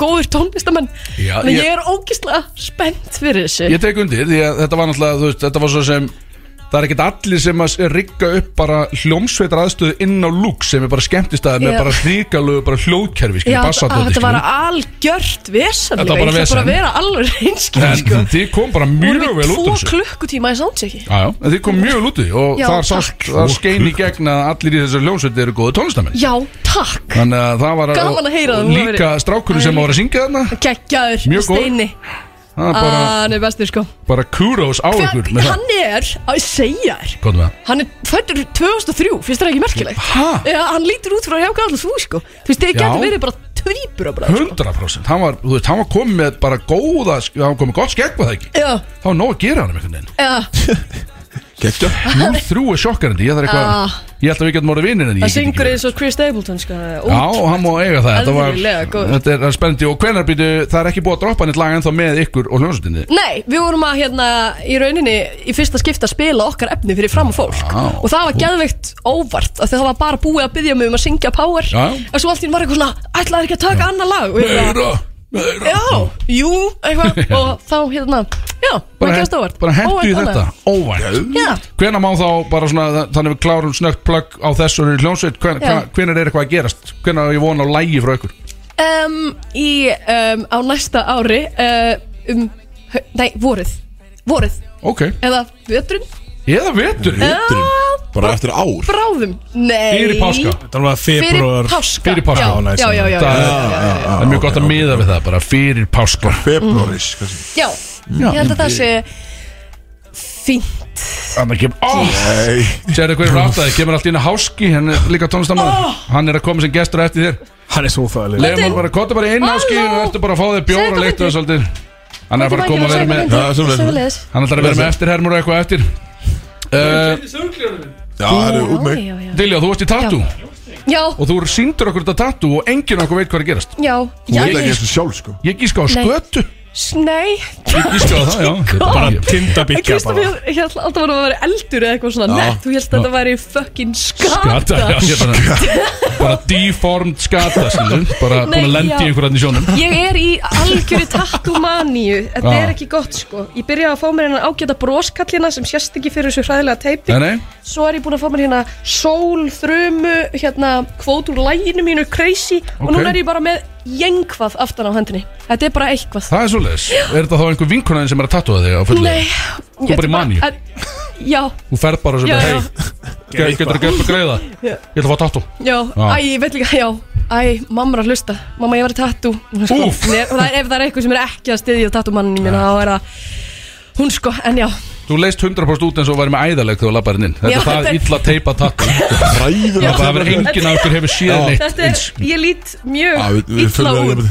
Speaker 9: góður tónlistamenn
Speaker 2: Já,
Speaker 9: en ég...
Speaker 2: ég-
Speaker 9: er ógeðslega spennt fyrir þessu
Speaker 2: Ég tek undir því að þetta var náttúrulega þú veist, þetta var svo sem það er ekkert allir sem að rigga upp bara hljómsveitar aðstöðu inn á lúk sem er bara skemmtist aðeins með
Speaker 9: Já.
Speaker 2: bara hríkalögu bara hljóðkerfi, skilur,
Speaker 9: Já, að
Speaker 2: bassatóti
Speaker 9: þetta var algjört vesen
Speaker 2: Þetta var bara
Speaker 9: líka. Ég ætla
Speaker 2: vesen.
Speaker 9: bara að vera alveg reynskil
Speaker 2: en
Speaker 9: sko.
Speaker 2: þið kom bara mjög
Speaker 9: Vorum
Speaker 2: vel
Speaker 9: við
Speaker 2: út úr
Speaker 9: tvo
Speaker 2: þessu
Speaker 9: klukkutíma í soundchecki
Speaker 2: Já, já, en þið kom mjög vel út úr því og
Speaker 9: Já,
Speaker 2: það er
Speaker 9: takk.
Speaker 2: sátt, það skein í gegn að allir í þessar hljómsveit eru góðu tónlistamenn
Speaker 9: Já, takk
Speaker 2: Þannig að það var
Speaker 9: Gaman að heyra
Speaker 2: og
Speaker 9: það, þú hefur
Speaker 2: Líka
Speaker 9: verið-
Speaker 2: strákurinn sem á að vera að syngja þarna
Speaker 9: Gekkjaður,
Speaker 2: Mjög góð.
Speaker 9: Steini
Speaker 2: Það er bara,
Speaker 9: Hann er bestur sko
Speaker 2: bara kudos á
Speaker 9: Hver,
Speaker 2: ykkur með það
Speaker 9: Hann er, að ég segja þér
Speaker 2: Hvað með það?
Speaker 9: Hann er fættur 2003, finnst það ekki merkilegt
Speaker 2: Ha?
Speaker 9: Já, hann lítur út frá hjá allir þú sko Þú veist, þið
Speaker 2: Já.
Speaker 9: getur verið bara tvíbura bara sko.
Speaker 2: 100% Hann var, þú veist, hann var komið með bara góða sk- Hann var komið með gott skegg var það ekki
Speaker 9: Já,
Speaker 2: Það var nóg að gera hann um einhvern veginn
Speaker 9: já,
Speaker 1: Gekkja
Speaker 2: Núl þrjú er sjokkarandi Ég þarf eitthvað
Speaker 9: Ah.
Speaker 2: Ég held að við getum orðið vinir en ég
Speaker 9: það
Speaker 2: get ekki
Speaker 9: syngur
Speaker 2: verið.
Speaker 9: eins og Chris Stapleton sko
Speaker 2: Já, og hann má eiga það Þetta var
Speaker 9: Eðlilega góður.
Speaker 2: Þetta er spennandi Og hvenar býtu Það er ekki búið að droppa neitt lag ennþá með ykkur og hljómsutinni
Speaker 9: Nei, við vorum að hérna í rauninni í fyrsta skipta að spila okkar efni fyrir fram og fólk
Speaker 2: Vá.
Speaker 9: og það var geðveikt óvart af því það var bara búið að byggja mig um að syngja power
Speaker 2: Já, já.
Speaker 9: en svo allt í enn var eitthvað svona ætlaði ekki að taka annað lag og ég bara,
Speaker 2: Meira Meira
Speaker 9: já, jú,
Speaker 2: (laughs)
Speaker 9: eitthvað og þá hérna, já, maður
Speaker 2: Bara,
Speaker 9: geðst óvart
Speaker 2: bara hentu í
Speaker 9: Óvænt
Speaker 2: þetta
Speaker 9: annað.
Speaker 2: Óvært
Speaker 9: Já,
Speaker 2: Hvenær má þá bara svona þa- Þannig við klárum snögt plögg á þessu hljómsveit Hven-
Speaker 9: Já.
Speaker 2: hva- Hvenær er eitthvað að gerast Hvenær er ég von á lægi frá ykkur
Speaker 9: um, í, um, á næsta ári uh, um, hau- nei, vorið vorið,
Speaker 2: Ok
Speaker 9: eða vötrun
Speaker 2: Eða vetur
Speaker 1: Bara eftir ár
Speaker 9: bráðum, nei
Speaker 2: Fyrir páska
Speaker 5: Það var
Speaker 9: Fyrir
Speaker 5: februar
Speaker 9: páska,
Speaker 2: Fyrir páska.
Speaker 9: Já,
Speaker 2: Á,
Speaker 5: næs,
Speaker 9: já, já, já, já,
Speaker 2: Það
Speaker 9: já.
Speaker 2: er- það er mjög gott að miða við það Bara fyrir páska
Speaker 1: Februaris kannski.
Speaker 9: Já, ég held að það sé fínt
Speaker 2: Þannig kemur oh,
Speaker 1: Nei
Speaker 2: Sérðu hverju rátt að þið kemur allt í henni háski Henn er líka tónlistamann
Speaker 9: Ah!
Speaker 2: Hann er að koma sem gestur á eftir þér
Speaker 5: Hann er svo þægileg
Speaker 2: Leifum hann bara, kottu bara inn háski
Speaker 9: Halló.
Speaker 2: Og ertu bara að fá þér bjóra
Speaker 9: Segðu
Speaker 2: og leiktu
Speaker 9: hvað
Speaker 2: og svolítið Hann er að fara að koma að vera með
Speaker 1: Já, sömuleiðis.
Speaker 9: Sömulegis
Speaker 2: Hann ætlar að vera með eftirhermur og eitthvað eftir uh,
Speaker 1: Já, það eru út með
Speaker 2: Dilja, þú varst í tattoo
Speaker 9: Já,
Speaker 2: Og þú síndur okkur þetta tattoo Og enginn okkur veit hvað er að gerast
Speaker 9: já,
Speaker 1: Þú
Speaker 9: já
Speaker 1: veit ekki eins og sjálf sko
Speaker 2: Ég gíska á
Speaker 9: Nei.
Speaker 2: skötu
Speaker 9: s- Nei,
Speaker 2: Ég gíska á það, já Þetta er bara-
Speaker 9: en
Speaker 5: Tindabyggja
Speaker 9: Kristof,
Speaker 5: bara
Speaker 9: ég held alltaf að það væri eldur eða eitthvað svona
Speaker 1: Já.
Speaker 9: nett Þú held að þetta væri fucking
Speaker 2: Skata,
Speaker 9: skata
Speaker 2: já, ég bara, bara deformed skata, skilur Bara
Speaker 9: Nei,
Speaker 2: búin að lendi
Speaker 9: já.
Speaker 2: í einhverjarn í sjónum
Speaker 9: Ég er í algjöru tattumaníu Þetta
Speaker 2: Já.
Speaker 9: er ekki gott sko Ég byrjaði að fá mér hennan ágæta broskallina sem sérst ekki fyrir þessu hræðilega teipi
Speaker 2: Nei, nei,
Speaker 9: Svo er ég búin að fá mér hérna sól, þrömu, hérna kvót úr læginu mínu, crazy
Speaker 2: Ok.
Speaker 9: og núna er ég bara með jengvað aftan á hendinni Þetta er bara eitthvað
Speaker 2: Það er svoleiðis Er þetta þá einhver vinkonaðin sem er að tatúa þig á fullu?
Speaker 9: Nei
Speaker 2: Þú bara í maníu.
Speaker 9: (laughs) Já,
Speaker 2: Þú ferð bara sem
Speaker 9: Já,
Speaker 2: er
Speaker 9: já.
Speaker 2: hei Getur þú gert að greiða?
Speaker 9: (laughs) Já.
Speaker 2: Ég ætla að fá tattu
Speaker 9: já,
Speaker 2: Já.
Speaker 9: æ, ég veit líka, já Æ, mamma er að hlusta, mamma ég var í tattu
Speaker 2: Úff.
Speaker 9: sko- Nei, það er, Ef það er eitthvað sem er ekki að styðja tattumanninu mín þá er það hún sko, en já
Speaker 2: Þú leist 100% út eins og væri með æðaleg þegar þú labbarinn inn Þetta
Speaker 9: Já,
Speaker 2: er það
Speaker 9: þetta er-
Speaker 2: illa teipa
Speaker 9: (laughs)
Speaker 2: tattu
Speaker 1: Ræðilega
Speaker 2: Það verður enginn af okkur hefur séð neitt (laughs)
Speaker 9: Þetta er, ég lít mjög
Speaker 1: Já, við- við
Speaker 9: illa
Speaker 1: þurfum að-
Speaker 9: út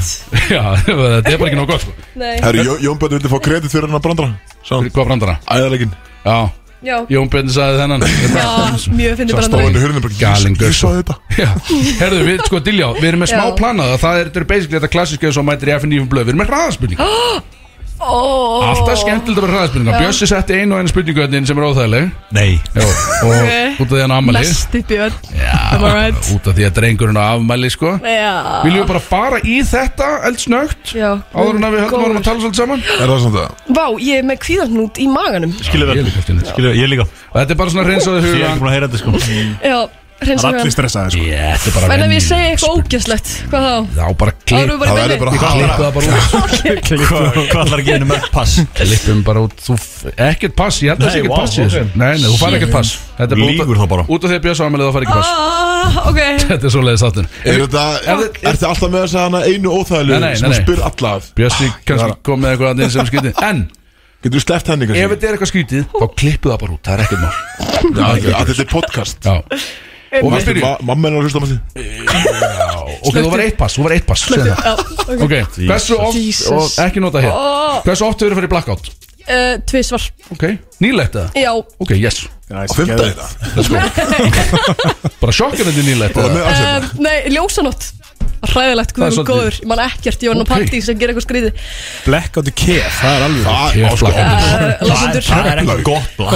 Speaker 2: Já, þetta er bara ekki nóg gott sko.
Speaker 9: Nei,
Speaker 1: Herri, Jón- Jón Bötn vildi fá kredit fyrir hennar brandara Sann,
Speaker 2: Hvað brandara?
Speaker 1: æðalegin
Speaker 2: Já,
Speaker 9: já,
Speaker 2: Jón Björn sagði
Speaker 9: (laughs)
Speaker 2: þennan
Speaker 9: já, mjög finnir bara
Speaker 1: Stóðan í
Speaker 9: náttúrulega
Speaker 1: hurðinu bara
Speaker 2: Galinn sko.
Speaker 1: Ég- Ég sá þetta
Speaker 2: Já, herðu, við, sko, Diljá, við erum með
Speaker 9: Já.
Speaker 2: smá planað og það er, þetta er basically þetta klassíska eins og mætir í FNF um blöð, við erum með hraðaspurninga
Speaker 9: Ó,
Speaker 2: Alltaf skemmtilegt að vera hraðaspurninga, Bjössi setti einu og einu spurningu hérna inn sem er óþægileg
Speaker 4: Nei
Speaker 2: Jó, og út af því hann á afmæli
Speaker 9: Mesti björn Am I right?
Speaker 2: út af því að drengurinn á afmæli, sko
Speaker 9: Já
Speaker 2: Viljum við bara fara í þetta eldsnögt
Speaker 9: Já.
Speaker 2: áður en að við höldum
Speaker 9: Góður.
Speaker 2: árum að tala svolítið saman
Speaker 1: Er það samt það?
Speaker 9: Vá, ég er með kvíðarnút í maganum
Speaker 2: Ég
Speaker 4: Skilja vel
Speaker 2: er líka eftir neitt.
Speaker 4: Skilja, ég líka
Speaker 2: Og Þetta er bara svona reynsaðu
Speaker 4: Ég er ekki
Speaker 2: hugan
Speaker 4: búin að heyra þetta sko
Speaker 9: Já,
Speaker 5: Það
Speaker 9: reynsa
Speaker 5: er allir stressaði sko
Speaker 2: Ég, þetta er bara
Speaker 9: En ef ég
Speaker 2: venjuleg
Speaker 9: segi eitthvað
Speaker 2: spurning.
Speaker 9: ógæslegt, hvað þá?
Speaker 2: Já, bara
Speaker 9: Þá erum við
Speaker 2: klipp
Speaker 9: bara
Speaker 1: Það
Speaker 9: í
Speaker 1: verður
Speaker 9: beinni.
Speaker 1: bara
Speaker 2: Klippu
Speaker 1: hara
Speaker 2: það bara (laughs) út
Speaker 4: Hvað hvað ætlar að gefa henni með pass?
Speaker 2: Klippum bara út Þú f- Ekkert pass Ég held að það sé ekkert pass
Speaker 4: Nei, wow,
Speaker 2: í þessu
Speaker 4: ok.
Speaker 2: Nei, nei, þú fær ekkert pass Þetta er
Speaker 4: Lýgur þá bara.
Speaker 2: Út af því að Björns ámælið þá fær ekki pass
Speaker 9: Ah,
Speaker 2: (laughs)
Speaker 9: ok
Speaker 2: Þetta er svoleiðis þáttur
Speaker 1: Er þetta
Speaker 2: Ef-
Speaker 1: Er þetta alltaf með þess að hana einu óþægilegu
Speaker 2: Nei, nei,
Speaker 1: sem
Speaker 2: nei,
Speaker 1: hún
Speaker 2: nei.
Speaker 1: spyr alla af
Speaker 2: Björnsi kannski
Speaker 1: var-
Speaker 2: kom með eitthvað annir sem skytið En
Speaker 1: Getur þú sleppt henni
Speaker 2: ef
Speaker 1: kannski?
Speaker 2: þetta er eitthvað skytið Þá klippu það bara út Það er ekkert mál
Speaker 1: Já, að Þetta er podcast
Speaker 2: Já Og hann byrju
Speaker 1: Ma- Mamma hennar hlusta maður
Speaker 2: Ok, þú var eitt pass Þú var eitt pass segðu það.
Speaker 9: Já, ok
Speaker 2: Ok, hversu oft
Speaker 9: Jesus. Oh.
Speaker 2: Og ekki nota hér
Speaker 9: Ó.
Speaker 2: Hversu oft hefur farið í blackout
Speaker 9: uh, Tvísvar
Speaker 2: Ok, nýlegt eða
Speaker 9: Já,
Speaker 2: Ok, yes
Speaker 1: Á fymta þetta
Speaker 2: Bara sjokkar þetta nýlegt
Speaker 1: Bara með Axel
Speaker 9: um, nei, ljósanótt
Speaker 2: Það
Speaker 9: Hræðilegt,
Speaker 2: er
Speaker 9: guðum
Speaker 2: svolítið-
Speaker 9: góður Ég man ekkert, ég var nú
Speaker 2: Ok.
Speaker 9: okay. partí sem gera eitthvað Eh, skrýði
Speaker 5: Blackout í kef, það er alveg
Speaker 1: Það
Speaker 2: Hér
Speaker 1: á sko
Speaker 2: blackout
Speaker 9: uh, Lásundur
Speaker 4: Það er ekki gott blá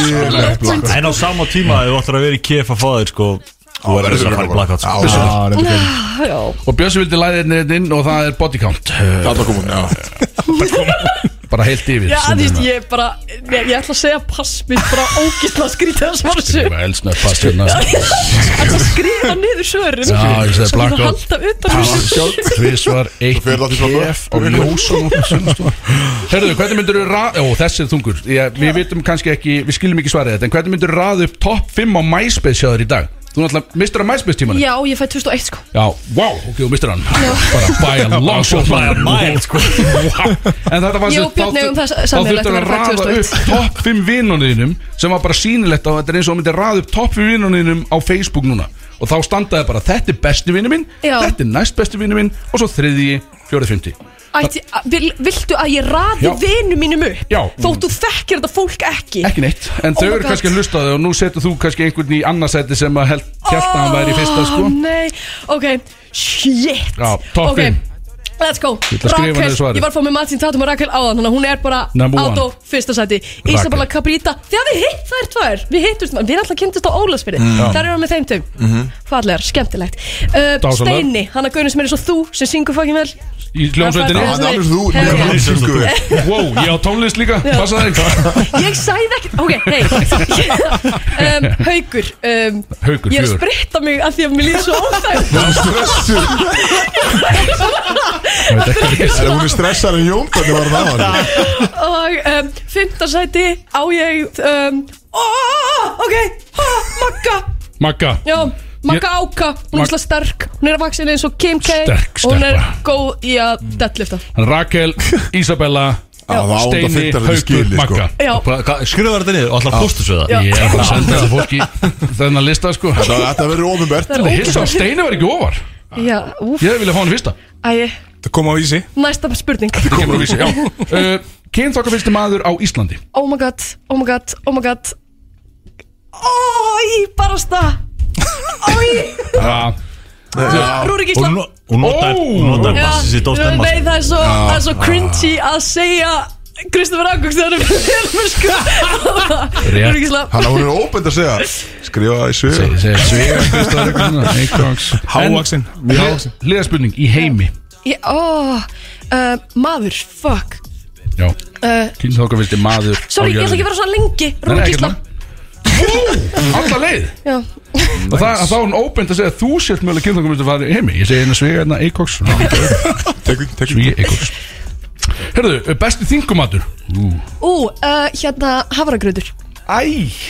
Speaker 1: Lélegt blakk.
Speaker 4: En á sama tíma ef þú ætlar að vera í KF að fá þér sko Þú verður að fara í blackout sko.
Speaker 1: Já,
Speaker 5: Það er alveg
Speaker 9: Ah, Já,
Speaker 2: Og Björnsi vildi læðið hérna inn og það er body count Eh,
Speaker 1: Þarna kom hún, já
Speaker 2: Bara heilt yfir
Speaker 9: já
Speaker 2: sem
Speaker 9: þú veist,
Speaker 2: hérna.
Speaker 9: ég bara Ég, ég ætla að segja pass mér bara ógæsla skrýtið að svara
Speaker 2: Þetta
Speaker 9: þessu
Speaker 2: var eldsnöð pass hérna
Speaker 9: Ætla að skrifa niður svörin
Speaker 2: Já, ég sagði
Speaker 9: Svo
Speaker 2: blackout.
Speaker 9: þú halda utan um þessu
Speaker 2: Tvísvar, eitt
Speaker 1: fer það til svona.
Speaker 2: kef og ljósun Herðu, hvernig myndur við raða Ó, þessi er þungur ég, Við vitum kannski ekki, við skiljum ekki svarið þetta En hvernig myndur við raða upp topp 5 á MySpace hjá þér í dag? Þú náttúrulega mistur að MySpace tímanu
Speaker 9: Já, ég fæ 2001 sko
Speaker 2: Já, wow, ok, þú mistur hann Bara by a long shot
Speaker 4: By a mile,
Speaker 2: sko En þetta var
Speaker 9: Ég og Björn eigum það sameiginlegt
Speaker 2: þurftur að
Speaker 9: að vera fædd
Speaker 2: raða upp
Speaker 9: 2001.
Speaker 2: topp 5 vinnunniðinum Sem var bara sýnilegt á þetta er eins og þú myndir raða upp topp 5 vinnunniðinum á Facebook núna Og þá standaði bara, þetta er besti vinnu minn
Speaker 9: Já.
Speaker 2: Þetta er næst besti vinnu minn Og svo þriðji, fjórið, fymti
Speaker 9: Ætti, a- vil, Viltu að ég raði
Speaker 2: Já.
Speaker 9: vinu mínum upp
Speaker 2: Já.
Speaker 9: Þótt þú þekkir þetta fólk ekki
Speaker 2: Ekki neitt, en
Speaker 9: Oh
Speaker 2: þau
Speaker 9: my
Speaker 2: eru
Speaker 9: God.
Speaker 2: kannski að hlusta á þau Og nú setur þú kannski einhvern í annarsæti sem að held Hjælt að hann væri í fyrsta sko
Speaker 9: Ó, Nei, ok, shit
Speaker 2: Já, topp
Speaker 9: Ok,
Speaker 2: fimm.
Speaker 9: Let's go
Speaker 2: ætla að skrifa niður svarið.
Speaker 9: ég var að fá með Martin Tatum og Rakel áðan Þannig að hún er bara
Speaker 2: Number one.
Speaker 9: át á fyrsta sæti Isabella Cabrita, þegar við hitt þær tvær Við hittumst, við erum alltaf kynntust á Ólasfyrði mm. Þar erum við með þeim tveim mm -hmm. Fallegar, skemmtilegt uh,
Speaker 2: Dásamlegar.
Speaker 9: Steini, hann að gauðin sem er eins og þú Sem syngur fokkin vel
Speaker 2: Í hljómsveitinni
Speaker 1: Það er alveg svo þú
Speaker 9: Herra.
Speaker 1: Ég er lífsyngu
Speaker 2: Wow, ég á tónlist líka, passa það
Speaker 9: Ég sæði ekki, ok,
Speaker 2: (laughs)
Speaker 9: nei um, Haukur um,
Speaker 2: Haukur,
Speaker 9: Ég er að
Speaker 2: fjögur.
Speaker 9: spritta mig af því að mér líður svo óþægt
Speaker 1: Það er stressur Það er hún er stressar en Jón Bötn var það var
Speaker 9: Og um, fymta sæti á ég um, ó, Ok, ó, Magga
Speaker 2: Magga
Speaker 9: Já, Magga Áka, hún
Speaker 2: Mag-
Speaker 9: er slag sterk Hún er að vaksin eins og Kim K
Speaker 2: Sterk
Speaker 9: Og hún er
Speaker 2: stelpa.
Speaker 9: góð í að deadlifta
Speaker 2: Rakel, Isabella
Speaker 1: Það var ánda
Speaker 2: Steini,
Speaker 1: fyrir þetta
Speaker 2: Haukur,
Speaker 1: skili sko
Speaker 2: Magga
Speaker 9: Já,
Speaker 4: Skrifaðu þetta niður og ætlar að fóstus við það
Speaker 9: Já.
Speaker 2: Ég er bara að senda það fólki þennan lista sko
Speaker 1: Það- Þetta verður ofinbært
Speaker 9: það er
Speaker 2: Hilsa,
Speaker 9: ógæst
Speaker 2: Steini var ekki ofar
Speaker 9: Já, úf,
Speaker 2: Ég hefði viljað fá hann í fyrsta
Speaker 9: æ,
Speaker 5: Það kom á ísi
Speaker 9: næsta spurning
Speaker 2: Kemur að
Speaker 1: (laughs)
Speaker 2: vísi, já uh, Kynþokka fyrsti maður á Íslandi
Speaker 9: Oh my god, oh my god, oh my god Ói, barasta
Speaker 4: (laughs)
Speaker 9: Ói
Speaker 2: Já,
Speaker 9: Ah, Rúrik Ísla
Speaker 4: Og no- Og notar
Speaker 2: Ó.
Speaker 4: notar
Speaker 9: Já,
Speaker 4: passi sitt sko. óstemma
Speaker 9: Nei, það er svo, það er svo cringy að segja Kristoffer um- Angungs (laughs) þegar hann er fjölmur sko Rúrik Ísla
Speaker 1: Hann hún er óbænt að segja Skrifa í svið
Speaker 2: segir segir Svegar fyrsta
Speaker 1: (laughs)
Speaker 2: Einhverjangs
Speaker 5: Hávaksin
Speaker 2: Liðaspurning í heimi
Speaker 9: Ég- Ó, uh, maður, fuck
Speaker 2: Já,
Speaker 9: uh,
Speaker 2: kynþokka fyrsti maður
Speaker 9: Sorry, ég ætla ekki að vera svona lengi Rúrik Ísla
Speaker 2: Alla leið
Speaker 9: Já,
Speaker 2: og það, þá er hún óbeint að segja að þú sért mögulega kynþangumist að fara heimi ég segi henni svega hérna Eikoks
Speaker 1: Tekur, tekur
Speaker 2: Svíi
Speaker 1: (laughs)
Speaker 2: Eikoks Herðu, besti þingumatur
Speaker 9: Ú, uh, hérna hafragröður
Speaker 2: Æ,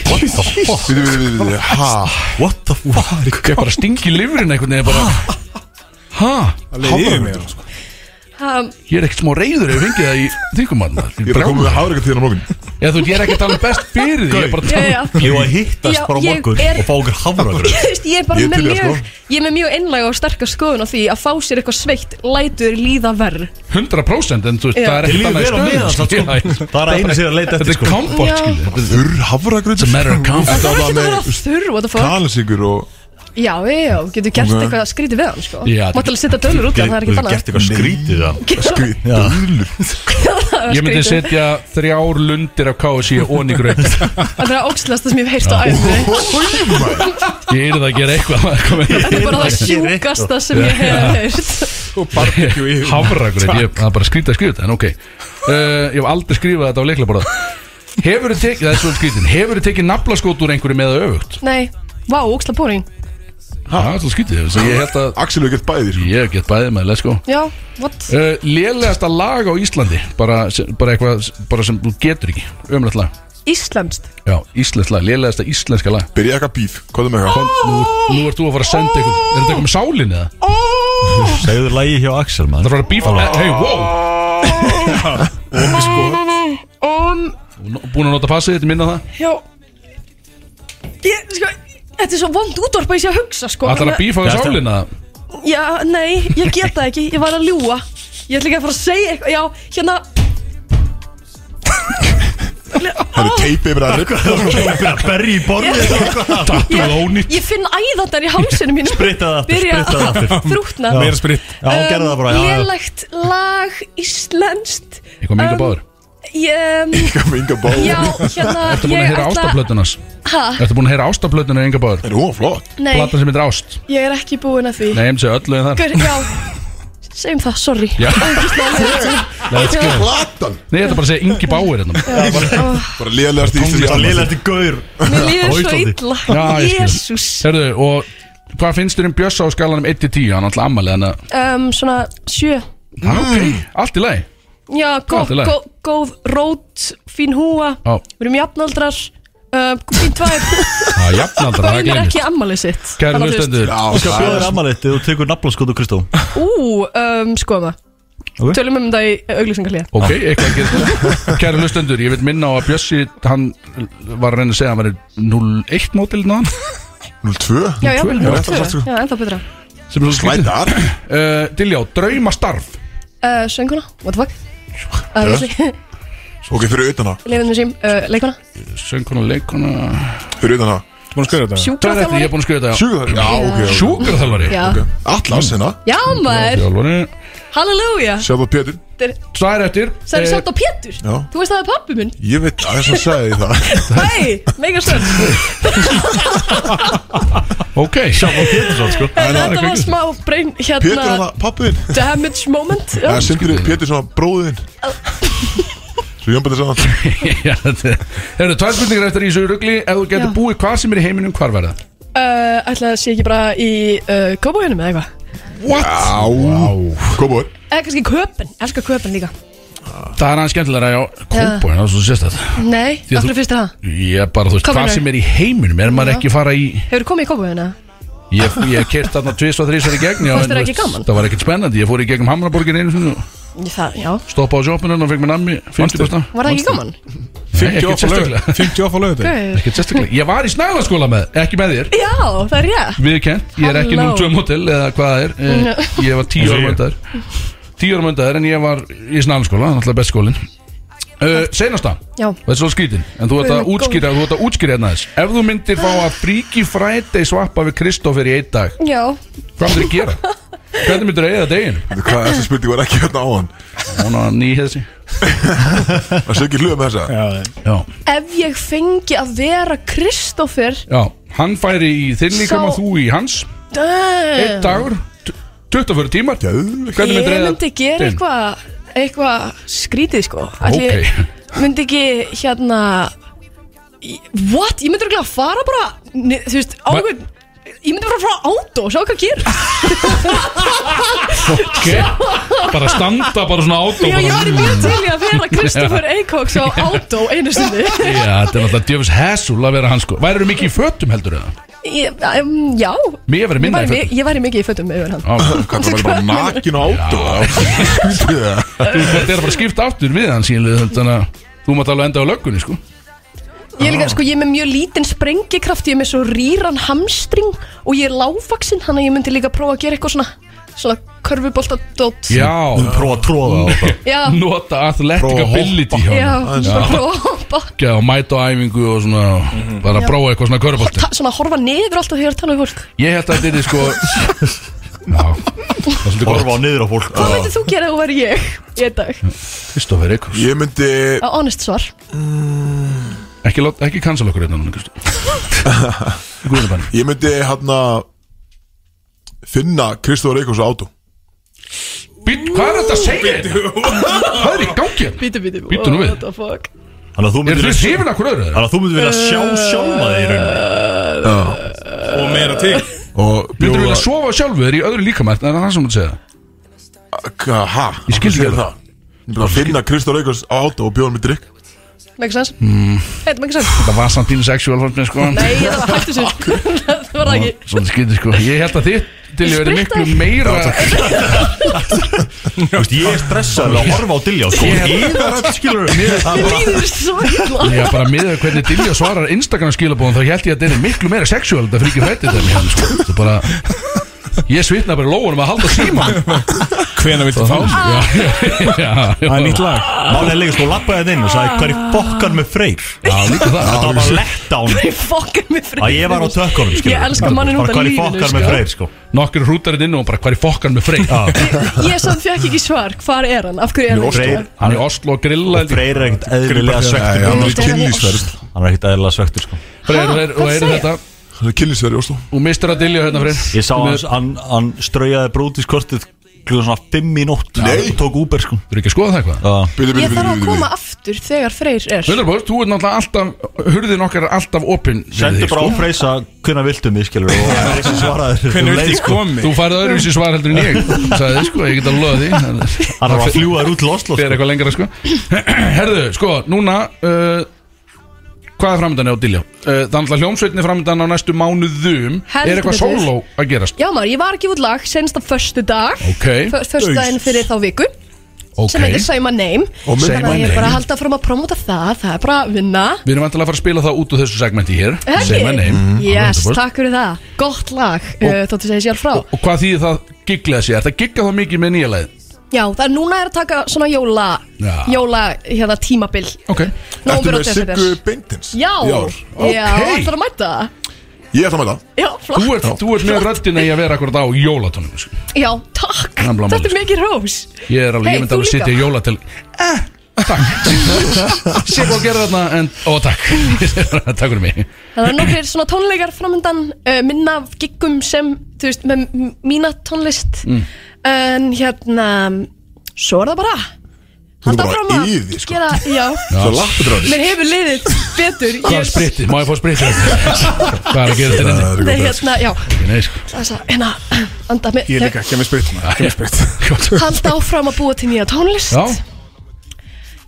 Speaker 1: Við, við, við, við, ha
Speaker 4: What the fuck
Speaker 2: ég bara stingi lifurinn einhvern veginn bara Hæ,
Speaker 5: Það leiði yfir mig sko.
Speaker 9: um,
Speaker 2: ég er ekkert smá reyður ef ég fengið það í
Speaker 1: Ég er að koma
Speaker 2: þingumatur
Speaker 1: með hafrika til þér á morgun
Speaker 2: Ég þú, ég er ekki að tala um best fyrir því Ég er bara að
Speaker 9: já,
Speaker 2: tala um
Speaker 9: já.
Speaker 4: (laughs) Ég var að hittast
Speaker 9: Já,
Speaker 4: bara á
Speaker 9: ég
Speaker 4: morgun
Speaker 9: er-
Speaker 4: og fá okkur hafragröð
Speaker 9: Þú veist, ég er bara
Speaker 1: Ég er
Speaker 9: með
Speaker 1: til í það,
Speaker 9: mjög Ég er með mjög einlæg og sterka skoðun á því að fá sér eitthvað sveitt lætur líða verð
Speaker 2: 100% en þú veist,
Speaker 9: Já.
Speaker 2: það er
Speaker 4: Ég
Speaker 2: ekkert
Speaker 4: líður vel á
Speaker 2: annað í
Speaker 4: meðan,
Speaker 2: stöðum,
Speaker 4: samt,
Speaker 2: skilja.
Speaker 4: sko. Það er að einu sér að leita
Speaker 2: Þetta
Speaker 4: eftir
Speaker 2: er
Speaker 4: sko
Speaker 2: komfort,
Speaker 9: Já.
Speaker 2: skilja
Speaker 1: Þurr hafragröð
Speaker 2: It's a matter of comfort.
Speaker 9: Það er
Speaker 1: Það
Speaker 9: ekkert að vera
Speaker 1: með
Speaker 9: þurr what the fuck
Speaker 1: kalinsingur og
Speaker 9: Já, já, já, getur gert
Speaker 1: Ok.
Speaker 9: eitthvað skrítið við hann sko
Speaker 2: Já,
Speaker 9: Mátt alveg setja dölur út af það, það er ekkert
Speaker 4: Þú
Speaker 9: annað
Speaker 4: gert eitthvað skrítið það
Speaker 1: skrið Döðlur
Speaker 9: Það var
Speaker 2: Ég myndi
Speaker 9: skrítið.
Speaker 2: setja þrjár lundir af KSI og í gröð
Speaker 9: Það er að ógslast það sem ég hef heyrst á æfni
Speaker 2: Ég er það að gera eitthvað maður, kom
Speaker 9: Þetta er bara það
Speaker 4: Ég heyri eitthvað.
Speaker 9: sjúkasta sem ég hef heyrst
Speaker 2: (laughs) í- Hafragröð, ég það er bara skrítið að skrifa þetta en ok, uh, ég hef aldrei skrifað þetta á leiklaborða Hefur þið tekið, það er svolítið skrítin Hefur þið tekið naflaskót úr einhverju með öfugt?
Speaker 9: Nei, vá, ógslag boring
Speaker 2: Það er svolítið skrítið, þess að ég held að
Speaker 1: Axel hefur gett bæði sko.
Speaker 2: Ég hef gett bæðið með, let's go
Speaker 9: Já, what?
Speaker 2: uh, Lélegasta lag á Íslandi bara, sem- bara eitthvað bara sem þú getur ekki, ömrætt lag
Speaker 9: Íslandst
Speaker 2: Já, íslensk lag, lélegasta íslenska lag
Speaker 1: Byrja eitthvað bíf Hvað er með eitthvað
Speaker 2: Nú, nú ert þú að fara að senda eitthvað Er þetta eitthvað með sálinn eða?
Speaker 4: Segðu lagi hjá Axel
Speaker 2: Það
Speaker 4: maður
Speaker 2: er að fara að bífa Hei, wow
Speaker 9: Um,
Speaker 2: Búin að nota passið þetta minna það
Speaker 9: já Ég, sko Þetta er svo vond útvarpa ég sé að hugsa sko
Speaker 2: Það er að bífa við
Speaker 4: Já,
Speaker 2: sálinn eða?
Speaker 9: Já, nei, ég get það ekki, ég var að ljúa Ég ætla ekki að fara að segja eitthvað Já, hérna
Speaker 1: Það er teipið yfir að rippa
Speaker 4: að berja í borðið
Speaker 2: Þetta er
Speaker 9: Ég,
Speaker 2: ónýtt
Speaker 9: ég finn æðandar í hálsinu mínum
Speaker 4: Breyta það aftur,
Speaker 9: Byrja
Speaker 4: breyta það aftur
Speaker 9: þrútna
Speaker 4: Já.
Speaker 5: Meira spritt
Speaker 4: Já,
Speaker 2: Um,
Speaker 4: hún gerði það bara já, já.
Speaker 9: Lélegt lag, íslenskt
Speaker 2: Eitthvað minga báður
Speaker 9: Ég, um,
Speaker 1: Eitthvað með yngar bá
Speaker 9: já, hérna
Speaker 2: Ertu búin að heyra ástablötunas?
Speaker 9: Hæ?
Speaker 2: Ertu búin að heyra ástablötunar enga báður?
Speaker 1: Það er hún flott
Speaker 9: Nei,
Speaker 2: Platan sem heitir ást
Speaker 9: ég er ekki búin að því
Speaker 2: Nei, ég myndi segja öllu en þar
Speaker 9: Hver, já, segjum það, sorry
Speaker 2: Já.
Speaker 9: Let's
Speaker 2: sko.
Speaker 1: Platan
Speaker 2: Nei, þetta er bara að segja Ingi Báir hérna
Speaker 1: Bara lélegast í
Speaker 4: Það er
Speaker 1: Íslands
Speaker 4: liðlega eftir gaur
Speaker 9: Mér líður svo
Speaker 4: Íslandi.
Speaker 9: illa
Speaker 2: Já, ég skil.
Speaker 9: Jésús
Speaker 2: Herðu, og hvað finnst þér um Bjössa á skalanum 1-10? Hann er alltaf ammalið hann að
Speaker 9: um, Svona sjö
Speaker 2: Ah, Ok, allt í lagi
Speaker 9: Já,
Speaker 2: Allt
Speaker 9: góð,
Speaker 2: í lagi.
Speaker 9: góð, góð rót, fín húa
Speaker 2: Já.
Speaker 9: Við erum jafnaldrar uh, Fín tvær
Speaker 2: Það er jafnaldra, (laughs)
Speaker 9: Það
Speaker 2: það
Speaker 9: vinnur
Speaker 2: glemist
Speaker 9: ekki ammalið sitt
Speaker 2: Kæri
Speaker 9: Þannig að þú veist,
Speaker 2: hlustendur,
Speaker 1: Já,
Speaker 4: Þú skal
Speaker 1: það
Speaker 4: bjóða
Speaker 1: er
Speaker 4: þér ammaliðt Þú tekur naflaskótu Kristó
Speaker 9: Ú, um, skoðum það
Speaker 4: Ok.
Speaker 9: Tölum um það í auglýsingarlíða
Speaker 2: Ok, eitthvað að gera Kæra hlustendur, ég vil minna á að Bjössi Hann var að reyna að segja að hann væri 01 mótil hérna náðan
Speaker 1: 02
Speaker 9: Já, já,
Speaker 2: Tvö, já,
Speaker 9: já,
Speaker 1: þetta er satt, sko.
Speaker 9: já, ennþá betra
Speaker 2: Sem er svo skrítið
Speaker 1: Slætar
Speaker 2: uh, Diljá, draumastarf
Speaker 9: uh, Sönguna, what the fuck uh, (laughs)
Speaker 1: Ok, fyrir utan það
Speaker 9: Leifin með sím, uh, leikona
Speaker 2: Söngkona, leikona
Speaker 1: Fyrir utan það
Speaker 5: Búin að skrifa þetta
Speaker 2: Það er þetta, ég er
Speaker 9: Sjúkraþjálfari
Speaker 2: búin að skrifa þetta
Speaker 1: Sjúkur Já, ok, ok
Speaker 2: Sjúkraþjálfari
Speaker 9: Já,
Speaker 1: Ok. Atlas hérna
Speaker 9: já maður,
Speaker 2: Þjálfari
Speaker 9: halleluja
Speaker 1: Sjáðu á Pétur
Speaker 9: Þetta er-
Speaker 2: Tvær eftir
Speaker 9: Það er
Speaker 2: Eh,
Speaker 9: sjátt á Pétur
Speaker 1: Já.
Speaker 9: Þú veist það er pappi minn
Speaker 1: Ég veit að þess að segja (laughs) það
Speaker 9: Hei, mega
Speaker 1: (laughs)
Speaker 9: stönd
Speaker 2: (laughs) Ok Sjátt á Pétursson
Speaker 9: (laughs)
Speaker 2: sko (laughs)
Speaker 9: Þetta var smá brain
Speaker 1: Pétur hann
Speaker 9: hérna
Speaker 1: að pappiðin
Speaker 9: Damage moment
Speaker 1: Það
Speaker 9: já.
Speaker 1: er sindri Pétur sem að bróðin Svo ég bæði saman
Speaker 2: Herru, tvær spurningar eftir í þessu rugli Ef þú getur
Speaker 9: Já.
Speaker 2: búið hvað sem er í heiminum, hvar verða?
Speaker 9: Uh, Ætla að sé ekki bara í uh, kópahjónum eða eitthvað
Speaker 1: Á Kópur
Speaker 9: Eða kannski köpinn, elskar köpinn líka
Speaker 2: Það er aðeins skemmtilega að já Kópa, það er svo sérstætt Því að
Speaker 9: Nei, af
Speaker 2: þú-
Speaker 9: hverju finnst þér það?
Speaker 2: Ég er bara, þú veist,
Speaker 9: Hvað
Speaker 2: hvað
Speaker 9: meinarðu?
Speaker 2: sem er í heiminum Er maður
Speaker 9: Já.
Speaker 2: ekki að fara í
Speaker 9: Hefur komið í kópahjónu?
Speaker 2: Ég, ég kert þarna tvist og þrísar í gegn já, en,
Speaker 9: Fannst þér
Speaker 2: þú
Speaker 9: ekki
Speaker 2: veist,
Speaker 9: gaman?
Speaker 2: Það var ekkert spennandi, ég fór í gegnum Hamraborgin einu sinni og
Speaker 9: Það, já
Speaker 2: stoppaði á sjópunum og fekk mér nammi 50 besta
Speaker 9: Var það ekki gaman?
Speaker 2: Nei, ekkert sérstaklega
Speaker 5: 50 off á lögutu
Speaker 9: Gaur.
Speaker 2: Ekkert sérstaklega Ég var í snæðaskóla með, ekki með þér
Speaker 9: Já, það er ég
Speaker 2: Viðkent, ég er ekki
Speaker 9: Halló.
Speaker 2: núm 2 mótil eða hvað það er
Speaker 9: Mm.
Speaker 2: Eh, Ég var 10 ára möndaður 10 ára möndaður en ég var í snæðaskóla, alltaf best skólin uh, Seinasta
Speaker 9: Já,
Speaker 2: Og Þetta er svolítið skrítin, en þú ert að
Speaker 9: Guð minn
Speaker 2: útskýra þú ert að útskýra hérna þess Ef þú myndir fá að fríki fræti svappa við Kristoffer í einn dag
Speaker 9: já
Speaker 2: Hvað myndir þú gera? Hvernig myndir þú eigða deginu?
Speaker 1: Hvað þess að spurning var ekki hérna á hann
Speaker 2: Hún á nýja þessi
Speaker 1: Það sé ekki hluga með þessa
Speaker 2: Já,
Speaker 9: Ef ég fengi að vera Kristoffer
Speaker 2: já, hann færi í þinn líka
Speaker 9: Sá-
Speaker 2: og þú í hans Einn
Speaker 9: Einn
Speaker 2: dagur, t- 24 tímar
Speaker 1: Geðveikt.
Speaker 2: Hvernig
Speaker 9: Ég
Speaker 2: myndir þú
Speaker 9: myndi gera
Speaker 2: daginn?
Speaker 9: eitthvað eitthvað skrítið sko Ætli
Speaker 2: Ok.
Speaker 9: ég myndi ekki hérna í- what, ég myndi ekki að fara bara ni- þú veist, á
Speaker 2: Ma-
Speaker 9: einhvern Ég myndi bara frá átó og sjá hvað gerir
Speaker 2: Ok Bara standa bara svona átó
Speaker 9: Já, ég var
Speaker 2: bara-
Speaker 9: mjög til í að
Speaker 2: (laughs)
Speaker 9: vera Kristoffer Eikóks á átó einu sinni
Speaker 2: Já, þetta er náttúrulega djöfis hessul að vera hann sko Værið mikið í fötum heldur það?
Speaker 9: Ég- um, Já
Speaker 2: Mér verið
Speaker 9: Ég
Speaker 2: minna
Speaker 9: væri
Speaker 2: í
Speaker 9: mi-
Speaker 2: fötum
Speaker 9: Ég væri mikið í fötum yfir (laughs) hann
Speaker 2: Á,
Speaker 1: Hvað það var bara nakin á átó Skrítið það
Speaker 2: Þú veist, þetta er bara skipt aftur við hann síðanlega Þannig að þú mátt alveg enda á löggunni sko
Speaker 9: Ég er líka, sko, ég er með mjög lítinn sprengikraft Ég er með svo rýran hamstring Og ég er láfaksinn, hann að ég myndi líka prófa að gera eitthvað svona Svona körfuboltadót
Speaker 2: Já,
Speaker 4: Prófa að tróða á það
Speaker 9: Já,
Speaker 2: nota athletic
Speaker 1: Prófa að
Speaker 2: ability hjá
Speaker 9: já,
Speaker 2: hann
Speaker 9: svona prófa að hoppa
Speaker 2: Já, og mæta á æfingu og svona Bara prófa eitthvað svona körbolti
Speaker 9: Mhm. Ta- Svona horfa niður alltaf þegar ég er að tala um fólk
Speaker 2: Ég held að þetta er
Speaker 9: (laughs)
Speaker 2: sko Já, það er svolítið gott
Speaker 4: Orfa á niður á fólk
Speaker 9: Hvað myndir þú gera ef þú væri ég í einn dag?
Speaker 2: Kristoffer Eikos
Speaker 1: (laughs) Ég myndi
Speaker 9: Á honest svar
Speaker 2: Ekki, lát- ekki cancel okkur hérna núna,
Speaker 1: (laughs)
Speaker 2: Kristoffer Guðinu banni
Speaker 1: Ég myndi hann að Finna Kristóður Eikons á átó
Speaker 2: Být, hvað er þetta að segja þetta? Hvað er í gangi hérna?
Speaker 9: Bítu, bítu,
Speaker 2: Bíddu nú við.
Speaker 9: What the fuck
Speaker 4: Þannig að þú
Speaker 2: Er
Speaker 4: myndir
Speaker 2: þau sýfin okkur öðru? eða?
Speaker 4: Þannig að þú myndir vilja sjá sjálfa þig í rauninni
Speaker 5: Og meira til
Speaker 1: Og
Speaker 2: Myndir þú vilja
Speaker 1: bjóða
Speaker 2: sofa sjálfu þér í öðru líkamætt En það er það sem þú segja
Speaker 1: K- Ha?
Speaker 2: Ég skildi
Speaker 1: Hvað segir
Speaker 2: ekki
Speaker 1: það Ég myndi bara finna Kristóður Eikons á átó og bjóða með drikk
Speaker 9: Make sense?
Speaker 4: Mm.
Speaker 9: Þetta make sense?
Speaker 2: Það var samt þínu sexual fannst mér sko
Speaker 9: Nei, það var hættu (laughs) sér Það var það ekki
Speaker 2: Svolítið skytið sko Ég held að þitt til ég verið
Speaker 9: Spritta.
Speaker 2: miklu meira
Speaker 4: Þú veist, ég er stressað að horfa á Dilljá sko
Speaker 2: Ég-
Speaker 4: Yfirallt
Speaker 2: (laughs)
Speaker 4: skilur
Speaker 9: Mér líður svo illa
Speaker 2: Já, bara miðað við hvernig Dilja svarar Instagram skilabóðum þá held ég að þetta er miklu meira sexual þetta fyrir ekki fættið það mér sko. Þetta er bara Ég svitna bara í lóunum að halda síma
Speaker 9: (laughs)
Speaker 5: Hvena viltu fá?
Speaker 2: Já, já, já,
Speaker 5: Það er nýtt lag
Speaker 4: Málega leikur sko lappaði þetta inn og sagði Hver er fokkan með freyr?
Speaker 2: já líka það
Speaker 4: Það var lett á hann
Speaker 9: Fokkar mig frið
Speaker 4: að ég var á tökkunum skilur.
Speaker 9: Ég elska manninn út af
Speaker 4: Bara
Speaker 9: lífinu,
Speaker 4: hvað er fokkar
Speaker 9: sko.
Speaker 4: með freyr sko
Speaker 2: Nokkur hútarinn inn og bara hvar er fokkan með Freyr
Speaker 4: Ah.
Speaker 9: Ég samt fekk ekki svar, hvar er hann? Af hverju er hann?
Speaker 4: Freyr,
Speaker 2: Hann er í Oslo hérna. að grilla held ég.
Speaker 4: freyr er ekkert eðlilega svektur
Speaker 1: Hann
Speaker 9: Ég
Speaker 1: er
Speaker 9: myndi að-
Speaker 1: kynlýsverð
Speaker 2: Freyr, Freyr,
Speaker 4: Hann er ekkert eðlilega svektur sko
Speaker 9: Ha, Ah, hvað
Speaker 2: og eru
Speaker 9: segir?
Speaker 2: þetta
Speaker 1: Hann er kynlýsverð í Oslo
Speaker 2: Og mistur að Dilja hérna Freyr
Speaker 4: Ég sá hann, hann, hann straujaði brótiskortið Klugan svona 5 í nótt
Speaker 1: Nei.
Speaker 4: Og tók Uber sko
Speaker 2: Þú eru ekki að skoða það
Speaker 1: Bíðu,
Speaker 2: eitthvað?
Speaker 1: bíðu,
Speaker 9: Ég þarf að
Speaker 1: bíðu,
Speaker 9: koma
Speaker 1: bíðu
Speaker 9: aftur þegar Freyr er
Speaker 2: 100% þú er náttúrulega alltaf, hurðin okkar er alltaf opinn fyrir
Speaker 4: Sendu
Speaker 2: þig,
Speaker 4: bara á
Speaker 2: sko.
Speaker 4: freysa Hvernig viltu mig skilur Og freysa svaraði þér
Speaker 5: Hvena
Speaker 4: um leið,
Speaker 5: viltu
Speaker 4: sko.
Speaker 5: komi?
Speaker 2: Þú færði öðruvísi svar heldur en ég Sæði sko, ég get að loða því Þannig-
Speaker 4: Hann var að fljúa þér út til Oslo
Speaker 2: Það er
Speaker 4: sko.
Speaker 2: eitthvað lengra sko (clears throat) Herðu, sko, núna uh, Hvað er framöndan á Dilljá? Uh, það er alltaf hljómsveitni framöndan á næstu mánuðum
Speaker 9: Heldur
Speaker 2: Er eitthvað
Speaker 9: betur.
Speaker 2: sóló að gerast?
Speaker 9: Já maður, ég var ekki út lag senst á förstu dag
Speaker 2: Ok.
Speaker 9: Förstu daginn fyrir þá viku
Speaker 2: Ok
Speaker 9: sem heitir Say My Name
Speaker 1: Og mynd
Speaker 2: Say
Speaker 9: Þannig
Speaker 2: My
Speaker 9: að ég er
Speaker 2: Name.
Speaker 9: bara að halda fram að promóta það Það er bara að vinna
Speaker 2: Við erum vantilega að fara að spila það út úr þessu segmenti hér
Speaker 9: Helgi?
Speaker 2: Say my name
Speaker 4: Mhm.
Speaker 9: Yes,
Speaker 2: 100%.
Speaker 9: takk fyrir það Gott lag, uh, þóttu segja sjálf frá
Speaker 2: Og hvað þýðir það gigglega sé? Er það gigga það mikið með nýja leið?
Speaker 9: Já, það er núna er að taka svona jóla
Speaker 2: Já.
Speaker 9: Jóla, hérna, tímabil
Speaker 2: Ok
Speaker 1: Ertu
Speaker 9: Nóvember og
Speaker 1: með
Speaker 9: desember.
Speaker 1: Siggu Beintins?
Speaker 9: Já,
Speaker 1: Í ár?
Speaker 9: já,
Speaker 2: Ok.
Speaker 9: ætlar að mæta
Speaker 1: Ég ætla með það
Speaker 9: Já, flott
Speaker 2: Þú ert, þú ert með röddina í að vera akkurat á jólatónum sko.
Speaker 9: Já, takk,
Speaker 2: Gamla
Speaker 9: þetta er
Speaker 2: málið.
Speaker 9: mikið rós
Speaker 2: Ég er alveg,
Speaker 9: Hey,
Speaker 2: ég myndi
Speaker 9: þú
Speaker 2: alveg
Speaker 9: líka.
Speaker 2: sitja í jóla til eh, (laughs) Takk Sér hvað gerði þarna en, Ó, takk (laughs) Takk fyrir mig
Speaker 9: Það er nokkrir svona tónleikar framöndan uh, Minna af giggum sem, þú veist, með m- mína tónlist
Speaker 2: Mm.
Speaker 9: En hérna, svo er það bara Halda
Speaker 1: bara
Speaker 9: áfram að
Speaker 1: í því, sko.
Speaker 9: gera, já
Speaker 1: Svo lappið ráði
Speaker 9: Mér hefur liðið betur Ég
Speaker 2: Hvað er
Speaker 9: er-
Speaker 2: spritið? Má ég fá (laughs) spritið? Hvað er að gera þetta inni?
Speaker 9: Nei, hérna, já,
Speaker 2: Nei, sko
Speaker 9: þess að, hérna, anda með
Speaker 5: Ég líka, kemur sprit Kemur sprit
Speaker 9: Halda áfram að búa til nýja tónlist
Speaker 2: Já,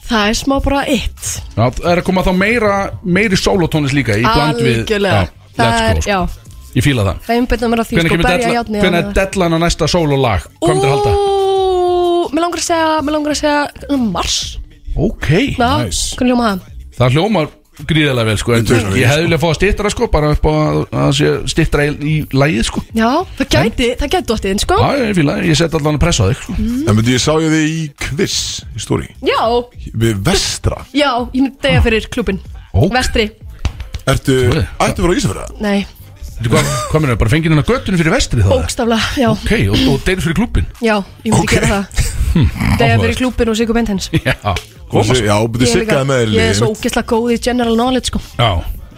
Speaker 9: Það er smá bara eitt
Speaker 2: já, það er að koma þá meira meiri sólotónist líka í bland við
Speaker 9: Algjörlega
Speaker 2: já,
Speaker 9: Það er,
Speaker 2: Let's go,
Speaker 9: já,
Speaker 2: sko. ég fíla það
Speaker 9: það einbyrna mér að því
Speaker 2: Hvernig
Speaker 9: sko,
Speaker 2: kemur
Speaker 9: berja
Speaker 2: della-
Speaker 9: járnið
Speaker 2: hvenær er
Speaker 9: hana.
Speaker 2: dellan að næsta sólolag? Hvað myndir að halda?
Speaker 9: Ú, Mér langar að segja, mér langar að segja um Mars,
Speaker 2: Ok
Speaker 9: já, hvernig hljóma það
Speaker 2: Það hljómar gríðilega vel, sko en
Speaker 1: tökum
Speaker 2: Ég
Speaker 1: við,
Speaker 2: hefði vilja fá að stittra, sko Bara upp á að að sé stittra í, í lægið, sko
Speaker 9: Já, það gæti, það gæti dottið inn, sko
Speaker 2: Já, ég fíla, það. ég set allan að pressa á þig, sko
Speaker 1: En myndi ég sá ég þig í quiz í stóri
Speaker 9: Já,
Speaker 1: Við vestra
Speaker 9: já, ég myndi degja fyrir klubin
Speaker 2: Ó.
Speaker 9: Vestri,
Speaker 1: Ertu,
Speaker 2: Trúi.
Speaker 1: ættu frá Ísafjörða?
Speaker 9: nei,
Speaker 2: Veitu Hvað, hvað mér er, bara fengið hennar göttunum fyrir vestri þá?
Speaker 9: bókstaflega, já,
Speaker 2: Ok, Hmm, og, og deyr fyrir klúbin
Speaker 9: já, ég myndi
Speaker 1: Ok.
Speaker 9: gera
Speaker 2: (laughs)
Speaker 9: það Degja fyrir klubin og Sigur Bentens
Speaker 2: Já,
Speaker 1: Koma,
Speaker 2: koma, sko
Speaker 1: já, byrju
Speaker 9: Ég er líka-
Speaker 1: siggaði með þér
Speaker 9: ég er
Speaker 1: liðið
Speaker 9: svo
Speaker 1: mitt.
Speaker 9: ógeðslega góð í general knowledge sko
Speaker 2: Já,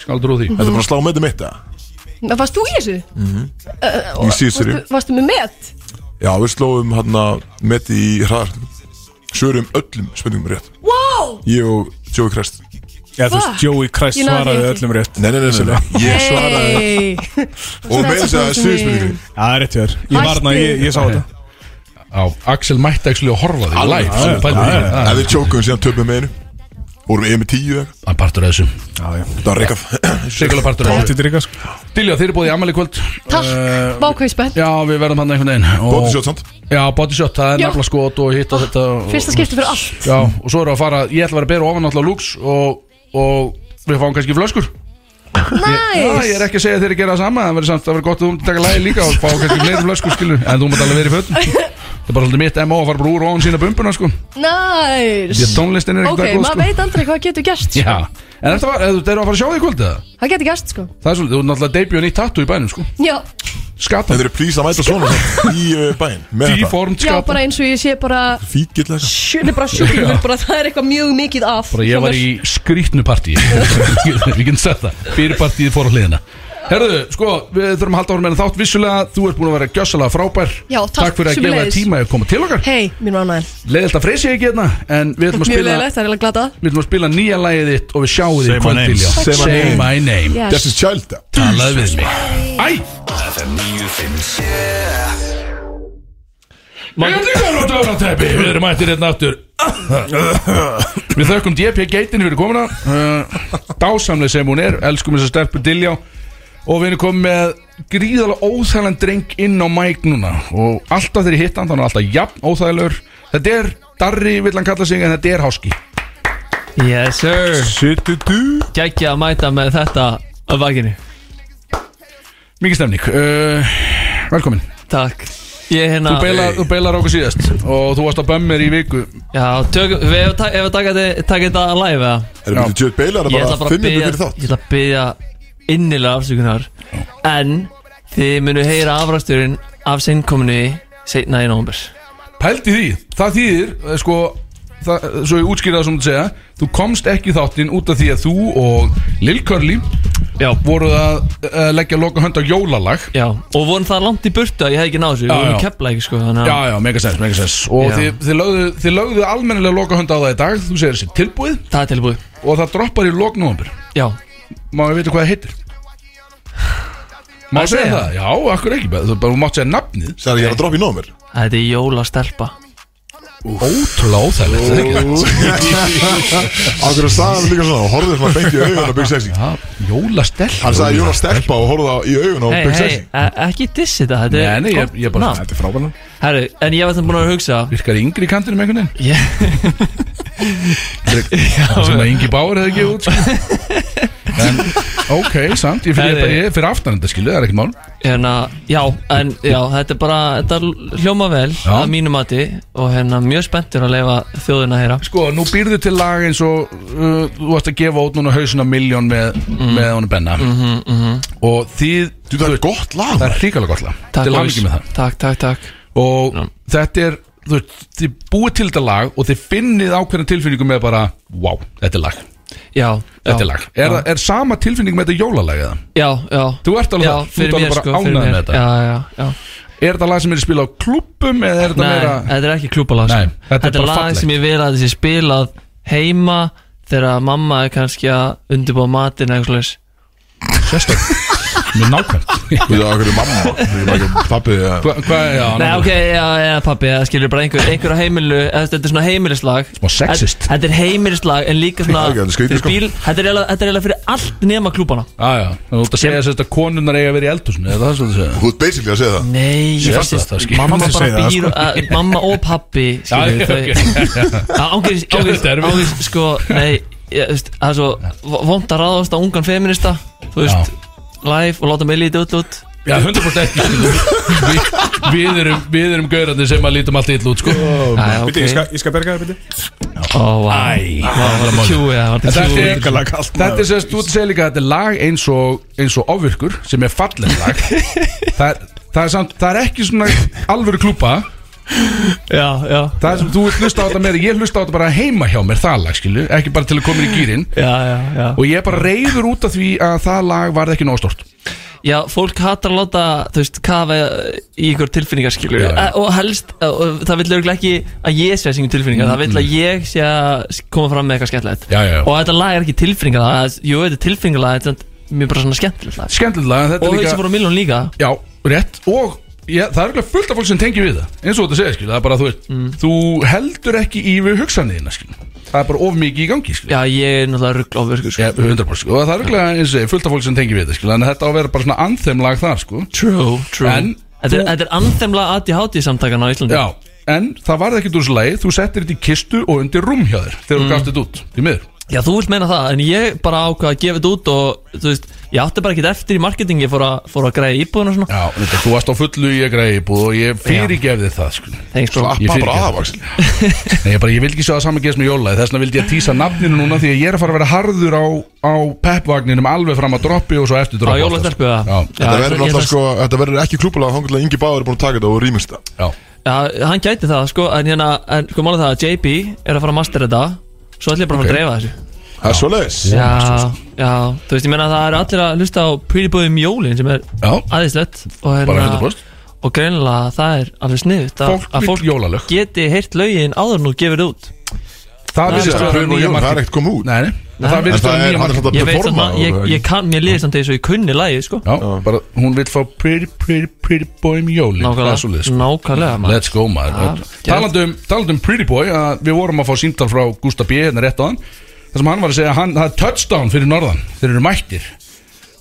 Speaker 2: skaldur úr því
Speaker 1: Þetta er bara að slá með þetta mitt eða?
Speaker 9: Ná, Varst þú í þessu?
Speaker 2: Mhm.
Speaker 9: Uh,
Speaker 1: Í síðustri
Speaker 9: Varstu, varstu með met?
Speaker 1: Já, við slóum hérna hann að með í hraðartum Svörum öllum spurningum rétt
Speaker 9: Wow!
Speaker 1: Ég og Joey Crest
Speaker 5: Já, þú veist,
Speaker 10: Fuck.
Speaker 5: Joey Christ
Speaker 10: Ég náði því
Speaker 5: svaraði
Speaker 10: ekki.
Speaker 5: öllum rétt
Speaker 1: Nei, nei, nei, nei, nei. Ég svaraði
Speaker 2: (laughs)
Speaker 10: Hey.
Speaker 1: Og meira þess að það er sviðspurningu
Speaker 5: Já, það er rétt hjá þér Ég var þarna, ég, ég sá þetta
Speaker 2: á, Axel mætti ekki að horfa því
Speaker 1: Alveg,
Speaker 2: live,
Speaker 1: já,
Speaker 2: sem
Speaker 1: já,
Speaker 2: pældi
Speaker 5: já,
Speaker 2: í. hérna.
Speaker 5: já.
Speaker 2: Það
Speaker 1: Ef við tjókum síðan töpum með einu Vorum við með tíu eða
Speaker 2: það er partur af þessu
Speaker 1: Það var reikað
Speaker 2: Sigulega partur af þessu
Speaker 5: Pottið drikka, sko
Speaker 2: Dilja, þeir eru búið í Amalí kvöld
Speaker 10: Takk,
Speaker 2: Eh,
Speaker 10: vákvæði spenn
Speaker 2: Já, við verðum hann einhvern veginn og-
Speaker 1: Bóttisjótt samt
Speaker 2: Já, body shot, það er
Speaker 10: Já.
Speaker 2: nafla skot og hitt og þetta og-
Speaker 10: Fyrsta skipti fyrir allt
Speaker 2: Já, og svo erum við að fara Ég ætla að vera að bera ofan alltaf lúks og, og við fáum kannski flöskur Já,
Speaker 10: Næs
Speaker 2: ég er ekki að segja þeir að gera það sama Það verður samt að vera gott að þú myndir taka lagi líka og fá kannski fleiri flöskur skilu En þú mátt alveg vera í fötum Það er bara svolítið mitt MO að fara bara úr ofan sína bumbuna sko
Speaker 10: Næs
Speaker 2: Því að tónlistin er
Speaker 10: Ok,
Speaker 2: ekkert
Speaker 10: maður
Speaker 2: að góð sko
Speaker 10: veit aldrei hvað getur
Speaker 9: sko.
Speaker 10: gerst
Speaker 2: Já, en þetta var, eða þú eru að fara að sjá því kvöld eða?
Speaker 10: Það getur gerst sko
Speaker 2: Það er svolítið, þú er náttúrulega debut og nýtt tattoo í bænum sko
Speaker 10: Já,
Speaker 2: Skatan,
Speaker 1: Þetta eru plís að mæta svona (laughs) samt Í uh, bæinn Með þetta
Speaker 2: dýformt
Speaker 10: já bara
Speaker 2: skatan
Speaker 10: eins og ég sé bara
Speaker 1: Fíkill eða eitthvað
Speaker 10: Sjö, nei, bara sjúklingur, bara það er eitthvað mjög mikið af
Speaker 2: Bara ég var í skrýtnu (laughs) partí Við getum sett það Fyrirpartíð fór á hliðina Herðu, sko, við þurfum að halda ára meðan þátt Vissulega, þú ert búin að vera gjössalega frábær
Speaker 10: Já, takk,
Speaker 2: fyrir að gefa þér
Speaker 10: sömuleiðis.
Speaker 2: tíma að koma til okkar
Speaker 10: Hei, mín var ánæðin
Speaker 2: Leðilt að freysi ekki hérna En við ætlum að
Speaker 10: Mjög
Speaker 2: spila
Speaker 10: leiðilegt, það er eiginlega glatað
Speaker 2: Við ætlum að spila nýja lagið þitt Og við sjáum þig í
Speaker 4: Say my
Speaker 2: kvöld,
Speaker 4: name.
Speaker 2: Dilja.
Speaker 1: Say my
Speaker 2: Say
Speaker 1: name.
Speaker 2: my name
Speaker 10: Yes.
Speaker 1: Destiny's Child eða?
Speaker 2: Talaðu við mig Æ Ég er líka rátt ára teppi Við erum mættir hérna aftur Við þökkum DP Geitin fyrir komuna uh, Dásamlega sem hún er Elskum þess að stelpu Diljá Og við erum komið með gríðalega óþæglan dreng inn á mæk núna Og alltaf þegar ég hitt hann Þannig alltaf jafn óþægilegur Þetta er Darri vill hann kalla sig En þetta er Háski
Speaker 9: Yes sir
Speaker 5: Sittu du
Speaker 9: Gækja að mæta með þetta
Speaker 3: Uh,
Speaker 9: af vakinu
Speaker 2: Mikið stemning uh, Velkomin
Speaker 9: Takk Ég hérna
Speaker 2: Þú beilar, þú beilar okkur síðast Og þú varst að bömmir í viku
Speaker 9: Já, tökum Við hefum ta- ef við taka þetta- taka þetta að live eða
Speaker 1: Erum við Jöld Beilar bara
Speaker 9: Ég ætla bara að
Speaker 1: fimm
Speaker 9: byggja
Speaker 1: minnum fyrir þátt
Speaker 9: Ég ætla að byggja innilega afsökunar En þið munu heyra afræsturinn af sinnkominni Seinna í nómber
Speaker 2: Pældi því, það þýðir eh, sko, það, Svo ég útskýra það sem þú segja Þú komst ekki í þáttinn út af því að þú og Lil Curly
Speaker 9: Já
Speaker 2: Voruð að uh, leggja loka hönd á jólalag
Speaker 9: Já, og vorum það langt í burtu að ég hef ekki náð
Speaker 2: Já,
Speaker 9: þessu Við vorum
Speaker 2: já.
Speaker 9: kepla ekki sko þannig
Speaker 2: Já,
Speaker 9: að
Speaker 2: já, megasens, megasens Og
Speaker 9: Já.
Speaker 2: þið, þið, lögðu, þið lögðu almennilega loka hönd á það í dag Þú segir þessi tilbúið
Speaker 9: Það er tilbúið
Speaker 2: Og það droppar í loknúambur
Speaker 9: Já,
Speaker 2: Má ég vita hvað það heitir? Má
Speaker 9: Að
Speaker 2: segja
Speaker 9: segja?
Speaker 2: það? Já, akkur ekki bara- Þú bara mátt segja nafnið
Speaker 1: Sæðar ég er að droppa í nómur
Speaker 9: þetta er jólastelpa
Speaker 2: Ótrúlega óþægilegt er það ekki?
Speaker 1: Akkur að staðan líka svona Og horfðu svona beint í augun á Big Sexy
Speaker 2: Já, Jólastelpa
Speaker 1: Hann sagði Jónas Stelpa og horfði á, í augun á
Speaker 9: Hei,
Speaker 1: Big
Speaker 9: hei,
Speaker 1: Sexy
Speaker 9: e- ekki dissi þetta Þetta
Speaker 2: Nei,
Speaker 9: er
Speaker 2: nei, ég, ég bara
Speaker 9: Ná,
Speaker 5: Þetta er frábæðan
Speaker 9: herri, en ég var þannig búin að hugsa
Speaker 2: Virkar yngri í kantinum einhvern veginn (laughs)
Speaker 9: Ég
Speaker 2: Það sem að Ingi Báur hefði gefið (laughs) út sko. En, ok, samt Ég fyrir,
Speaker 9: Nei, nei.
Speaker 2: ég fyrir aftan þetta skilu, það er ekkert mál
Speaker 9: hérna, já, en já, þetta er bara þetta hljóma vel
Speaker 2: Já.
Speaker 9: að mínu mati og hérna mjög spenntur að leifa þjóðina að heyra
Speaker 2: Sko, nú býrðu til lag eins og uh, Þú varst að gefa út núna hausuna miljón með,
Speaker 9: Mhm.
Speaker 2: með honum Benna Og þið
Speaker 1: Þú, það er gott lag
Speaker 2: Það
Speaker 1: maður.
Speaker 2: er hrikalega gott lag
Speaker 9: Takk,
Speaker 2: Til
Speaker 9: Lars.
Speaker 2: hamingju með það
Speaker 9: takk, takk, takk
Speaker 2: Og
Speaker 9: Já.
Speaker 2: þetta er, þú veist, þið búið til þetta lag Og þið finnið ákveðna tilfinningu með bara Wow, þetta er lag,
Speaker 9: já,
Speaker 2: þetta er
Speaker 9: já,
Speaker 2: lag Er, það- er sama tilfinning með þetta jólalag eða?
Speaker 9: já, já,
Speaker 2: Þú ert alveg,
Speaker 9: já,
Speaker 2: það- þú ert alveg bara
Speaker 9: fyrir
Speaker 2: ánægð með
Speaker 9: mér
Speaker 2: þetta
Speaker 9: já, já, já,
Speaker 2: Er þetta lag sem er spilað á klubbum eða er þetta
Speaker 9: nei,
Speaker 2: meira
Speaker 9: þetta er ekki klúbalag
Speaker 2: Nei,
Speaker 9: sko.
Speaker 2: þetta er
Speaker 9: þetta er
Speaker 2: bara
Speaker 9: lag
Speaker 2: fallegt.
Speaker 9: sem ég vil að þessi spilað heima þegar mamma er kannski að undirbúa matinn eða eitthvað slags
Speaker 2: sérstök Mjög nákvæmt
Speaker 1: Þú veit að okkur er mamma Pappi
Speaker 2: Hva- Hvað er það?
Speaker 9: Nei, ok, já, já, pappi, það skilur bara einhver, einhver á heimilu, eða þetta er svona heimilislag
Speaker 2: Smá sexist.
Speaker 9: Þetta- Þetta er heimilislag, en líka svona
Speaker 1: Já, (laughs) ok, þetta er skrítið,
Speaker 9: fyrir
Speaker 1: sko.
Speaker 9: bíl, Þetta er eiginlega- þetta er eiginlega fyrir allt nema klúbana
Speaker 2: Já, já Þú ert að segja þess að konunnar eiga að vera í eldhúsinu eða það er svo að segja
Speaker 1: Þú ert basically að segja það
Speaker 9: Nei,
Speaker 2: Ég fannst það, það skil-
Speaker 9: mamma
Speaker 5: fannst ég
Speaker 9: bara
Speaker 5: segja það,
Speaker 9: býr,
Speaker 5: sko.
Speaker 9: að, mamma og pappi
Speaker 2: (laughs) Já, ok.
Speaker 9: Ángurist, ángurist,
Speaker 2: Gerðu þetta erfitt.
Speaker 9: ángurist, sko, nei, ég, þú veist, það er svo vond að ráðast á ungan feminista, þú veist, live og láta mig lítið öll út
Speaker 2: Já, 100% ekki skilur við, við erum, við erum gaurandi sem að lítum allt illa út sko
Speaker 9: Æ, ok,
Speaker 5: Biti, ég skal, ég skal berga það, biti
Speaker 9: ó, vá, var þetta kjúið, var þetta
Speaker 2: Þetta
Speaker 9: kjúið
Speaker 2: er
Speaker 5: Ríkalega kalt
Speaker 2: Þetta er sérst, þú ert að segja líka að þetta er lag eins og, eins og ofvirkur sem er fallin lag það, er- það, er samt, það er ekki svona alvöru klúpa
Speaker 9: Já, já,
Speaker 2: Það er sem þú ert hlusta á þetta meira Ég hlusta á þetta bara heima hjá mér það lag skilu Ekki bara til að koma mér í gýrin
Speaker 9: já, já, já
Speaker 2: Og ég er bara reyður út af því að það lag varð ekki nóg stort
Speaker 9: Já, fólk hatar að láta, þú veist, kafa í ykkur tilfinningar, skilur
Speaker 2: Já, já.
Speaker 9: Og helst, og það vill örugglega ekki að ég sé að syngja tilfinningar Það vill að ég sé að koma fram með eitthvað skemmtilegt
Speaker 2: Já, já.
Speaker 9: Og þetta lag er ekki tilfinningar, það er- jú, þetta er tilfinningar, þetta er samt mér bara svona skemmtilegt lag
Speaker 2: Skemmtilegt lag, en þetta er
Speaker 9: Og
Speaker 2: líka-
Speaker 9: þeir sem fóru á Miljón líka
Speaker 2: Já, rétt og Já, það er ekki fullt af fólk sem tengir við það eins og þetta segir, skil, það er bara, þú veist þú heldur ekki í við hugsanina skil. það er bara of mikið í gangi skil.
Speaker 9: Já, ég er náttúrulega sko. ruggl ofverkur
Speaker 2: skil. sko. Já, 100% og það er ekki eins og segir, fullt af fólk sem tengir við það skil, en þetta á að vera bara svona anþemlag þar sko.
Speaker 9: True, true
Speaker 2: en,
Speaker 9: Þetta er, þetta er anþemla ADHD samtakana á Íslandi
Speaker 2: já, en það varði ekki úr þessu leið, þú settir þetta í kistu og undir rúm hjá þér þegar þú gafst þetta út, því miður
Speaker 9: Já, þú vilt meina það, en ég bara ákvað að gefa þetta út og þú veist, ég átti bara ekkert eftir í marketingi fór, a, fór að græja íbúðun og svona
Speaker 2: Já, þetta, þú varst á fullu í að greiði búið og ég fyrirgefði það sko.
Speaker 9: Thanks, bro.
Speaker 2: Ég
Speaker 1: Slappa Ah, bara
Speaker 2: fyrirgef
Speaker 1: af,
Speaker 2: það.
Speaker 1: Axel
Speaker 2: Nei, ég, bara, ég vil ekki sjá það saman geðast með jólæði Þess vegna vildi ég tísa nafninu núna Því að ég er að fara að vera harður á, á peppvagninum Alveg fram að droppi og svo eftir
Speaker 9: Á
Speaker 2: droppi
Speaker 9: jólastelpu eða?
Speaker 2: Já,
Speaker 9: Já,
Speaker 1: Þetta
Speaker 9: ég
Speaker 1: verður
Speaker 9: ætla-
Speaker 1: náttúrulega
Speaker 9: ég ætla-
Speaker 1: sko, þetta verður ekki klúbulega Þannig að Ingi Báður er búin að taka þetta og rýmist það
Speaker 2: já,
Speaker 9: Já, hann gæti það, sko, en hérna, en sko mála það að JB er að fara að mastera þetta Svo ætlum ég bara að fara að dreifa þessu
Speaker 1: Það er svoleiðis
Speaker 9: Já, já, þú veist, ég meina að það er allir að hlusta á Pretty Boy Mjólin sem er
Speaker 2: já,
Speaker 9: aðeinslegt Og, hérna,
Speaker 2: Bara 100%.
Speaker 9: og greinilega það er alveg sniðut að,
Speaker 2: Fólk vill
Speaker 9: að fólk
Speaker 2: jólalög.
Speaker 9: geti heyrt lögin áður nú gefur það út
Speaker 2: Það
Speaker 1: Það er
Speaker 2: virðist að vera
Speaker 1: Pröfum og
Speaker 2: nýja
Speaker 1: Jón, það er
Speaker 2: markið
Speaker 1: ekkert komið út
Speaker 2: Nei, nei, en það
Speaker 9: Nei.
Speaker 1: En
Speaker 2: virðist að
Speaker 1: það
Speaker 2: vera
Speaker 1: er,
Speaker 2: nýja
Speaker 1: hann er
Speaker 2: markið
Speaker 1: samt að
Speaker 9: Ég veit
Speaker 1: performa
Speaker 9: samt að ég,
Speaker 1: og-
Speaker 9: ég kann, mér liðist samt að ég svo ég kunni lagið, sko
Speaker 2: Já, bara, hún vil fá Pretty Pretty Pretty Boy Mjólin Það er svolítið,
Speaker 9: Nákvæmlega, Mm.
Speaker 2: sko
Speaker 9: nákvæmlega maður.
Speaker 2: Let's go maður
Speaker 9: Já, geðveikt.
Speaker 2: Talandi um, talandi um Pretty Boy að Við vorum að fá síntal frá Gustaf B. hérna rétt á hann Það sem hann var að segja hann, Það er touchdown fyrir norðan Þeir eru mættir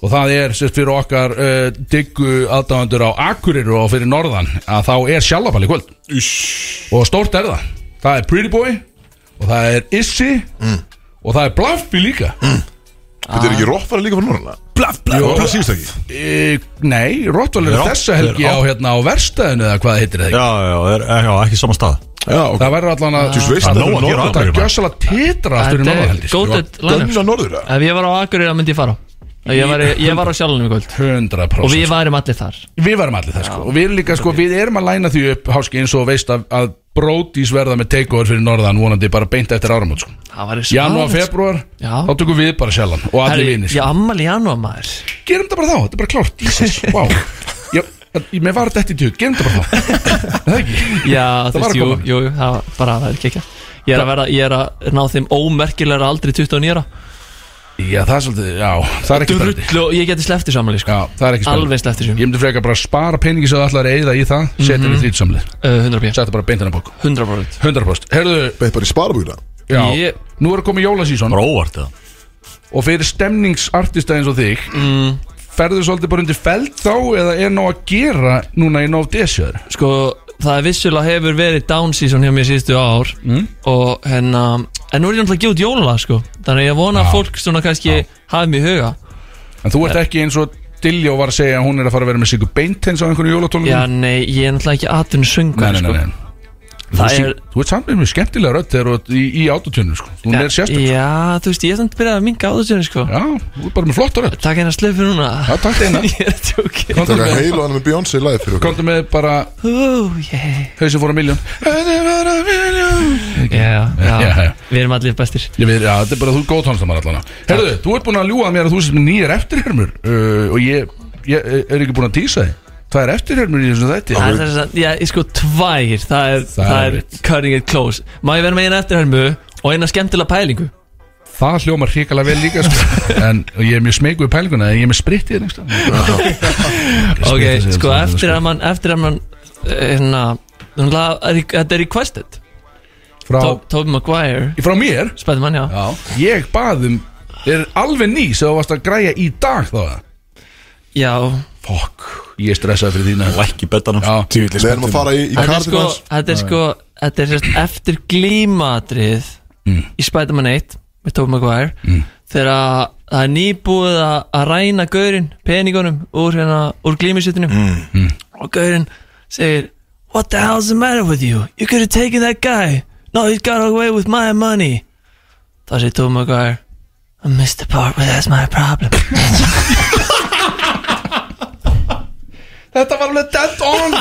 Speaker 2: Og það er sérst fyrir okkar uh, diggu aðdáðandur á Akureyri og fyrir norðan að þá er sjálfaball í kvöld Ish. og stórt er það það er Pretty Boy og það er Issi og það er Blafby líka
Speaker 1: Þetta er ekki roffara líka fyrir norðanlega
Speaker 2: Blaf, blaf,
Speaker 1: Jó, það sýnst ekki
Speaker 2: E, nei, Rottweiler
Speaker 4: Já,
Speaker 2: er þessa helgi
Speaker 4: þeir-
Speaker 2: á, hérna, á verstaðinu eða hvað heitir það ekki
Speaker 4: Já, já, er, já, ekki saman stað
Speaker 1: Já, ok
Speaker 2: Það verður allan að
Speaker 1: Þú veist
Speaker 4: Það er
Speaker 1: að
Speaker 4: nóg að
Speaker 1: það er
Speaker 2: Það
Speaker 4: gera á
Speaker 2: er
Speaker 4: Akureyri, maður.
Speaker 2: gjössalega titra aftur í
Speaker 9: Þetta er
Speaker 2: norðaheldist
Speaker 9: góðið
Speaker 1: norðanlega
Speaker 9: lænum
Speaker 1: Dönna norður það
Speaker 9: Ef ég var á Akureyra myndi ég fara Ef Ég, var, ég var á sjálfnum í kvöld
Speaker 2: 100%
Speaker 9: Og við værim allir þar
Speaker 2: Við varum allir það sko Og við erum líka sko Við erum að læna því upp Háski eins og veist að, að Brótis verða með takeover fyrir norðan Vonandi bara beint eftir áramót sko
Speaker 9: Það var
Speaker 2: Janúar, februar
Speaker 9: Já.
Speaker 2: Þá tökum við bara sjálfan Og allir vinir
Speaker 9: Ég
Speaker 2: sko.
Speaker 9: ammali janúar maður
Speaker 2: Gerum þetta bara þá Þetta er bara klárt
Speaker 9: (laughs)
Speaker 2: Jesus, wow Já, ég- Mér var þetta eftir tjóð Gerum þetta bara þá Það ekki
Speaker 9: Já,
Speaker 2: var
Speaker 9: þú veist,
Speaker 2: að
Speaker 9: jú,
Speaker 2: koma.
Speaker 9: jú, jú, það var bara það er kekja Ég er að verða, ég er að ná þeim ómerkilega aldrei 29 ára
Speaker 2: Já, það er svolítið Já, það er ekki spennandi
Speaker 9: Drull og ég geti sleppt þessu ammali, sko
Speaker 2: Já, það er ekki spennandi
Speaker 9: Alveg sleppt þessu
Speaker 2: Ég myndi freka bara að spara peningi sem þú ætlar að eyða í það Setja mm -hmm. við þrítsamlið
Speaker 9: Uh, 100 pjá,
Speaker 2: Setja bara beint hennar bók
Speaker 9: 100 bróðið
Speaker 2: 100% Herðu,
Speaker 1: Beitt bara í sparabúina
Speaker 2: já
Speaker 9: Ég-
Speaker 2: Nú er að koma jólasíson
Speaker 4: Bara óvart eða
Speaker 2: Og fyrir stemningsartista eins og þig
Speaker 9: mm,
Speaker 2: Ferðu svolítið bara undir feld þá Eða er nóg að gera núna í nóg desjöður
Speaker 9: Sko, það er vissulega hefur verið down season hjá mér síðustu ár
Speaker 2: Mm.
Speaker 9: Og hérna, en nú er ég náttúrulega að gefa út jólalag, sko Þannig að ég vona að fólk svona kannski hafi mig í huga
Speaker 2: En þú ert ekki eins og Dilljó var að segja að hún er að fara að vera með sigur beintens á einhverju jólatólum
Speaker 9: Já, nei, ég er náttúrulega ekki atvinnu
Speaker 2: nei,
Speaker 9: söngur,
Speaker 2: nei,
Speaker 9: sko
Speaker 2: nei, nei. Þú,
Speaker 9: Það
Speaker 2: syng,
Speaker 9: er,
Speaker 2: þú ert samt með skemmtilega rödd þegar þú ert í, í autotunum sko. Hún er sérstök sko.
Speaker 9: Já, þú veist, ég er þannig að byrja að minga á þessu, sko
Speaker 2: Já, þú ert bara með flott rödd
Speaker 9: Takk hérna slöfu núna
Speaker 2: Já, takk hérna. eina
Speaker 9: (laughs) Ég er að tjóki
Speaker 2: Komdu
Speaker 1: Þetta er
Speaker 2: með,
Speaker 1: heil og hann með Beyoncé í lagið fyrir okkur
Speaker 2: komdu með bara
Speaker 9: Ú, yeah.
Speaker 2: Hauðsum fór að miljón Hauðsum fór að miljón
Speaker 9: Já, já,
Speaker 2: (laughs) Já, já.
Speaker 9: við erum allir bestir
Speaker 2: Ég veit, já, þetta er bara þú er góð tónstamar allan Herðu, þú ert búin að ljúa mér að þú sést með nýjar eftirhermur uh, Og ég, ég er ekki búin að tísa þið Það er eftirhermur í þessum þætti
Speaker 9: Það er þess að, já, ég sko tvær Það er,
Speaker 2: Það
Speaker 9: það
Speaker 2: er
Speaker 9: er
Speaker 2: rétt.
Speaker 9: cutting it close Má ég vera með eina eftirhermu og eina skemmtilega pælingu
Speaker 2: Það hljómar hrikalega vel líka sko. (laughs) En og ég er mjög smeyku í pælinguna En ég er með sprittið þér
Speaker 9: Ok,
Speaker 2: einhverstað
Speaker 9: sko eftir að mann Eftir að mann, eh, hérna náttúrulega er í- Þetta er requested
Speaker 2: frá,
Speaker 9: To- Tobey Maguire,
Speaker 2: frá mér
Speaker 9: spæði mann, já
Speaker 2: já, Ég baðum Er alveg ný sem þú varst að græja í dag þá
Speaker 9: Já,
Speaker 2: Fokk, ég er stressaði fyrir þína
Speaker 4: Lækki betanum
Speaker 2: Já,
Speaker 1: Við erum að fara í, í
Speaker 9: þetta er sko
Speaker 1: (laughs) Cardinals
Speaker 9: Þetta er sko, þetta er sérst eftir glímadrið Í Spiderman 1 Með Tobey Maguire Þegar að það er nýbúið að að ræna Gaurin, peningunum úr, hérna, úr glímisutinu og Gaurin segir What the hell's the matter with you? You could have taken that guy No, he got away with my money Það segir Tobey Maguire I missed the part where that's my problem
Speaker 2: (laughs) Þetta var alveg dead on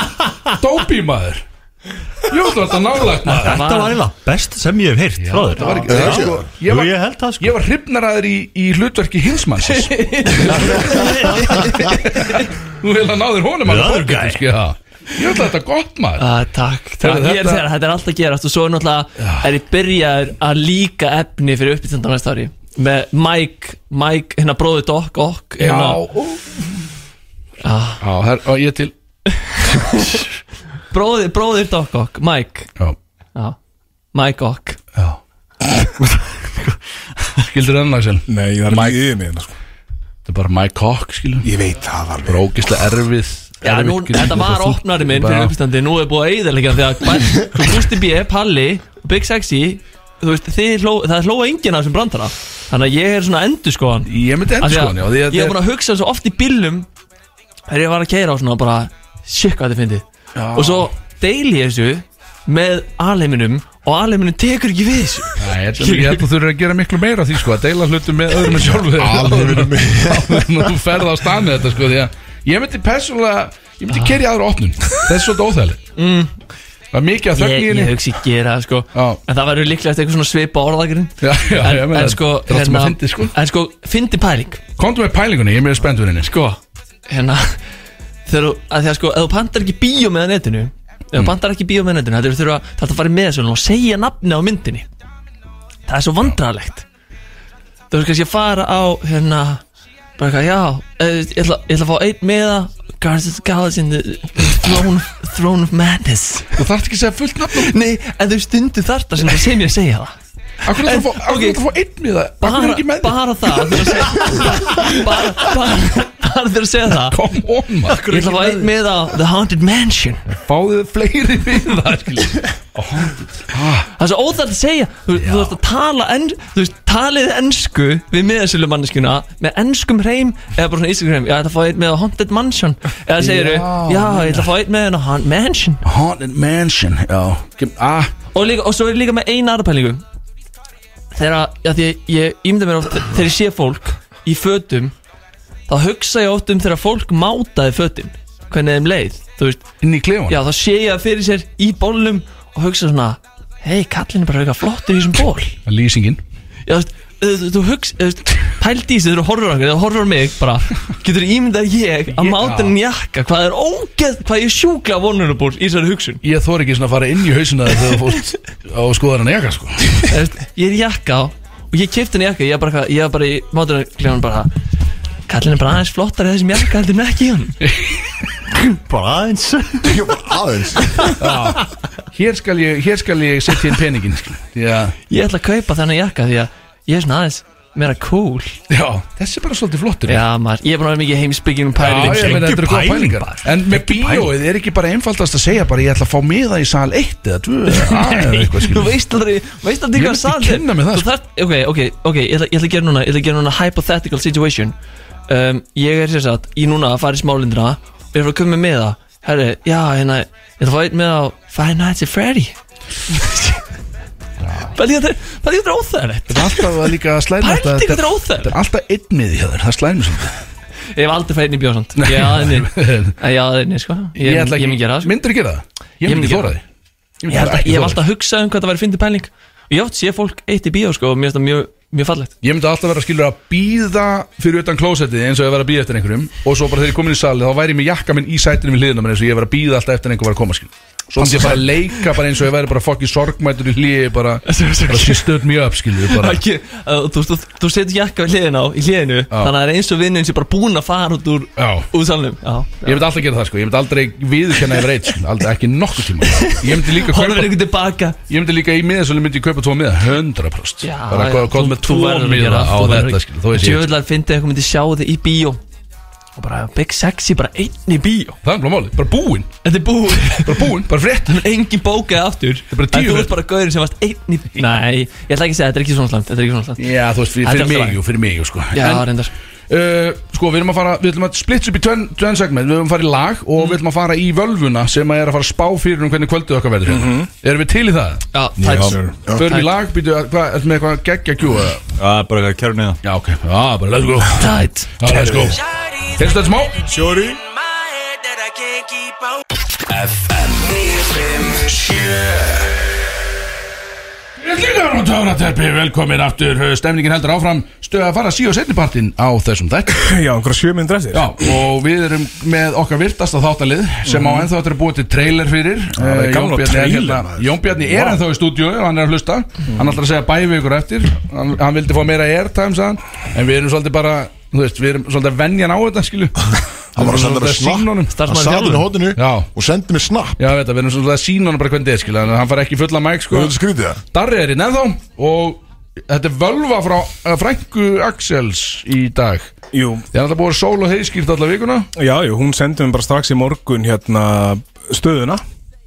Speaker 2: Dópi maður Jú, þú ert að nálægt maður
Speaker 4: Þetta var eiginlega best sem ég hef heyrt frá þér
Speaker 2: Það var ekki það, sko. Ég var, ég það, sko. ég var hrifnaræður í, í hlutverki
Speaker 9: (laughs)
Speaker 2: hinsmannsins Þú hefði að náður honum að
Speaker 9: The other
Speaker 2: fórgæti, sko það Ég ætla þetta gott maður
Speaker 9: Ah, takk,
Speaker 2: Þegar
Speaker 9: takk. Ég er
Speaker 2: þetta-
Speaker 9: að segja, þetta er alltaf að gerast og svo er náttúrulega er ég byrjaður að líka efni fyrir uppbyrjandan næsta ári með Mike, Mike, hérna bróðið Dokk, Okk
Speaker 2: Já,
Speaker 9: hérna, Ah.
Speaker 2: Já, her, og ég til
Speaker 9: bróðir, bróðir Dokk, Okk, Mike
Speaker 2: Já,
Speaker 9: Mike Okk
Speaker 2: skildur enn Axel
Speaker 5: Nei, það er ekki yfir mig hérna, sko.
Speaker 2: Þetta er bara Mike Cock, skilur
Speaker 5: Ég veit það alveg
Speaker 2: Rókislega erfið
Speaker 9: Já,
Speaker 2: erfið,
Speaker 9: nú,
Speaker 2: skilur,
Speaker 9: þetta var
Speaker 2: fúll-
Speaker 9: opnari minn
Speaker 2: bara-
Speaker 9: fyrir uppstandi Nú er búið að eyðilega því að (laughs) bæ- Svo Gústi B, Palli, Big Sexy Þú veist, þið hló, það er hlóa enginn af þessum brandara Þannig að ég er svona endur skoðan
Speaker 2: Ég myndi endurskoðan, sko, já, því að þetta
Speaker 9: Ég er búin að hugsa svo oft í bílum Þegar ég var að keira á svona bara Shit, hvað þetta fyndið Og svo deil ég þessu með alheiminum Og alheiminum tekur ekki við þessu
Speaker 2: Nei, ég held- ég held að þú þurfir að gera miklu meira af því sko að deila hlutum með öðrum en sjálfur (laughs)
Speaker 8: Alheiminum.
Speaker 2: áður en þú ferð á stað með þetta sko því að ég myndi persónulega ég myndi gera í aðra opnun það er svolítið óþægilegt
Speaker 9: mm,
Speaker 2: það er mikið að þögn í
Speaker 9: Ég,
Speaker 2: henni
Speaker 9: ég hugsi gera það sko En það verður líklega eitthvað svona svipa orðagrinn
Speaker 2: Já, já,
Speaker 9: en,
Speaker 2: ég meina,
Speaker 9: en sko,
Speaker 2: þetta er allt sem að fyndi, sko.
Speaker 9: En sko, fyndi pæling
Speaker 2: Komdu með pælingunni, ég er mjög spennt henni
Speaker 9: Sko, hérna Þegar þú, að því að sko, ef þú pantar ekki bíó með á netinu Ef þú pantar ekki bíó með á netinu Það þurfa það þarf að fara með þessu og segja nafni á myndinni Það er svo vandræðalegt Það er kannski að fara á, hérna Bara eitthvað, já, eh, ég ætla, ég ætla að fá einn með það Guardians of the Galaxy in the Throne, throne of Madness
Speaker 2: Þú þarft ekki að segja fullt nafn
Speaker 9: Nei, en þau stundu þarft að sem það sem ég að segja það
Speaker 2: Akkur er það að fá einn með það Akkur er
Speaker 9: bara,
Speaker 2: ekki með þig
Speaker 9: bara það að þurfa að (laughs) segja bara, bara, bara þurfa að segja það
Speaker 2: Come on, maður
Speaker 9: Ég ætla að fá einn með á The Haunted Mansion
Speaker 2: Fáðu þið fleiri við það, skilur
Speaker 9: Það er svo óþægt að segja Þú, þú ert að tala en, Þú veist, talið ennsku við miðasölu manneskuna Með ennskum hreim Eða bara svona íslenskum hreim Já, ég ætla að fá einn með á Haunted Mansion Eða segir
Speaker 2: Já,
Speaker 9: þú Já, ég ætla að fá einn með á Haunted Mansion
Speaker 2: Haunted Mansion, já Kem- ah,
Speaker 9: og, líka, og svo er líka með eina aðra pælingu Þegar að, já því ég, ég ímynda mér oft Þegar ég sé fólk í fötum Þá hugsa ég oft um þegar fólk mátaði fötin Hvernig þeim leið Þú veist,
Speaker 2: Inn í klefan
Speaker 9: já þá sé ég það fyrir sér í bollum Og hugsa svona Hei, kallin er bara eitthvað flottur í þessum ból
Speaker 2: Lýsingin
Speaker 9: Já, þú veist, þú- þú- þú hugsa, þú veist, pældi í þessu þegar þú horfur á okkur, þegar þú horfur á mig bara, getur ímyndað ég að máta henni jakka, hvað er ógeð, hvað ég er sjúkla vulnerable í þessari hugsun.
Speaker 2: Ég þor ekki svona að fara inn í hausina þér þegar þú fórst á skoðaran eka sko
Speaker 9: Þú veist, ég er í jakka á og ég kefti henni jakka, ég var bara, eitthvað- ég var bara í mátunarkljónum bara kallin er bara aðeins flottar í þessum jakka heldur en ekki í hann
Speaker 4: Bara aðeins
Speaker 8: Ég var aðeins
Speaker 2: Hér skal ég, hér skal ég setja inn peningin skilur. Því að
Speaker 9: ég ætla að kaupa þennan jakka því að ég er svona aðeins meira cool
Speaker 2: Já, þessi er bara svolítið flottur
Speaker 9: já maður, ég er búin að vera mikið heimsbyggjum
Speaker 2: Já, ég
Speaker 9: pæling
Speaker 2: meina, þetta eru góða
Speaker 4: pæling
Speaker 2: pælingar
Speaker 4: bara.
Speaker 2: En með bíóið er ekki bara einfaldast að segja bara ég ætla að fá miða í sal 1 eða 2 (laughs) eða eða eitthvað
Speaker 9: þú
Speaker 2: skilur
Speaker 9: veist aldrei, veist aldrei
Speaker 2: Ég
Speaker 9: hvað
Speaker 2: myndi
Speaker 9: sal
Speaker 2: kynna mér það, sko.
Speaker 9: Þú þarft- ok, ok, ok, ég ætla, ég ætla að gera núna ég ætla að gera núna hypothetical situation um, ég er sér satt, ég núna að fara í smálindina og ég er að koma með það herri, já, hérna, ég ætla að fá einn með á Five Nights at Freddy Pældi hvað þetta er- pældi hvað þetta er óþægilegt
Speaker 2: Þetta er alltaf að líka að slæma
Speaker 9: Pældi hvað þetta er
Speaker 2: Þetta
Speaker 9: óþægilegt
Speaker 2: er alltaf einn miði hjá þér, það slæmur svolítið
Speaker 9: Ég hef aldrei fæðin í bjóðsand Ég aðinni,
Speaker 2: (laughs)
Speaker 9: ég aðinni, sko Ég, ég,
Speaker 2: ætla
Speaker 9: ég mun gera það, sko
Speaker 2: Myndirðu gera það? Ég
Speaker 9: Ég
Speaker 2: myndi ekki
Speaker 9: myndi gera
Speaker 2: þóra því Ég myndi
Speaker 9: Ég, held
Speaker 2: bara
Speaker 9: að-
Speaker 2: ekki
Speaker 9: ég hef
Speaker 2: þora því.
Speaker 9: alltaf hugsað um hvað það væri fyndi pæling Og ég átt sé fólk eitt í bíó, sko Og mér finnst það mjög, mjög fallegt
Speaker 2: Ég myndi alltaf vera að skilur að býða fyrir utan klósettið eins og ég var að býða eftir einhverjum og svo bara þegar ég komin í salið þá væri ég með jakka minn í sætinu við hliðina mér eins og ég var að býða alltaf eftir einhver var að koma skilur Svo myndi ég bara að leika bara eins og ég væri bara fokki sorgmætur í hliði bara, bara she stood me up skilur
Speaker 9: (laughs)
Speaker 2: bara
Speaker 9: ekki, uh, þú, þú, þú setur jakka við hliðin á, í hliðinu Þannig að það er eins og vinninn sem bara búin að fara út úr,
Speaker 2: Já,
Speaker 9: úr salnum Já,
Speaker 2: ég myndi alltaf gera það sko, ég myndi aldrei viðurkenna yfir eitt skilur, aldrei ekki nokkuð tíma Ég myndi líka kaupa,
Speaker 9: horfir einhvern tilbaka
Speaker 2: ég myndi líka í miðasölu myndi ég kaupa tvo miða, 100%
Speaker 9: Já,
Speaker 2: Bara
Speaker 9: já,
Speaker 2: hvað- hvað
Speaker 9: þú-
Speaker 2: með
Speaker 9: þú
Speaker 2: tvo
Speaker 9: verður að
Speaker 2: miða
Speaker 9: gera það,
Speaker 2: á
Speaker 9: þú verður
Speaker 2: þetta,
Speaker 9: að-
Speaker 2: skilur, þó ég sé
Speaker 9: Djöfull að fyndi eitthvað myndi sjá þig í bíó Og bara Big Sexy bara einn í bíó
Speaker 2: Það er bara málið, bara búinn,
Speaker 9: Þetta er búið (laughs)
Speaker 2: bara búinn, bara frétt
Speaker 9: Það er engin bókaði aftur
Speaker 2: er bara
Speaker 9: En
Speaker 2: tíu
Speaker 9: Þú
Speaker 2: fyrir.
Speaker 9: ert bara gaurinn sem varst einn í bíó Nei, ég ætla ekki að segja, þetta er ekki svona slæmt Þetta er ekki svona slæmt
Speaker 2: Já, þú veist, fyrir, fyrir
Speaker 9: Þetta er allt í
Speaker 2: mig,
Speaker 9: lagi.
Speaker 2: jú, fyrir mig, jú, sko
Speaker 9: Já,
Speaker 2: En,
Speaker 9: reyndar
Speaker 2: uh, Sko, við erum að fara, við ætlum að splitsa upp í tvenn tven segment Við erum að fara í lag og við ætlum að fara í völvuna sem að er að fara að spá fyrir um hvernig kvöldið okkar verður mm Erum við til í það?
Speaker 9: Já, tætt
Speaker 2: Förum í lag, býtu, hvað, ertu með eitthvað geggja kjú? eða?
Speaker 4: Það er bara eitthvað kjörnið það
Speaker 2: Já, ok, já, bara let's go
Speaker 9: Tætt
Speaker 2: Já, let's go Finnst þetta smá?
Speaker 8: Sjóri
Speaker 2: Rillingar og Töfrateppi, velkomin aftur Eh, Stemningin heldur áfram Stöð að fara sí og setnipartin á þessum þætt
Speaker 5: Já, einhverja sjö minn dressir
Speaker 2: Já, og við erum með okkar virtasta þáttalið Sem á ennþá þetta er búið til trailer fyrir
Speaker 5: það er
Speaker 2: Mhm. Eh,
Speaker 5: gaman
Speaker 2: Jón
Speaker 5: að
Speaker 2: Bjarni er
Speaker 5: trailer,
Speaker 2: hérna- Mhm.
Speaker 5: maður.
Speaker 2: Jón Bjarni er ennþá í stúdíu og hann er að hlusta Hann ætlar að segja bæ við ykkur eftir Hann, hann vildi fá meira airtime, sagðan En við erum svolítið bara, þú veist, við erum svolítið að venja hann á þetta, skilju
Speaker 1: Hann var að senda
Speaker 2: Við erum
Speaker 1: mér
Speaker 2: svolítið
Speaker 1: snapp.
Speaker 2: sína honum.
Speaker 1: Hann sat inn í hodinu og sendi mér snapp.
Speaker 2: Já, veit það, við erum svolítið að sína hann bara hvernig þetta er, skilja Þannig að hann far ekki í fulla mæk, sko
Speaker 1: Þú veit skrítið það?
Speaker 2: Darri er inn ennþá og þetta er völva frá uh, Franku Axels í dag
Speaker 5: Jú
Speaker 2: Þið er alltaf búið að sól og heiskýrt alla vikuna
Speaker 5: Já, jú, hún sendi mér bara strax í morgun hérna stöðuna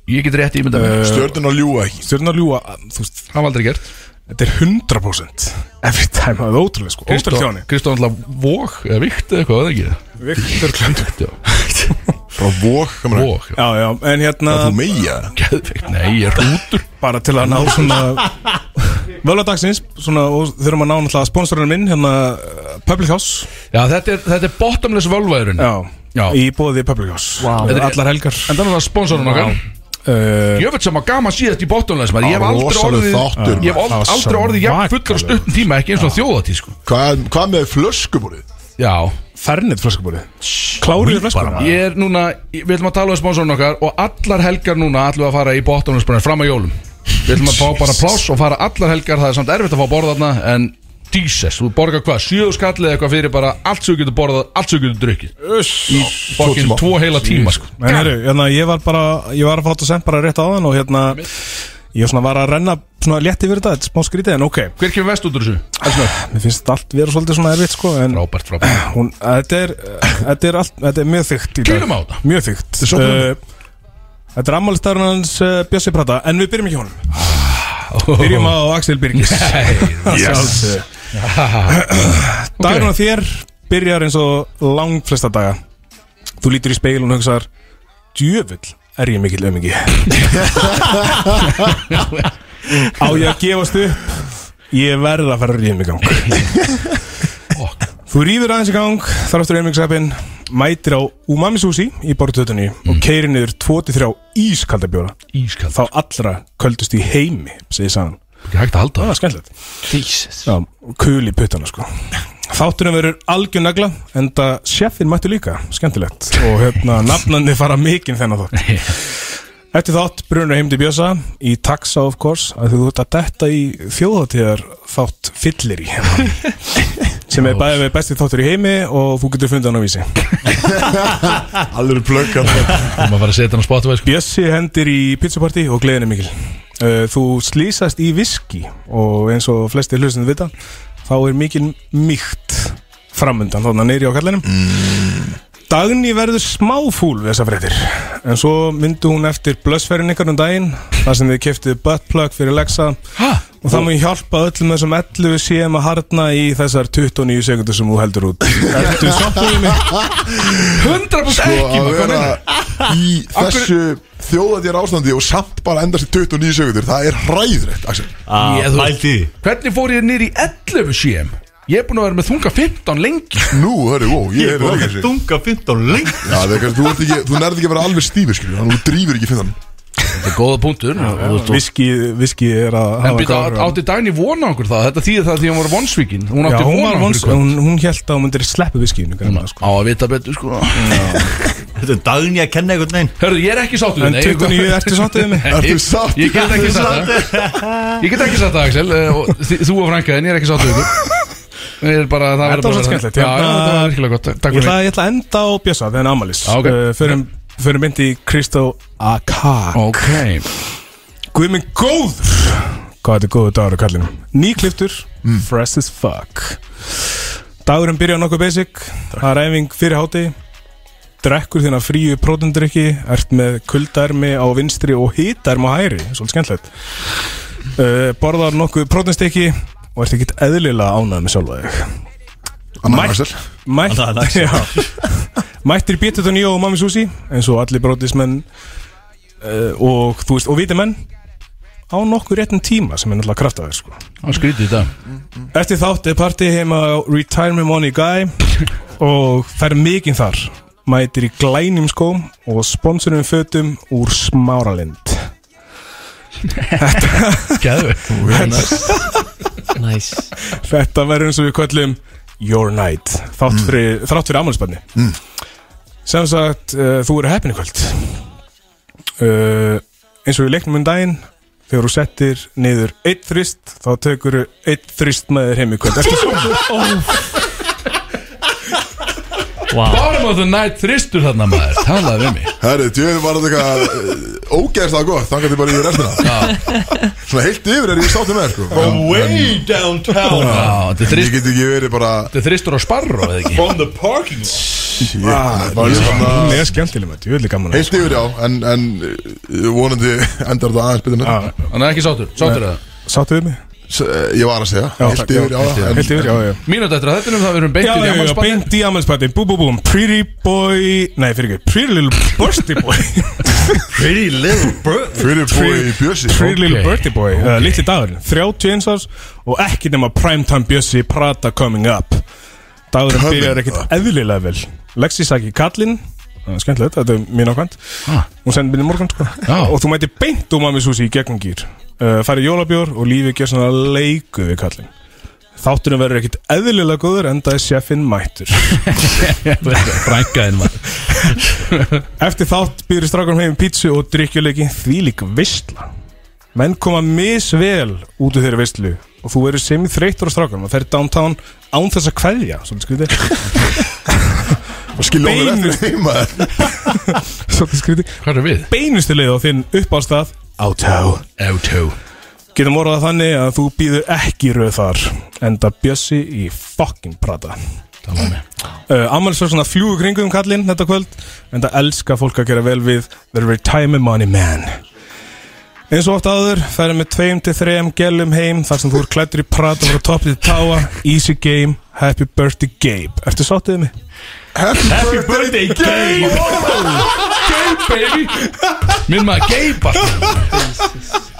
Speaker 2: Ég get rétt ímynda
Speaker 5: mér
Speaker 1: Stjörnun að ljúa ekki
Speaker 5: Stjörnun að ljúa, þú veist
Speaker 2: Það var aldrei gert
Speaker 5: Þetta er 100% Every time, það er ótrúlega sko Ótrúlega hjá henni
Speaker 2: Kristó alltaf vók eða vikt eða eitthvað, eða ekki
Speaker 5: Viktor
Speaker 2: Klönd
Speaker 1: Frá vók, kamar
Speaker 2: Vók, já
Speaker 5: Já, já, en hérna
Speaker 1: Það þú meia
Speaker 2: Geðveikt, nei, ég er út
Speaker 5: Bara til að ná svona Völvadagsins Svona, og þurfum að ná náttúrulega sponsorinu minn Hérna, uh, Public House
Speaker 2: Já, þetta er, þetta er bottomless völva í rauninni
Speaker 5: Já,
Speaker 2: Já.
Speaker 5: í bóði Public House
Speaker 11: Vá.
Speaker 5: Þetta er Allar helgar
Speaker 2: En þannig að sponsorinn okkar
Speaker 5: uh,
Speaker 2: Jöfnveld sem að gama síðast í bottomless maður. Ég hef
Speaker 1: Það var
Speaker 2: aldrei
Speaker 1: rosalegur
Speaker 2: orðið
Speaker 1: þáttur,
Speaker 2: Ég hef
Speaker 5: maður.
Speaker 2: ald-
Speaker 5: Það var
Speaker 2: aldrei orðið jafn fullur á
Speaker 5: svakalegur.
Speaker 2: stuttum tíma Ekki eins og þjóðatí sko
Speaker 1: Hvað, hvað með flöskubúrið?
Speaker 2: Já
Speaker 5: Fernit flöskubúri Klárið flöskubúri
Speaker 2: Ég er núna, við ætlum að tala um sponsorinn okkar og allar helgar núna ætlum við að fara í bottomlandsbrennar fram að jólum Við ætlum að fá bara pláss og fara allar helgar, það er samt erfitt að fá borðarna en Jesus, þú borgar hvað, sjöðu skallið eitthvað fyrir bara allt sem þú getur borðað, allt sem þú getur drukkið Í fokkin
Speaker 1: tíma.
Speaker 2: tvo heila tíma sko
Speaker 5: En heru, hérna, ég var bara Ég var að fá þetta sent bara rétt á þann Og hérna Ég svona var að renna Svona létt yfir þetta Þetta er smá skrítið En ok
Speaker 2: Hver kemur vest út úr þessu?
Speaker 5: Mér finnst þetta allt vera svolítið svona erfitt sko En
Speaker 2: Frábært, frábært
Speaker 5: hún, þetta er Þetta er, allt, þetta er mjög þygt í dag
Speaker 2: Kýlum á þetta.
Speaker 5: Mjög þygt
Speaker 1: er svolítið
Speaker 5: uh, Þetta er ammálistafurinn hans uh, Bjössi Prata En við byrjum ekki honum Byrjum á Axel Birgis (laughs) Yes Dagurinn á þér byrjar eins og lang flesta daga Þú lítur í speil og hugsaðar Djöfull er ég mikill ömingi (laughs) Á ég að gefast upp Ég verð að fara rýmig gang Þú rýfur aðeins í gang, þar áttur einmixappin, mætir á Umami Sushi í bortuðutunni
Speaker 2: Mm.
Speaker 5: og keirir niður 2-3 ískalda bjóra.
Speaker 2: Ískald,
Speaker 5: Þá allra köldust í heimi, segir sagan.
Speaker 2: ekki hægt að halda
Speaker 5: Það
Speaker 2: það
Speaker 5: var skemmtilegt.
Speaker 11: Jesus
Speaker 5: Já, kul í puttana sko. Þátturinn verður algjör negla, enda sjefin mættu líka, skemmtilegt. Og hérna, nafnandi fara mikinn þennan þátt. Eftir þátt brunur heim til Bjösa í taxa of course að þú ert að detta í þjóðatíðar þátt fyllir í sem er bæðið með besti þáttur í heimi og þú getur fundið hann á vísi
Speaker 1: Allir plöggan
Speaker 2: Það maður að fara að setja hann á spotu sko
Speaker 5: Bjössi hendir í pizzapartí og gleðin er mikil Uh, Þú slýsast í viski og eins og flesti hlustinu vita þá er mikil mýkt framundan þarna neyri á kallinum mm. Dagný verður smáfúl við þessa fréttir en svo myndi hún eftir blössferðin ykkar um daginn þar sem þið keftið buttplug fyrir Lexa
Speaker 2: Ha?
Speaker 5: og það mun hjálpa öllum þessum 11 CM að harna í þessar 29 sekundur sem þú heldur (laughs) út Ertu sáttur við mig?
Speaker 2: 100% ekki,
Speaker 1: Sko, að
Speaker 2: maður hvað
Speaker 1: vera
Speaker 2: meinar
Speaker 1: í þessu þjóðatjara ástandi og samt bara endast í 29 sekundur það er hræðrætt Axel
Speaker 4: Ah,
Speaker 2: Ég- þú-
Speaker 4: Pældi því
Speaker 2: Hvernig fór ég niður í 11 CM? Ég er búin að vera með þunga 15 lengi
Speaker 1: nú, hörru, ó, ég
Speaker 4: Ég
Speaker 1: er það
Speaker 4: var
Speaker 1: ekki
Speaker 4: ekki dunga 15 lengi
Speaker 1: Já, það er kannski, þú, ert ekki, þú nærði ekki að vera alveg stífur, skilju, þannig að þú drýfur ekki finnan
Speaker 2: Þetta er góða punktur og- og-
Speaker 5: Viski, viski er að
Speaker 2: En
Speaker 5: hafa
Speaker 2: býta,
Speaker 5: áhrif á-
Speaker 2: átti Dæni vona okkur það? Þetta þýði það því hún var vonsvíkin Hún Mm.
Speaker 5: Já,
Speaker 2: átti
Speaker 5: hún
Speaker 2: vona
Speaker 5: var
Speaker 2: okkur
Speaker 5: vons,
Speaker 2: hvað?
Speaker 5: hún, hún held að hún myndir sleppu viskinu sko.
Speaker 2: Á að vita betur sko
Speaker 4: Þetta er daginn ég að kenna einhvern veginn
Speaker 2: Hörðu, ég er ekki sáttu
Speaker 5: En 29 ertu sáttið við
Speaker 2: (laughs)
Speaker 5: mig
Speaker 1: Ertu satt?
Speaker 2: Ég get ekki sagt það Ég get ekki sagt það Axel eh, og þi- Þú og Franka en ég er ekki sáttu ykkur Ég er bara, það
Speaker 5: Þetta
Speaker 2: verður
Speaker 5: var
Speaker 2: bara
Speaker 5: skemmtilegt,
Speaker 2: Já,
Speaker 5: hérna-
Speaker 2: já, þetta var virkilega gott Takk
Speaker 5: Ég
Speaker 2: fyrir
Speaker 5: ætla,
Speaker 2: mig
Speaker 5: ég ætla að enda á Bjössa, það er Amalis
Speaker 2: Já, ok.
Speaker 5: uh, Förum, förum mynd í Kristó Akar
Speaker 2: Ok
Speaker 5: Guð minn góð Hvað þetta er góðu dagur á kallinu Nýkliftur,
Speaker 2: Mm.
Speaker 5: fresh as fuck Dagurinn byrja nokkuð basic Það er æfing fyrir háti Drekkur þína fríu prótundrykki Ert með kuldarmi á vinstri og hítarmi á hæri Svolítið skemmtilegt uh, Borðar nokkuð prótundstykki Og ert ekkit eðlilega ánægð með sjálfa þig
Speaker 1: Annar
Speaker 5: Mætt.
Speaker 1: Axel
Speaker 5: Mætt,
Speaker 4: Alla, alla.
Speaker 5: (laughs) já, mættir bítið og nýja og mami Susi eins og allir brotismenn uh, og þú veist, og vitimenn á nokkuð réttum tíma sem er náttúrulega kraftaður sko.
Speaker 2: Það skrítið þetta
Speaker 5: Eftir þátt er party heima á Retirement Money Guy og fer mikinn þar mætir í glænum skóm og sponsorum fötum úr smáralind Gæðu
Speaker 11: Nice
Speaker 5: Þetta verður eins og við köllum Your Night Þátt fyrir, mm. fyrir afmælisbarni mm. Sem sagt, uh, þú eru heppin í kvöld uh, Eins og við leiknum um daginn Þegar þú settir niður eitt þrist Þá tekur þú eitt þrist með þér heim í kvöld Ertu svo?
Speaker 2: wow. Bottom of the night þristur þarna maður Talaði við mig
Speaker 1: Herri, djöðu var þetta eitthvað eh, ógeðslega gott Þangar þið bara í restina Svona heilt yfir er ég sáttum með sko.
Speaker 12: Way downtown
Speaker 1: Já, þetta er þrist Ég get ekki verið bara Þetta
Speaker 2: er þristur á sparro eða ekki
Speaker 12: From the parking lot
Speaker 5: Hún er skemmtileg með þetta, ég vil gaman að
Speaker 1: Heilt yfir já, en, en uh, vonandi endar þetta aðeins betur
Speaker 5: Já.
Speaker 2: Hann er ekki sáttur, sáttur
Speaker 1: Nei.
Speaker 2: eða
Speaker 5: Sáttu við mig?
Speaker 1: S- eh, Ég var að segja,
Speaker 5: Já,
Speaker 1: heilt
Speaker 5: takk,
Speaker 1: yfir já
Speaker 5: heilt yfir,
Speaker 1: en-
Speaker 5: heilt yfir, já, já.
Speaker 2: Mínúti eftir að þetta er um það við erum
Speaker 5: Já,
Speaker 2: beintið
Speaker 5: já,
Speaker 2: í
Speaker 5: já,
Speaker 2: ammalspannin
Speaker 5: beint í ammalspatti Bú, bú, bú, pretty boy Nei, fyrir ekki, pretty little bursty boy
Speaker 12: Pretty little bird
Speaker 1: Pretty boy Bjössi
Speaker 5: Pretty little birdie boy okay. uh, Littli dagur, 31 árs Og ekki nema primetime Bjössi Prata coming up Dagurinn
Speaker 1: Coming
Speaker 5: byrjar ekkert
Speaker 1: up.
Speaker 5: eðlilega vel Lexi Saki Kallinn það er Skemmtilegt, þetta er mín ákvæmt Hún sendi minni morgun sko
Speaker 2: Já.
Speaker 5: Og þú mæti beint um að mér súsi í gegnum gýr uh, Færi jólabjór og lífið gjör svona leiku við Kallinn Þátturinn verður ekkert eðlilega góður Enda er sjefinn mættur
Speaker 2: Brænkaðin maður
Speaker 5: Eftir þátt býður strákunum heim pítsu og drikkjuleiki þvílík vistla Menn koma misvel út úr þeirri vistlu og þú verður sem í þreytur á strákunum og ferð downtown án þess að kveðja svolítið skrítið
Speaker 1: (laughs) Og skilja ofur eftir því, maður.
Speaker 5: svolítið skrítið
Speaker 2: Hvað er við?
Speaker 5: beinustu leið á þinn uppástað Átá
Speaker 2: Auto
Speaker 5: Getum orðað þannig að þú býður ekki röð þar enda bjössi í fucking prata
Speaker 2: Talaði mig
Speaker 5: uh, Amalsvöldsson að fljúi kringum kallinn þetta kvöld en það elska fólk að gera vel við The Retirement Money Man eins og oft áður færum með tveim til þreim gellum heim þar sem þú er klættur í prata frá topp til táa Easy Game, Happy Birthday Gabe Ertu sáttið mig?
Speaker 1: Happy birthday
Speaker 2: Gay baby Minn maður gay bara